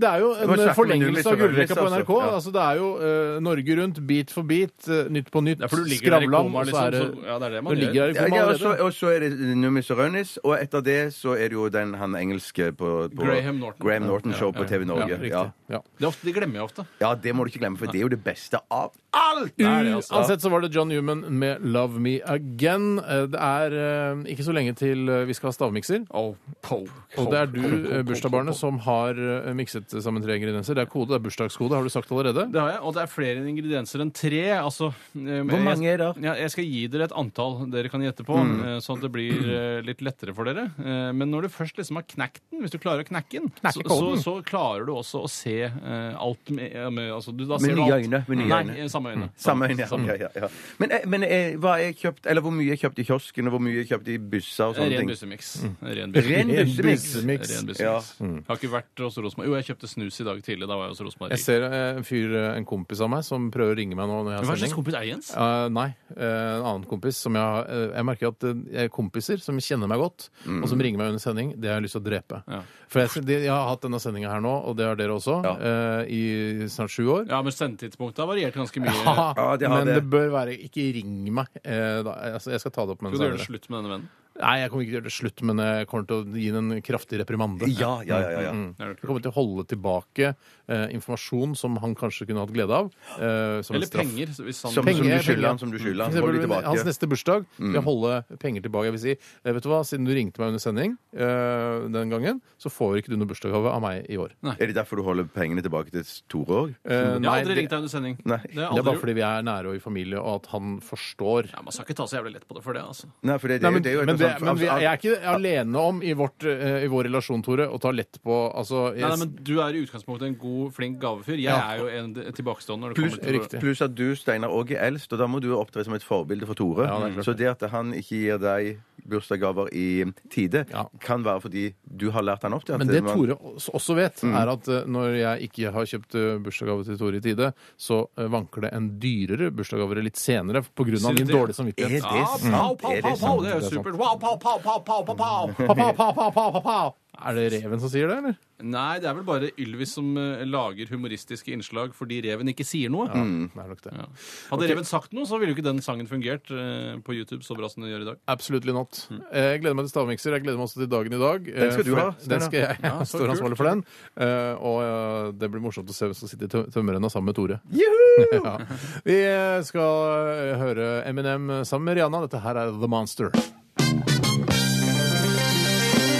Speaker 4: Det er jo
Speaker 5: må snakke
Speaker 4: en
Speaker 5: med null i
Speaker 4: forlengelse av
Speaker 5: journalist,
Speaker 4: gullrekka på NRK.
Speaker 5: altså. Ja.
Speaker 4: Altså, det er jo eh, Norge Rundt, Bit for bit, eh, Nytt på nytt,
Speaker 6: Ja, for du ligger der i
Speaker 4: Skravlan,
Speaker 6: koma,
Speaker 4: og så er det
Speaker 6: liksom, så- ja, det er det man
Speaker 4: du
Speaker 6: gjør.
Speaker 4: ligger der
Speaker 5: Ja,
Speaker 4: i koma
Speaker 5: ja, og,
Speaker 4: allerede.
Speaker 5: så, og så er det Numis og Rønnis, og etter det så er det jo den han engelske på, på
Speaker 6: Graham Norton.
Speaker 5: Graham Norton Show på TV Norge.
Speaker 4: Riktig.
Speaker 5: Ja,
Speaker 4: Ja.
Speaker 6: Det, er ofte, det glemmer jeg ofte.
Speaker 5: ja, det må du ikke glemme, for det er jo det beste av alt!
Speaker 6: altså.
Speaker 4: Uansett så var det John Newman med 'Love Me Again'. Eh, Det er eh, ikke så lenge til eh, vi skal ha stavmikser. Og det er du, eh, bursdagsbarnet, som har eh, mikset sammen tre ingredienser. Det er kode, det er bursdagskode, har du sagt allerede.
Speaker 6: Det har jeg, og det er flere ingredienser enn tre. Altså, Hvor
Speaker 5: mange er
Speaker 6: jeg,
Speaker 5: det? Mm.
Speaker 6: Ja, jeg skal gi dere et antall dere kan gjette på, eh, sånn at det blir eh, litt lettere for dere. Eh, Men når du først liksom har knekt den, hvis du klarer å knekke den, så, så,
Speaker 4: koden.
Speaker 6: så klarer du også å se eh, alt med, med, altså, du, da
Speaker 5: Med
Speaker 6: ser du
Speaker 5: nye
Speaker 6: alt.
Speaker 5: øyne, med nye
Speaker 6: Nei,
Speaker 5: øyne. Mm.
Speaker 6: eh, samme øyne.
Speaker 5: Samme øyne, ja. ja, ja, ja. Men, eh, men eh, hva er kjøpt, eller hvor mye er kjøpt i kiosken, og hvor mye er kjøpt i busser og
Speaker 6: Eh,
Speaker 5: sånne
Speaker 6: Ren
Speaker 5: ting? Mm.
Speaker 6: bussemiks. Ren
Speaker 5: Ren
Speaker 6: bussemiks.
Speaker 5: bussemiks.
Speaker 4: bussemiks.
Speaker 6: Ren bussemiks.
Speaker 5: Ja. Mm.
Speaker 6: Jeg har ikke vært hos Rosenborg. Jo, jeg kjøpte snus i dag tidlig. Da var jeg hos Rosenborg.
Speaker 4: Jeg ser eh, en fyr, eh, en kompis av meg, som prøver å ringe meg nå når jeg
Speaker 6: Hva
Speaker 4: har
Speaker 6: slags
Speaker 4: sending.
Speaker 6: kompis er Jens?
Speaker 4: Eh, nei. eh, en annen kompis som jeg har eh, Jeg merker at eh, jeg er kompiser som kjenner meg godt, og som ringer meg under sending, det har jeg lyst til å drepe.
Speaker 6: Mm. Ja.
Speaker 4: For jeg, de, jeg har hatt denne sendinga her nå, og det har dere også, eh, i snart sju år.
Speaker 6: Ja, men sendetidspunktet har variert ganske mye.
Speaker 4: Ja,
Speaker 5: [laughs] Ja, det har
Speaker 4: [laughs] men det.
Speaker 5: det.
Speaker 4: bør være Ikke ring meg. Eh, da, altså, jeg skal ta
Speaker 5: sånn
Speaker 4: det opp med
Speaker 6: Skal
Speaker 4: en
Speaker 6: du gjøre det
Speaker 4: senere.
Speaker 6: slutt med denne vennen?
Speaker 4: Nei, jeg kommer ikke til å gjøre det slutt, men jeg kommer til å gi den en kraftig reprimande. Mm.
Speaker 5: Ja, ja, ja. ja, ja.
Speaker 6: Er det
Speaker 4: Jeg kommer til å holde tilbake eh, informasjon som han kanskje kunne hatt glede av. Eh, som en
Speaker 6: Eller
Speaker 4: straff.
Speaker 6: penger. Hvis han
Speaker 5: Som, som
Speaker 4: Penger,
Speaker 5: du
Speaker 4: penger.
Speaker 5: skylder han, som du skylder
Speaker 4: For
Speaker 5: han. Får
Speaker 4: eksempel,
Speaker 5: du tilbake. Mm.
Speaker 4: hans neste bursdag vil jeg holde penger tilbake. Jeg vil si, eh, vet du hva, siden du ringte meg under sending eh, den gangen, så får ikke du noe bursdagsgave av meg i år.
Speaker 5: Er det derfor du holder pengene tilbake til Tore òg?
Speaker 4: Eh,
Speaker 6: Jeg har
Speaker 4: nei,
Speaker 6: aldri
Speaker 4: det,
Speaker 6: ringt deg under sending.
Speaker 5: Nei.
Speaker 4: det
Speaker 6: Det har jeg
Speaker 4: er bare
Speaker 6: aldri gjort.
Speaker 4: fordi vi er nære og i familie, og at han forstår.
Speaker 6: Ja, man skal ikke ta så jævlig lett på det for det, altså.
Speaker 5: Nei, for det, det,
Speaker 4: Nei,
Speaker 5: er jo-
Speaker 4: men,
Speaker 5: det er jo et
Speaker 4: men, det,
Speaker 5: sånt-
Speaker 4: men vi,
Speaker 5: altså,
Speaker 4: jeg er ikke alene om i, vårt, eh, i vår relasjon, Tore, å ta lett på altså, jeg,
Speaker 6: Nei, nei, men Du er i utgangspunktet en god, flink gavefyr. Jeg
Speaker 4: Ja.
Speaker 6: er jo en d- tilbakestående. når det
Speaker 5: Pluss,
Speaker 6: kommer til
Speaker 4: riktig.
Speaker 5: altså, pluss at du, Steinar, òg er eldst, og da må du opptre som et forbilde for Tore. så det at han ikke gir deg bursdagsgaver i tide,
Speaker 4: Ja.
Speaker 5: kan være fordi du har lært han opp til at
Speaker 4: Men det
Speaker 5: man-
Speaker 4: Tore også også vet,
Speaker 5: Mm.
Speaker 4: er at eh, når jeg ikke har kjøpt eh, bursdagsgave til Tore i tide, så eh, vanker det en dyrere bursdagsgave litt senere pga.
Speaker 6: Sier du
Speaker 4: min
Speaker 6: det?
Speaker 4: dårlige
Speaker 5: Er det
Speaker 4: samvittighet.
Speaker 5: sant?
Speaker 6: Pow, pow,
Speaker 5: Er det
Speaker 6: pow, pow,
Speaker 5: sant?
Speaker 4: Mm.
Speaker 6: det er jo
Speaker 4: Det er sant.
Speaker 6: supert. Wow, pow, pow, pow, pow, pow, pow.
Speaker 4: Pa, pa, pa, pa, pa, pa, pa. Er det reven som sier det, eller?
Speaker 6: Nei, det er vel bare Ylvis som eh, lager humoristiske innslag fordi reven ikke sier noe.
Speaker 5: Mm.
Speaker 4: Det er nok det.
Speaker 6: Ja. Hadde reven sagt noe, så ville jo ikke den sangen fungert eh, på YouTube så bra som den gjør i dag.
Speaker 4: Absolutely not. Eh, Jeg gleder meg til stavmikser. Jeg gleder meg også til dagen i dag.
Speaker 5: Mm. Den skal
Speaker 4: Eh,
Speaker 5: du
Speaker 4: for-
Speaker 5: ha, Steinar.
Speaker 4: Den skal jeg.
Speaker 6: Ja, så
Speaker 4: Jeg står
Speaker 6: kult.
Speaker 4: ansvarlig for den. Eh, Og eh, det blir morsomt å se hvem som sitter i tø- tømmerrenna sammen med Tore. [laughs] ja. Vi eh, skal eh, høre Eminem sammen med Rihanna. Dette her er The Monster.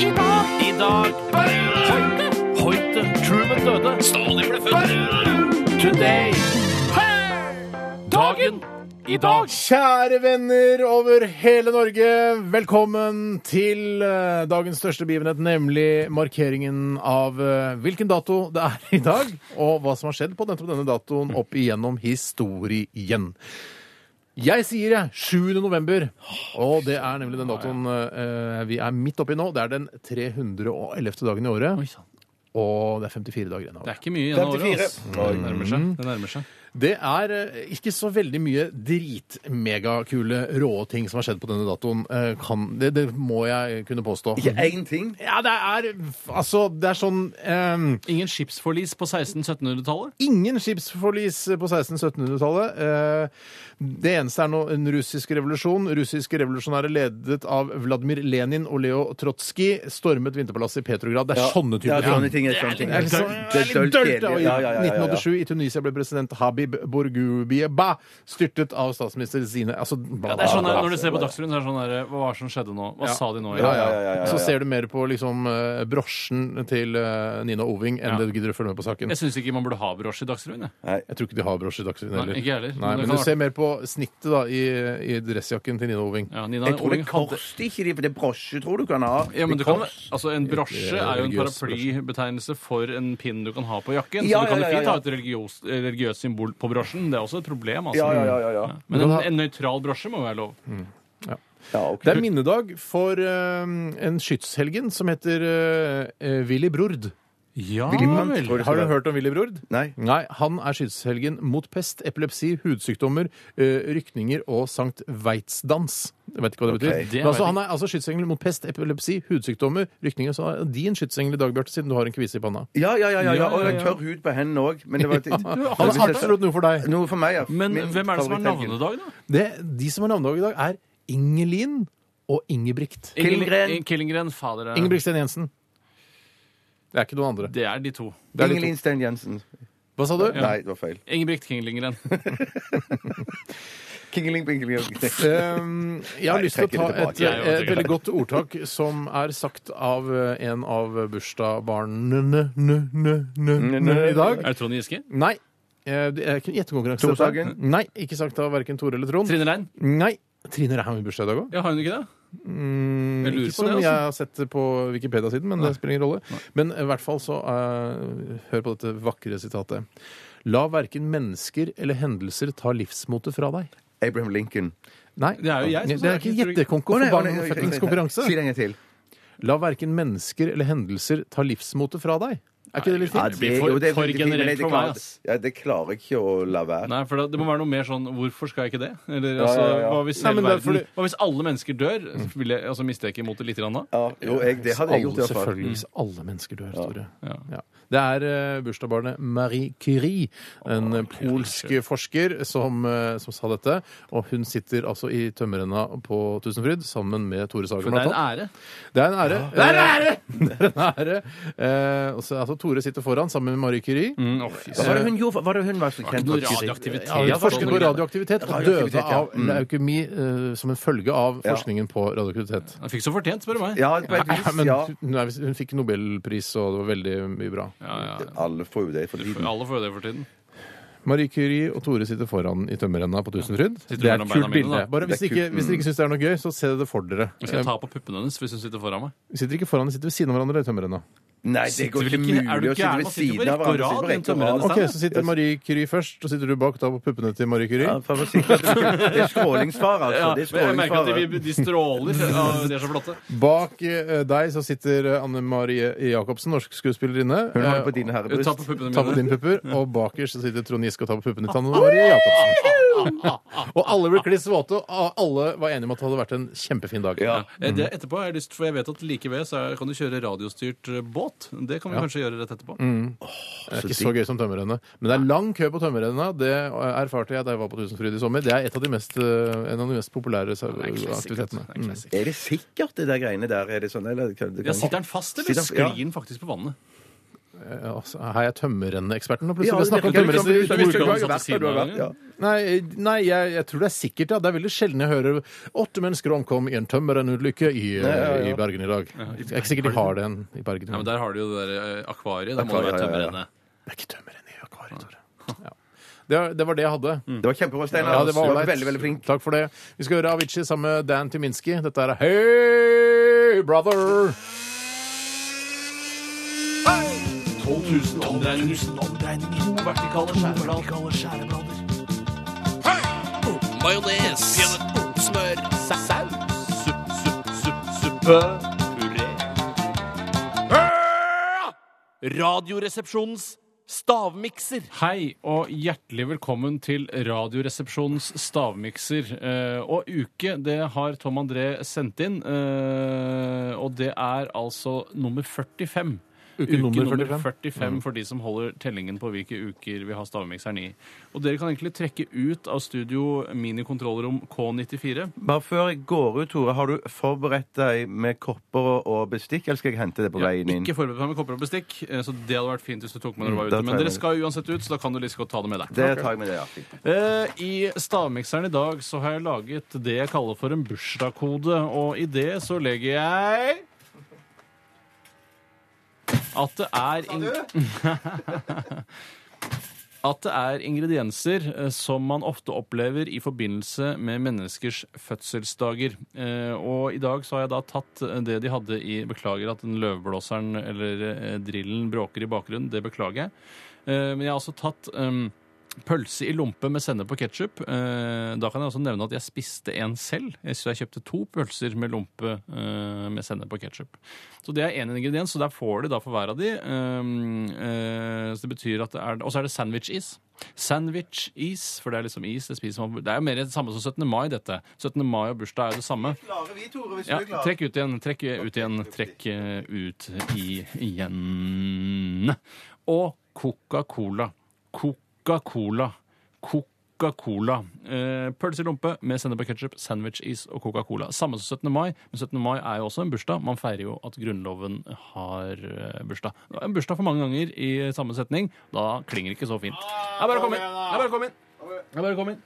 Speaker 7: I dag Hoite. Truman døde. Stalin ble født. Today. Dagen i dag.
Speaker 4: Kjære venner over hele Norge, velkommen til eh, dagens største begivenhet, nemlig markeringen av eh, hvilken dato det er i dag, og hva som har skjedd på nettopp denne datoen opp igjennom historien. Jeg sier jeg, 7. november, og det er nemlig den datoen eh, vi er midt oppi nå. Det er den 311. dagen i
Speaker 6: Oi
Speaker 4: året,
Speaker 6: sann.
Speaker 4: og det er 54 dager igjen av
Speaker 6: Det
Speaker 4: året.
Speaker 6: er ikke mye igjen av året.
Speaker 5: 54.
Speaker 6: ass. Det nærmer
Speaker 4: Mm.
Speaker 6: seg. Det nærmer seg.
Speaker 4: Det er eh, ikke så veldig mye dritmegakule, rå ting som har skjedd på denne datoen. eh, Kan, det, det må jeg kunne påstå.
Speaker 5: Ikke én ting.
Speaker 4: Ja, det er Altså, det er sånn eh,
Speaker 6: Ingen skipsforlis på 1600-1700-tallet?
Speaker 4: Ingen skipsforlis på 1600-1700-tallet. Eh, Det eneste er nå en russisk revolusjon. Russiske revolusjonære ledet av Vladimir Lenin og Leo Trotskij stormet vinterpalasset i Petrograd. Det er sånne
Speaker 5: Ja,
Speaker 4: typer
Speaker 5: sånne ting. Sånne ting.
Speaker 4: Det er litt sånn- det er litt dølt, da. I 1987 i Tunisia ble president Habib Bourguiba styrtet av statsminister Zine altså,
Speaker 6: Ja, det er sånn der, Når du ser på Dagsrevyen, så er det sånn der Hva var det som skjedde nå? Hva sa de nå?
Speaker 4: ja, ja, ja, ja. Så ser du mer på liksom, eh, brosjen til eh, Nina Oving enn
Speaker 6: Ja.
Speaker 4: det du gidder å følge med på saken.
Speaker 6: Jeg syns ikke man burde ha brosje i Dagsrevyen. jeg.
Speaker 4: Jeg tror ikke de har brosje i Dagsrevyen
Speaker 6: Nei,
Speaker 4: heller.
Speaker 6: ikke heller.
Speaker 4: Nei,
Speaker 6: Men
Speaker 4: men
Speaker 6: det kan
Speaker 4: du
Speaker 6: være-
Speaker 4: ser mer på snittet da, i, i dressjakken til Nina Oving.
Speaker 6: Ja, Nina
Speaker 5: Jeg tror det
Speaker 6: Oling hadde-
Speaker 5: koster ikke de, for det er brosje tror du kan ha.
Speaker 6: ja, men du
Speaker 5: Det
Speaker 6: kan,
Speaker 5: koster-
Speaker 6: altså En brosje er jo en
Speaker 4: religiøs
Speaker 6: paraplybetegnelse for en pinn du kan ha på jakken.
Speaker 5: Ja,
Speaker 6: så du kan
Speaker 5: ja, ja,
Speaker 6: jo fint
Speaker 5: ja.
Speaker 6: ha et religiøst, eh, religiøst symbol på brosjen. Det er også et problem. altså.
Speaker 5: Ja, ja, ja, ja, ja.
Speaker 6: Men
Speaker 4: Du
Speaker 6: en,
Speaker 4: kan ha-
Speaker 6: en nøytral brosje må være lov.
Speaker 5: ja ok.
Speaker 4: Det er minnedag for eh, en skytshelgen som heter eh, eh, Willy Brord.
Speaker 6: Ja
Speaker 5: Willy Brandt,
Speaker 6: Ah, vel.
Speaker 5: tror jeg.
Speaker 4: Har du hørt om Willy Brord?
Speaker 5: Nei.
Speaker 4: Nei, Han er skytshelgen mot pest, epilepsi, hudsykdommer, eh, rykninger og Sankt Veitsdans. Jeg vet ikke hva det betyr.
Speaker 6: Det
Speaker 4: Men
Speaker 6: vet jeg.
Speaker 4: altså, han er altså skytsengel mot pest, epilepsi, hudsykdommer, rykninger. Så er din skytsengel i dag, Bjarte, siden du har en kvise i panna.
Speaker 5: Ja, ja, ja, ja, ja. Og
Speaker 6: Ja, ja,
Speaker 5: en
Speaker 6: ja.
Speaker 5: tørr hud på hendene òg. Men
Speaker 6: [laughs]
Speaker 5: det var
Speaker 4: [laughs] Han er absolutt noe for deg.
Speaker 5: noe for meg, ja.
Speaker 6: Men
Speaker 5: Min
Speaker 6: hvem er det som har
Speaker 5: favoritthelgen.
Speaker 6: navnedag, da?
Speaker 4: [laughs] Det, de som har navnedag i dag, er Ingelin og Ingebrigt.
Speaker 5: Killengreen.
Speaker 6: Ingel- Killengreen. Fader. eh,
Speaker 4: Ingebrigtsen Jensen. Det er ikke noen andre.
Speaker 6: Det er de to.
Speaker 4: Det er litt...
Speaker 5: Ingelin Stein Jensen.
Speaker 4: Hå- Hva sa du?
Speaker 5: Nei, det var feil.
Speaker 6: Ingebrigt Kinglingren.
Speaker 5: Kingeling, bingeling.
Speaker 4: Um, jeg har
Speaker 5: Nei,
Speaker 4: lyst til å
Speaker 5: trekker
Speaker 4: ta
Speaker 5: det
Speaker 4: et,
Speaker 5: tilbake.
Speaker 6: Jeg
Speaker 4: et veldig godt ordtak som er sagt av eh, en av bursdagsbarnene nø- nø- nø- nø- i dag.
Speaker 6: Er det Trond Giske?
Speaker 4: Nei. eh, Det er ikke en gjettekonkurranse.
Speaker 5: Tore
Speaker 4: dette.
Speaker 5: Sagen?
Speaker 4: Nei, ikke sagt av verken Tore eller Trond.
Speaker 6: Trine Rein?
Speaker 4: Nei. Trine Rein har bursdag i dag òg.
Speaker 6: Ja, har hun ikke det? Jeg lurer
Speaker 4: Mm, Ikke
Speaker 6: på
Speaker 4: som
Speaker 6: det,
Speaker 4: jeg
Speaker 6: altså.
Speaker 4: har sett det på Wikipedia-siden, men det spiller ingen rolle. Men i hvert fall så eh, Hør på dette vakre sitatet. La verken mennesker eller hendelser ta livsmotet fra deg.
Speaker 5: Abraham Lincoln.
Speaker 4: Nei,
Speaker 6: Det er jo jeg
Speaker 4: det er
Speaker 6: som sier
Speaker 4: ikke
Speaker 6: det.
Speaker 5: Å,
Speaker 4: gjettekonkurranse.
Speaker 5: nei, å, nei,
Speaker 4: forbanna fuckings konkurranse.
Speaker 5: Si det en gang til.
Speaker 4: La verken mennesker eller hendelser ta livsmotet fra deg. Er ikke det litt
Speaker 5: Ja,
Speaker 4: fint?
Speaker 6: blir for-
Speaker 5: jo, det er
Speaker 6: for
Speaker 5: veldig fint, men
Speaker 6: generelt
Speaker 5: jeg- det
Speaker 6: for meg,
Speaker 5: klarer-
Speaker 6: ass.
Speaker 5: Ja, det klarer jeg ikke å la være.
Speaker 6: Nei, for det, det må være noe mer sånn Hvorfor skal jeg ikke det? Eller altså,
Speaker 5: ja, ja.
Speaker 6: Hva, hvis
Speaker 4: Nei,
Speaker 6: hele
Speaker 4: men det er
Speaker 6: verden,
Speaker 4: fordi-
Speaker 6: hva hvis alle mennesker dør? Vil jeg, altså, mister jeg ikke motet litt grann da?
Speaker 5: Ja, jo, jeg, det hadde jeg gjort i
Speaker 4: Alle,
Speaker 5: hvert fall. Mm.
Speaker 4: selvfølgelig. Hvis alle mennesker dør, Tore.
Speaker 6: Ja.
Speaker 4: Ja. Det er eh, bursdagsbarnet Marie Curie, en eh, polsk forsker, som, eh, som sa dette. Og hun sitter altså i tømmerrenna på Tusenfryd sammen med Tore Sagen.
Speaker 6: For det er en ære.
Speaker 4: Det er en ære. Det er en ære! [laughs] det er en ære. Eh, og så- altså, Tore sitter foran sammen med Marie Curie.
Speaker 6: Mm, å, fy
Speaker 5: Hva var det hun gjorde? for- Var det hun var så kjent
Speaker 6: Noe
Speaker 5: for?
Speaker 6: radioaktivitet.
Speaker 4: Ja, hun forsket på
Speaker 6: altså.
Speaker 4: radioaktivitet og
Speaker 5: Radioaktivitet,
Speaker 4: døde
Speaker 5: ja.
Speaker 4: av leukemi eh, som en følge av forskningen på radioaktivitet.
Speaker 6: Han fikk så fortjent, spør du meg.
Speaker 5: Ja, på et
Speaker 4: Ja,
Speaker 5: vis,
Speaker 4: men
Speaker 5: ja.
Speaker 4: hun- nei, hun fikk nobelpris, og det var veldig mye bra.
Speaker 6: Ja, ja.
Speaker 5: Alle får jo det for tiden.
Speaker 6: Alle får jo det for tiden.
Speaker 4: Marie Curie og Tore sitter foran i tømmerrenna på Tusenfryd. Det er et
Speaker 6: mellom
Speaker 4: kult
Speaker 6: beina mine, da.
Speaker 4: bilde. Bare hvis
Speaker 5: Det er Mm.
Speaker 4: dere ikke, hvis dere ikke syns det er noe gøy, så se det for dere.
Speaker 6: Jeg skal
Speaker 4: Eh,
Speaker 6: ta på puppene hennes hvis hun sitter foran meg.
Speaker 4: Vi sitter ikke foran, vi sitter ved siden av hverandre i tømmerrenna.
Speaker 5: Nei, det går ikke
Speaker 6: Sitter vel ikke-
Speaker 5: mulig
Speaker 6: er du
Speaker 5: å sitte ved
Speaker 6: gæren? Man sitter jo på
Speaker 5: siden av
Speaker 6: rekke og
Speaker 5: hverandre. sitter
Speaker 6: rad
Speaker 5: på rekke og
Speaker 6: rundt
Speaker 5: rad.
Speaker 6: tømmerrennene.
Speaker 4: Ok, Så sitter Marie Curie først, og sitter du bak og tar på puppene til Marie Curie.
Speaker 5: Ja, for å sikre at du ikke- [laughs] Det sånn. er strålingsfare, altså. Det er
Speaker 6: men jeg merker at
Speaker 5: strålingsfare.
Speaker 6: de, de stråler. Ja, de er så flotte.
Speaker 4: Bak eh, deg så sitter eh, Anne Marie Jacobsen, norsk skuespillerinne.
Speaker 5: Hun har
Speaker 4: Eh,
Speaker 5: det på dine
Speaker 6: Ta på
Speaker 5: herrebryst.
Speaker 6: puppene
Speaker 4: Ta på
Speaker 6: mine.
Speaker 4: dine pupper, og bakerst så sitter Trond Giske og tar på puppene til Anne Marie Jacobsen. Og alle ble kliss våte, og alle var enige om at det hadde vært en kjempefin dag.
Speaker 5: Ja.
Speaker 6: Eh, Det etterpå har jeg lyst, for jeg vet at like ved så er- kan du kjøre radiostyrt eh, båt. Det kan vi kanskje gjøre rett etterpå.
Speaker 4: Mm. Det er ikke så gøy som tømmerrenna. Men det er lang kø på tømmerrenna. Det erfarte jeg da jeg var på Tusenfryd i sommer. Det er et av de mest, eh, en av de mest populære sa-
Speaker 6: Det er en klassiker,
Speaker 4: aktivitetene. Mm.
Speaker 6: altså. Det er en klassiker.
Speaker 5: Er det sikkert, det der greiene der? Er det sånn, eller? kan- det
Speaker 6: Ja,
Speaker 5: kan-
Speaker 6: sitter den fast, eller
Speaker 5: Sitter den- ja.
Speaker 6: sklir den faktisk på vannet?
Speaker 4: Mm. Altså, Her er jeg tømmerrenneeksperten, og
Speaker 5: Ja,
Speaker 4: plutselig
Speaker 5: det
Speaker 4: snakker om
Speaker 5: virker-
Speaker 6: tømmerrenner.
Speaker 5: Du visste jo ikke
Speaker 4: tømmerrenner.
Speaker 5: hvor jeg har vært, og du har vært, ja.
Speaker 4: Nei, nei jeg, jeg tror det er sikkert. Ja. Det er veldig sjelden jeg hører åtte mennesker omkom i en tømmerennulykke i, eh, i Bergen i dag. Jeg er ikke sikker de har det en i Bergen.
Speaker 6: Ja, men Der har du jo det der eh, akvariet. Der må
Speaker 5: Akvariet,
Speaker 6: du jo tømme
Speaker 5: ja, ja.
Speaker 6: renne.
Speaker 4: Det er ikke tømmerrenn i akvariet, Tore. Ja. Det, var- det var det jeg hadde.
Speaker 5: Mm. Det var kjempebra, Steinar.
Speaker 4: Ja, det var
Speaker 5: Du
Speaker 4: ålreit.
Speaker 5: veldig, veldig flink.
Speaker 4: Takk for det. Vi skal høre Avicii sammen med Dan Tyminski. Dette er Hey Brother!
Speaker 7: 2000 omdreininger. 1000 omdreininger. To vertikale skjæreblader. Majones. Smør. Saus. Supp, supp, supp, suppe. Puré. Radioresepsjonens stavmikser.
Speaker 6: Hei og hjertelig velkommen til Radioresepsjonens stavmikser. Eh, og uke, det har Tom André sendt inn. eh, og det er altså nummer 45.
Speaker 4: Uke nummer Mm. 45.
Speaker 6: 45 for de som holder tellingen på hvilke uker vi har stavmikseren i. Og dere kan egentlig trekke ut av studio minikontrollrom K94.
Speaker 5: Bare før jeg går ut, Tore, har du forberedt deg med kopper og- og bestikk, eller skal jeg hente det på
Speaker 6: Jeg
Speaker 5: veien
Speaker 6: har
Speaker 5: inn?
Speaker 6: ikke forberedt meg med kopper og bestikk, eh, så det hadde vært fint hvis du tok med når du var
Speaker 5: Mm, da
Speaker 6: ute.
Speaker 5: tar
Speaker 6: Men
Speaker 5: jeg
Speaker 6: dere
Speaker 5: med det.
Speaker 6: skal uansett ut, så da kan du like så godt ta det med deg.
Speaker 5: Det tar jeg med det, ja. fint.
Speaker 6: Eh, I stavmikseren i dag så har jeg laget det jeg kaller for en bursdagskode, og i det så legger jeg at det er ing- [laughs] At det er ingredienser eh, som man ofte opplever i forbindelse med menneskers fødselsdager. Eh, Og i dag så har jeg da tatt eh, det de hadde i Beklager at den løvblåseren eller eh, drillen bråker i bakgrunnen. Det beklager jeg. Eh, Men jeg har også tatt eh, Pølse i lompe med sennep og ketsjup. Eh, da kan jeg også nevne at jeg spiste en selv. Jeg- Så jeg kjøpte to pølser med lompe eh, med sennep og ketsjup. Så det er én ingrediens, så der får de da for hver av de. Um, eh, så det betyr at det er Og så er det sandwich-is. Sandwich-is, for det er liksom is. Det, spiser man, det er jo mer det samme som 17. mai, dette. 17. mai og bursdag er jo det samme.
Speaker 5: Klarer vi, Tore, hvis
Speaker 6: Ja, trekk ut igjen, trekk ut igjen, trekk eh, ut i, igjen. Og Coca-Cola. Coca-Cola. Coca-Cola. Eh, Pølse i lompe med sennep og ketsjup, sandwich, is og Coca-Cola. Samme som 17. mai, men 17. mai er jo også en bursdag. Man feirer jo at Grunnloven har eh, bursdag. Det er en bursdag for mange ganger i samme setning. Da klinger det ikke så fint. Det er bare å komme inn! Det er bare å komme inn! Det er bare å komme inn!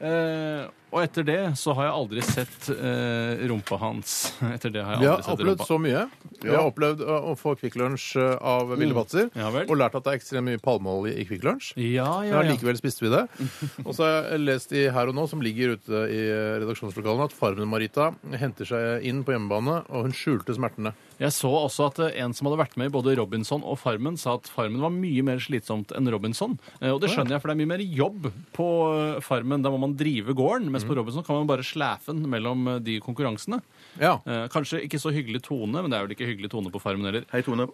Speaker 6: Eh, og etter det så har jeg aldri sett eh, rumpa hans. [laughs] Etter det har
Speaker 4: Vi
Speaker 6: jeg
Speaker 4: har
Speaker 6: aldri sett
Speaker 4: opplevd
Speaker 6: rumpa.
Speaker 4: så mye. Vi har opplevd å å få Kvikk Lunsj eh, av Ville Batzer,
Speaker 6: Mm. Ja vel.
Speaker 4: og lært at det er ekstremt mye palmeolje i Kvikk Lunsj.
Speaker 6: Ja, ja,
Speaker 4: Men
Speaker 6: ja.
Speaker 4: likevel spiste vi det. [laughs] Og så har jeg lest i Her og Nå, som ligger ute i redaksjonslokalene, at farmen Marita henter seg inn på hjemmebane, og hun skjulte smertene.
Speaker 6: Jeg så også at eh, en som hadde vært med i både Robinson og Farmen, sa at Farmen var mye mer slitsomt enn Robinson. Eh, Og det skjønner jeg, for det er mye mer jobb på eh, Farmen. Da må man drive gården, mens på Robinson kan man bare slæfe den mellom eh, de konkurransene.
Speaker 4: Ja.
Speaker 6: Eh, Kanskje ikke så hyggelig tone, men det er vel ikke hyggelig tone på Farmen heller.
Speaker 5: Hei,
Speaker 6: [laughs]
Speaker 5: Tone.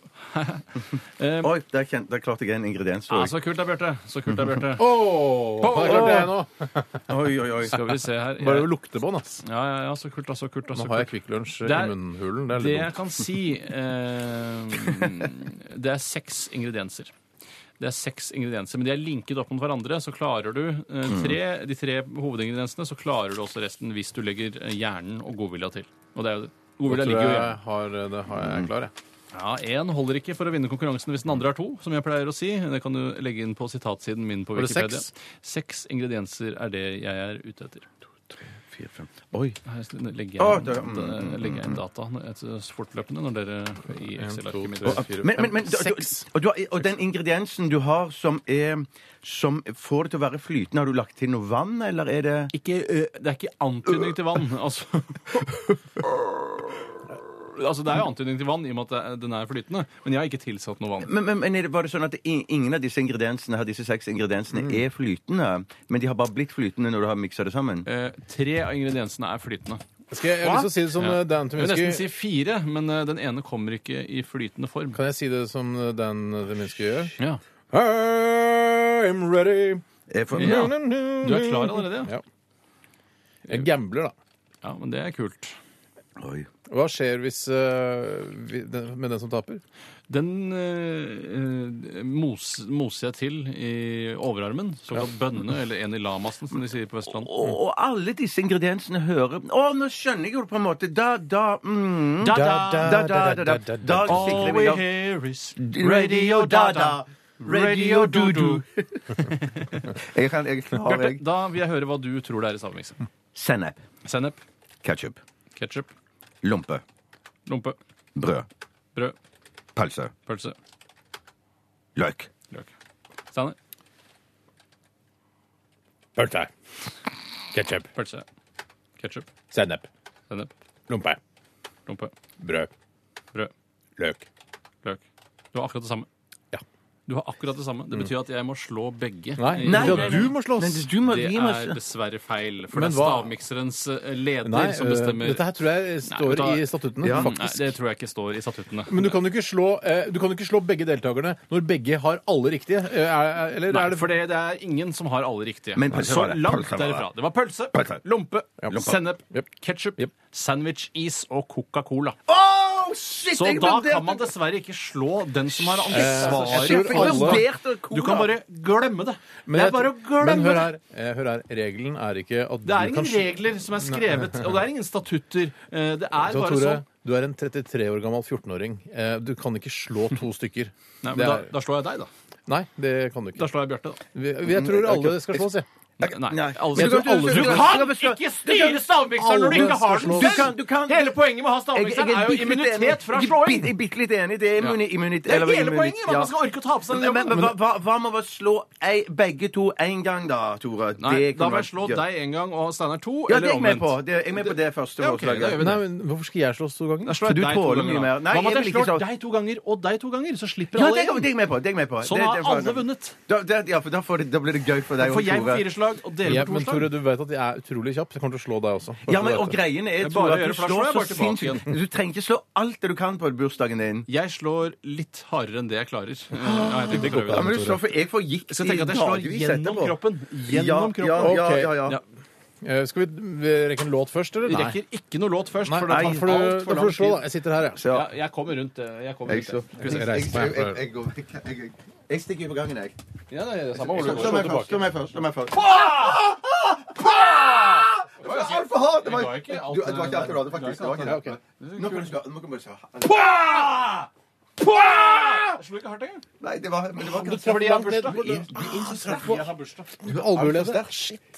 Speaker 5: Oi, der, kjente, der klarte jeg en ingrediens.
Speaker 6: Ah,
Speaker 5: Oi,
Speaker 6: så kult det er, Bjarte. Så kult det er, Bjarte.
Speaker 4: Oh, det klarte jeg nå.
Speaker 5: oi, oi. oi.
Speaker 6: Skal vi se her.
Speaker 4: Bare
Speaker 6: Jeg-
Speaker 4: lukte på den, ass.
Speaker 6: Ja, ja, ja, så kult da, så kult da, så
Speaker 4: Nå
Speaker 6: kult.
Speaker 4: har jeg Kvikk Lunsj i
Speaker 6: Det er-
Speaker 4: munnhulen. Det er
Speaker 6: Det
Speaker 4: litt
Speaker 6: jeg
Speaker 4: dumt.
Speaker 6: kan si eh, [laughs] Det er seks ingredienser. Det er seks ingredienser, men de er linket opp mot hverandre. Så klarer du eh,
Speaker 4: Mm.
Speaker 6: tre, de tre hovedingrediensene, så klarer du også resten hvis du legger eh, hjernen og godvilja til. Og det er jo det.
Speaker 4: Da
Speaker 6: Godvilja
Speaker 4: tror
Speaker 6: ligger jo
Speaker 4: jeg
Speaker 6: hjemme.
Speaker 4: har, det har jeg klar, jeg.
Speaker 6: Ja, Én holder ikke for å vinne konkurransen hvis den andre har to, som jeg pleier å si. Det kan du legge inn på sitatsiden min på
Speaker 4: Var det
Speaker 6: Wikipedia.
Speaker 4: seks?
Speaker 6: Seks ingredienser er det jeg er ute etter.
Speaker 5: Fire, fem. Oi.
Speaker 6: Her legger
Speaker 5: Å,
Speaker 6: jeg
Speaker 5: det-
Speaker 6: inn, legger jeg inn data eh, fortløpende når dere i
Speaker 4: En, to,
Speaker 6: Excel-arket mitt
Speaker 4: tre, fire,
Speaker 5: Men, men, men,
Speaker 4: fem,
Speaker 5: du, du,
Speaker 4: seks.
Speaker 5: og, du, har- og den ingrediensen du har som, er, som får det til å være flytende, har du lagt til noe vann, eller er det
Speaker 6: ikke, ø, det er ikke antydning til vann. Altså. altså, det er jo antydning til vann i og med at det- den er flytende, men jeg har ikke tilsatt noe vann.
Speaker 5: men, men, men er det- var det sånn at i- ingen av disse ingrediensene her, disse seks ingrediensene er flytende, men de har bare blitt flytende når du har miksa det sammen?
Speaker 6: Eh, tre av ingrediensene er flytende.
Speaker 4: Skal jeg, jeg har lyst til å si det som eh, Dan
Speaker 6: Jeg vil nesten
Speaker 4: Tyminski.
Speaker 6: si fire, men eh, den ene kommer ikke i flytende form.
Speaker 4: Kan jeg si det som eh, Dan Tyminski gjør?
Speaker 6: Ja.
Speaker 4: I'm ready.
Speaker 5: Er for,
Speaker 6: Ja.
Speaker 4: Nu, nu, nu,
Speaker 6: Du er klar
Speaker 4: nu.
Speaker 6: allerede, ja?
Speaker 4: Ja. Jeg gambler, da.
Speaker 6: ja men det er kult.
Speaker 5: Oi.
Speaker 4: Hva skjer hvis, eh, vi, den, med den som taper?
Speaker 6: Den eh, eh, mos, moser jeg til i overarmen, såkalt bønne, eller en i lamasen, som de sier på Vestlandet.
Speaker 5: Og, og alle disse ingrediensene hører Å, nå skjønner jeg jo det på en måte. Da, da mm.
Speaker 6: Da, da,
Speaker 5: da, da, da, da, da, da,
Speaker 6: All
Speaker 5: sikler
Speaker 6: we
Speaker 5: vi da.
Speaker 6: hear is
Speaker 5: Radio da, da.
Speaker 6: Radio Doodoo.
Speaker 5: Jeg, kan, jeg klarer
Speaker 6: Bjarte, [laughs]
Speaker 5: jeg.
Speaker 6: da vil jeg høre hva du tror det er i stavmiksen.
Speaker 5: Sennep.
Speaker 6: Sennep,
Speaker 5: Ketchup.
Speaker 6: ketsjup,
Speaker 5: Lompe.
Speaker 6: lompe,
Speaker 5: Brød.
Speaker 6: brød,
Speaker 5: Pølse.
Speaker 6: pølse,
Speaker 5: Løk.
Speaker 6: løk. Steiner,
Speaker 4: Pølse. Ketsjup.
Speaker 6: pølse, ketsjup,
Speaker 4: Sennep.
Speaker 6: sennep,
Speaker 4: Lompe.
Speaker 6: lompe,
Speaker 4: Brød.
Speaker 6: brød,
Speaker 4: Løk.
Speaker 6: løk. Du har akkurat det samme.
Speaker 4: Ja.
Speaker 6: Du har akkurat det samme. Det betyr at jeg må slå begge.
Speaker 4: Nei,
Speaker 6: I-
Speaker 4: ja, du må slåss!
Speaker 5: Men du må,
Speaker 6: Det
Speaker 5: vi må
Speaker 6: er dessverre feil, for
Speaker 4: Men
Speaker 6: det er
Speaker 4: hva-
Speaker 6: stavmikserens eh, leder
Speaker 4: Nei,
Speaker 6: som
Speaker 4: øh,
Speaker 6: bestemmer.
Speaker 4: dette her tror jeg
Speaker 6: Nei,
Speaker 4: står
Speaker 6: vet du hva?
Speaker 4: i statuttene,
Speaker 5: Ja.
Speaker 6: Nei,
Speaker 4: faktisk.
Speaker 6: det tror jeg ikke står i statuttene.
Speaker 4: Men du kan jo ikke slå, eh, du kan jo ikke slå begge deltakerne når begge har alle riktige. eh, er- Eller
Speaker 6: Nei,
Speaker 4: er det
Speaker 6: for det, det er ingen som har alle riktige.
Speaker 5: Men pølse
Speaker 6: så
Speaker 5: var det.
Speaker 6: langt
Speaker 5: Pølse var det.
Speaker 6: derifra. Det var pølse,
Speaker 5: Pølse.
Speaker 6: lompe,
Speaker 4: Lompe.
Speaker 6: sennep,
Speaker 4: Jep.
Speaker 6: ketsjup,
Speaker 4: Jep.
Speaker 6: sandwich, is og Coca-Cola.
Speaker 5: Åh, shit!
Speaker 6: Så
Speaker 5: jeg
Speaker 6: da
Speaker 5: vurderte-
Speaker 6: kan man dessverre ikke slå den som har
Speaker 4: Eh,
Speaker 5: Shit, jeg
Speaker 6: ansvaret.
Speaker 4: tror alle-
Speaker 6: for-
Speaker 5: vurderte cola.
Speaker 6: Du kan bare glemme det.
Speaker 4: Men
Speaker 6: det
Speaker 4: jeg
Speaker 6: er bare å
Speaker 4: tror-
Speaker 6: glemme
Speaker 4: Men hør
Speaker 6: det.
Speaker 4: her, eh, hør her. Regelen er ikke at
Speaker 6: Det
Speaker 4: du
Speaker 6: er
Speaker 4: kan
Speaker 6: ingen regler som er skrevet, og det er ingen statutter. Eh, Det er
Speaker 4: Så,
Speaker 6: bare
Speaker 4: Tore,
Speaker 6: sånn.
Speaker 4: du er en 33 år gammel 14-åring. Eh, Du kan ikke slå to stykker.
Speaker 6: Nei, men
Speaker 4: Det
Speaker 6: da,
Speaker 4: er-
Speaker 6: da slår jeg deg, da.
Speaker 4: Nei, det kan du
Speaker 6: Da
Speaker 4: ikke.
Speaker 6: slår jeg Bjarte, da.
Speaker 4: Vi, vi- jeg tror alle skal slås, jeg.
Speaker 6: Nei.
Speaker 5: Nei. Men du
Speaker 6: Alle, jeg tror
Speaker 5: kan-
Speaker 6: alle,
Speaker 5: du
Speaker 6: du
Speaker 5: kan-
Speaker 6: kan ikke styre stavmikseren når du
Speaker 4: alle
Speaker 6: ikke
Speaker 4: skal
Speaker 6: har den
Speaker 5: Du
Speaker 4: slås.
Speaker 6: selv!
Speaker 5: kan, du kan.
Speaker 6: Hele poenget med å ha
Speaker 5: Jeg- jeg
Speaker 6: stavmikseren
Speaker 5: bitte litt
Speaker 6: er jo
Speaker 5: enig.
Speaker 6: immunitet fra
Speaker 5: Jeg
Speaker 6: slåing!
Speaker 5: bitte- Jeg er bitte litt enig. Det er immuni- immunitet.
Speaker 6: Det er
Speaker 5: eller
Speaker 6: hele
Speaker 5: immunitet,
Speaker 6: poenget!
Speaker 5: ja.
Speaker 6: Man skal orke å ta på seg den
Speaker 5: Men, men, hva,
Speaker 6: jobben.
Speaker 5: hva- hva med å slå ei, begge to en gang, da, Tore?
Speaker 6: Nei,
Speaker 5: Det
Speaker 6: da
Speaker 5: kunne
Speaker 6: må jeg
Speaker 5: vært
Speaker 6: slå
Speaker 5: gøy.
Speaker 6: deg en gang og Steinar to,
Speaker 5: Ja, det er
Speaker 6: eller
Speaker 5: jeg med på.
Speaker 6: omvendt.
Speaker 5: Det, jeg er med på det første
Speaker 6: Ja, ok, da
Speaker 5: forslaget.
Speaker 6: gjør vi det.
Speaker 4: Nei, men Hvorfor skal jeg slås to ganger?
Speaker 6: Da slår
Speaker 5: For
Speaker 6: jeg
Speaker 5: du
Speaker 6: deg to
Speaker 5: tåler
Speaker 6: ganger,
Speaker 5: mye
Speaker 6: da.
Speaker 5: mer. Nei, jeg
Speaker 6: Hva med at jeg
Speaker 5: vil ikke
Speaker 6: slår
Speaker 5: slå-
Speaker 6: deg to ganger og deg to ganger, så slipper
Speaker 5: Ja, det er
Speaker 6: alle
Speaker 5: det er
Speaker 6: igjen?
Speaker 5: jeg med på. Det er jeg med på.
Speaker 6: Sånn
Speaker 5: Det-
Speaker 6: har
Speaker 5: det får jeg-
Speaker 6: alle vunnet.
Speaker 5: Da, det, ja, for da, får det, da blir det gøy for deg og
Speaker 6: For jeg får
Speaker 5: Tore.
Speaker 6: fire slag, og dere
Speaker 4: Ja,
Speaker 6: får
Speaker 4: men
Speaker 6: to slag.
Speaker 4: Tore, du vet at jeg er utrolig kjapp. så Jeg kommer til å slå deg også. Bare
Speaker 5: Ja,
Speaker 4: så
Speaker 5: men,
Speaker 4: du
Speaker 5: og
Speaker 4: vet det.
Speaker 5: greien er, Tore,
Speaker 6: er bare å
Speaker 5: at du
Speaker 6: gjøre, for da slår
Speaker 5: slår
Speaker 6: jeg
Speaker 5: så
Speaker 6: bare tilbake
Speaker 5: sinnssykt Du trenger ikke slå alt det du kan på bursdagen din.
Speaker 6: Jeg slår litt hardere enn det jeg [gasps] klarer. Eh, Ja, jeg tenkte å prøve
Speaker 5: Ja, men
Speaker 6: det.
Speaker 5: du slår for jeg får gikt
Speaker 6: Jeg skal tenke at jeg slår
Speaker 5: gradvis
Speaker 6: gjennom
Speaker 5: etterpå.
Speaker 6: kroppen. Gjennom
Speaker 5: Ja,
Speaker 6: kroppen.
Speaker 5: ja,
Speaker 4: Ok.
Speaker 5: ja, ja, ja.
Speaker 6: Ja.
Speaker 4: Eh, Skal vi vi rekke en låt først, eller?
Speaker 6: Vi rekker ikke noe låt først,
Speaker 4: Nei,
Speaker 6: for det
Speaker 4: nei,
Speaker 6: tar
Speaker 4: da får du-
Speaker 6: altfor
Speaker 4: da får
Speaker 6: lang
Speaker 4: du slå,
Speaker 6: tid.
Speaker 4: da. Jeg sitter her, jeg.
Speaker 5: Ja.
Speaker 6: Ja, jeg kommer rundt det. Jeg kommer
Speaker 5: Jeg
Speaker 6: rundt
Speaker 5: slår.
Speaker 6: det.
Speaker 5: Jeg, jeg, jeg, jeg går vekk. Jeg- jeg- Jeg stikker ut på gangen, jeg.
Speaker 6: Ja, det er det samme.
Speaker 5: Slå
Speaker 6: Slå
Speaker 5: meg først.
Speaker 6: tilbake.
Speaker 5: Slå meg først. Slå meg først.
Speaker 6: Ah!
Speaker 5: Det var altfor hardt! Det var
Speaker 6: Du har ikke alt-
Speaker 5: Du- det var ikke alt du hadde, faktisk. Det var ikke
Speaker 4: Ja, ok.
Speaker 5: det. Nå kan du slå. Nå kan du slå.
Speaker 6: Jeg slo ikke hardt engang.
Speaker 5: Nei, det var men det var ikke
Speaker 6: Fordi jeg har bursdag.
Speaker 5: Jeg har bursdag.
Speaker 4: Albuelede.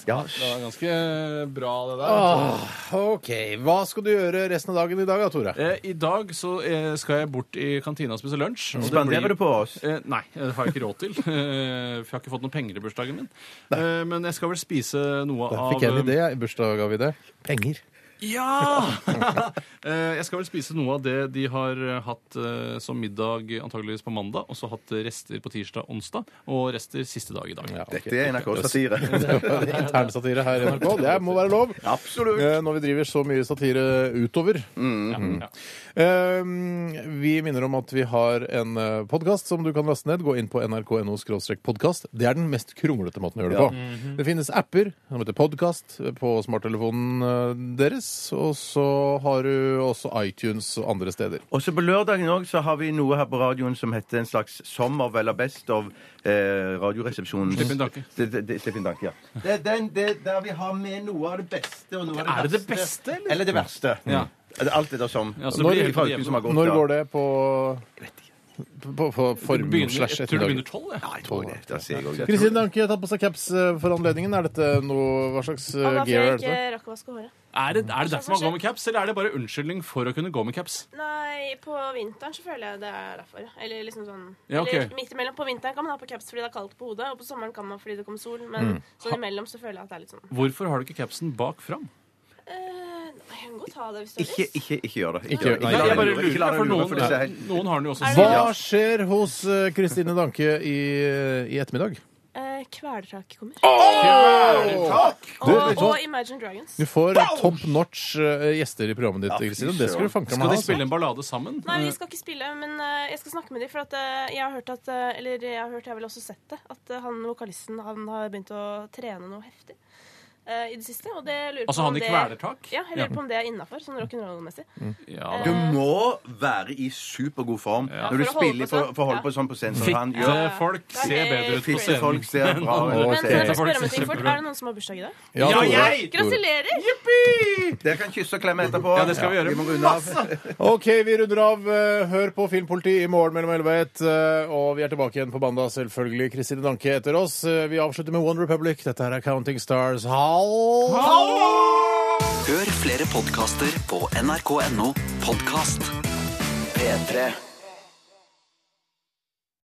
Speaker 5: Ja,
Speaker 6: Det var ganske eh, bra, det der.
Speaker 4: Ah. OK. Hva skal du gjøre resten av dagen i dag, da, Tore?
Speaker 6: Eh, I dag så eh, skal jeg bort i kantina og spise lunsj. og det
Speaker 5: Spanderer
Speaker 6: blir-
Speaker 5: du på oss?
Speaker 6: Eh, nei, det har jeg ikke råd til. [laughs] Eh, for jeg har ikke fått noen penger i bursdagen min. Eh, men jeg skal vel spise noe
Speaker 4: Der
Speaker 6: av
Speaker 4: fikk jeg en idé. jeg, i Bursdagsgaveidé. Penger.
Speaker 6: Ja! [laughs] Eh, jeg skal vel spise noe av det de har eh, hatt eh, som middag eh, antageligvis på mandag, og så hatt eh, rester på tirsdag og onsdag, og rester siste dag i dag.
Speaker 4: Ja, ok.
Speaker 5: Dette er NRK-satire.
Speaker 4: Internsatire her i NRK. Det må være lov.
Speaker 5: Absolutt.
Speaker 4: Eh, Når vi driver så mye satire utover.
Speaker 6: Ja, ja.
Speaker 4: Um, vi minner om at vi har en podkast som du kan laste ned. Gå inn på nrk.no podkast. Det er den mest kronglete måten å gjøre det på. Det finnes apper som heter Podkast på smarttelefonen eh, deres. Og så har du også iTunes og andre steder.
Speaker 5: Og så på lørdagen også, så har vi noe her på radioen som heter en slags Sommer eller Best of eh, Radioresepsjonen.
Speaker 6: Slipp inn tanke.
Speaker 5: Det- det- det- Slipp inn tanke, ja. Det er den det, der vi har med noe av det beste og noe
Speaker 6: Er
Speaker 5: av
Speaker 6: det
Speaker 5: det
Speaker 6: det
Speaker 5: verste.
Speaker 6: beste, eller?
Speaker 5: Eller det verste.
Speaker 6: Ja.
Speaker 5: Det er Alt det der som
Speaker 6: Ja, så
Speaker 5: Når-
Speaker 6: blir det
Speaker 5: fra
Speaker 6: på
Speaker 5: uken
Speaker 6: djevelen.
Speaker 5: som har gått.
Speaker 4: Når
Speaker 5: da.
Speaker 4: går det på på, på form
Speaker 6: Begynner,
Speaker 4: slash
Speaker 6: jeg tror det
Speaker 4: ettermiddag?
Speaker 6: begynner tolv, jeg.
Speaker 5: Jeg tror det. Da sier jeg også det.
Speaker 4: Kristin Danke har tatt på seg caps eh, for anledningen. Er dette noe Hva slags eh,
Speaker 9: Og da får
Speaker 4: gear
Speaker 9: jeg
Speaker 4: er
Speaker 9: ikke
Speaker 4: dette?
Speaker 9: rakk å vaske håret.
Speaker 6: Er det, er det derfor man går med caps, eller er det bare unnskyldning for å kunne gå med caps?
Speaker 9: Nei, på vinteren så føler jeg det er derfor. Eller liksom sånn
Speaker 6: Ja, ok.
Speaker 9: Eller midt imellom. På vinteren kan man ha på caps fordi det er kaldt på hodet, og på sommeren kan man fordi det kommer sol, men sånn imellom så føler jeg at det er litt sånn
Speaker 6: Hvorfor har du ikke capsen bak fram?
Speaker 9: eh, Jeg kan godt ha det hvis du har
Speaker 5: Ikke,
Speaker 9: lyst.
Speaker 5: ikke, ikke gjør det.
Speaker 4: Ikke
Speaker 5: gjør
Speaker 4: gjør
Speaker 5: det. Ikke
Speaker 4: det.
Speaker 6: Nei,
Speaker 5: la
Speaker 6: jeg
Speaker 5: deg
Speaker 6: bare
Speaker 5: lure. Ikke la deg
Speaker 6: lurer, for
Speaker 5: lure, for
Speaker 6: noen,
Speaker 5: det er helt-
Speaker 6: noen har den jo også.
Speaker 9: Er det-
Speaker 4: Hva skjer hos eh, Kristine Danke i, eh, i ettermiddag?
Speaker 9: Eh, Kvelertaket kommer.
Speaker 4: Du,
Speaker 9: og,
Speaker 4: vet du hva?
Speaker 9: og Imagine Dragons.
Speaker 4: Du får eh, top notch eh, gjester i programmet ditt. Kristine. Det skal du fanke
Speaker 6: Skal
Speaker 4: meg ha.
Speaker 6: de
Speaker 4: altså.
Speaker 6: spille en ballade sammen?
Speaker 9: Nei, vi skal ikke spille, men eh, jeg skal snakke med dem. For at eh, jeg har hørt at eh, Eller jeg har hørt, jeg har vel også sett det, at eh, han vokalisten han har begynt å trene noe heftig. eh, i det siste. Og det jeg lurer
Speaker 6: Altså
Speaker 9: på
Speaker 6: han
Speaker 9: om
Speaker 6: i
Speaker 9: det-
Speaker 6: kvelertak?
Speaker 9: Ja, jeg lurer på om det er innafor, sånn rock'n'roll-messig.
Speaker 6: Ja.
Speaker 5: Du må være i supergod form når
Speaker 9: For
Speaker 5: du
Speaker 9: å holde
Speaker 5: spiller
Speaker 9: på
Speaker 5: for,
Speaker 9: sånn.
Speaker 5: for å holde
Speaker 9: Ja.
Speaker 5: på sånn på scenen som han gjør.
Speaker 6: Fitte eh, folk
Speaker 9: Ja.
Speaker 6: ser bedre ut på
Speaker 5: Fitte folk
Speaker 6: scenen.
Speaker 5: ser bra
Speaker 6: [laughs]
Speaker 5: ut. Ok.
Speaker 9: Men kan jeg
Speaker 6: Dette
Speaker 9: få
Speaker 6: folk
Speaker 9: spørre om en ting
Speaker 6: synes det
Speaker 9: fort?
Speaker 6: er bra.
Speaker 9: Er det noen som har bursdag i dag?
Speaker 4: Ja,
Speaker 6: Ja,
Speaker 4: Tore.
Speaker 6: jeg!
Speaker 9: Gratulerer!
Speaker 5: Dere kan kysse og klemme etterpå.
Speaker 6: Ja, det skal vi gjøre.
Speaker 5: må runde av.
Speaker 4: OK, vi runder av. eh, Hør på Filmpoliti i morgen mellom 11 og 1. eh, Og vi er tilbake igjen på Banda, selvfølgelig. Kristine Danke etter oss. Eh, Vi avslutter med One Republic. Dette her er Counting Stars. Hallo!
Speaker 2: Hør flere podkaster på nrk.no podkast. P3.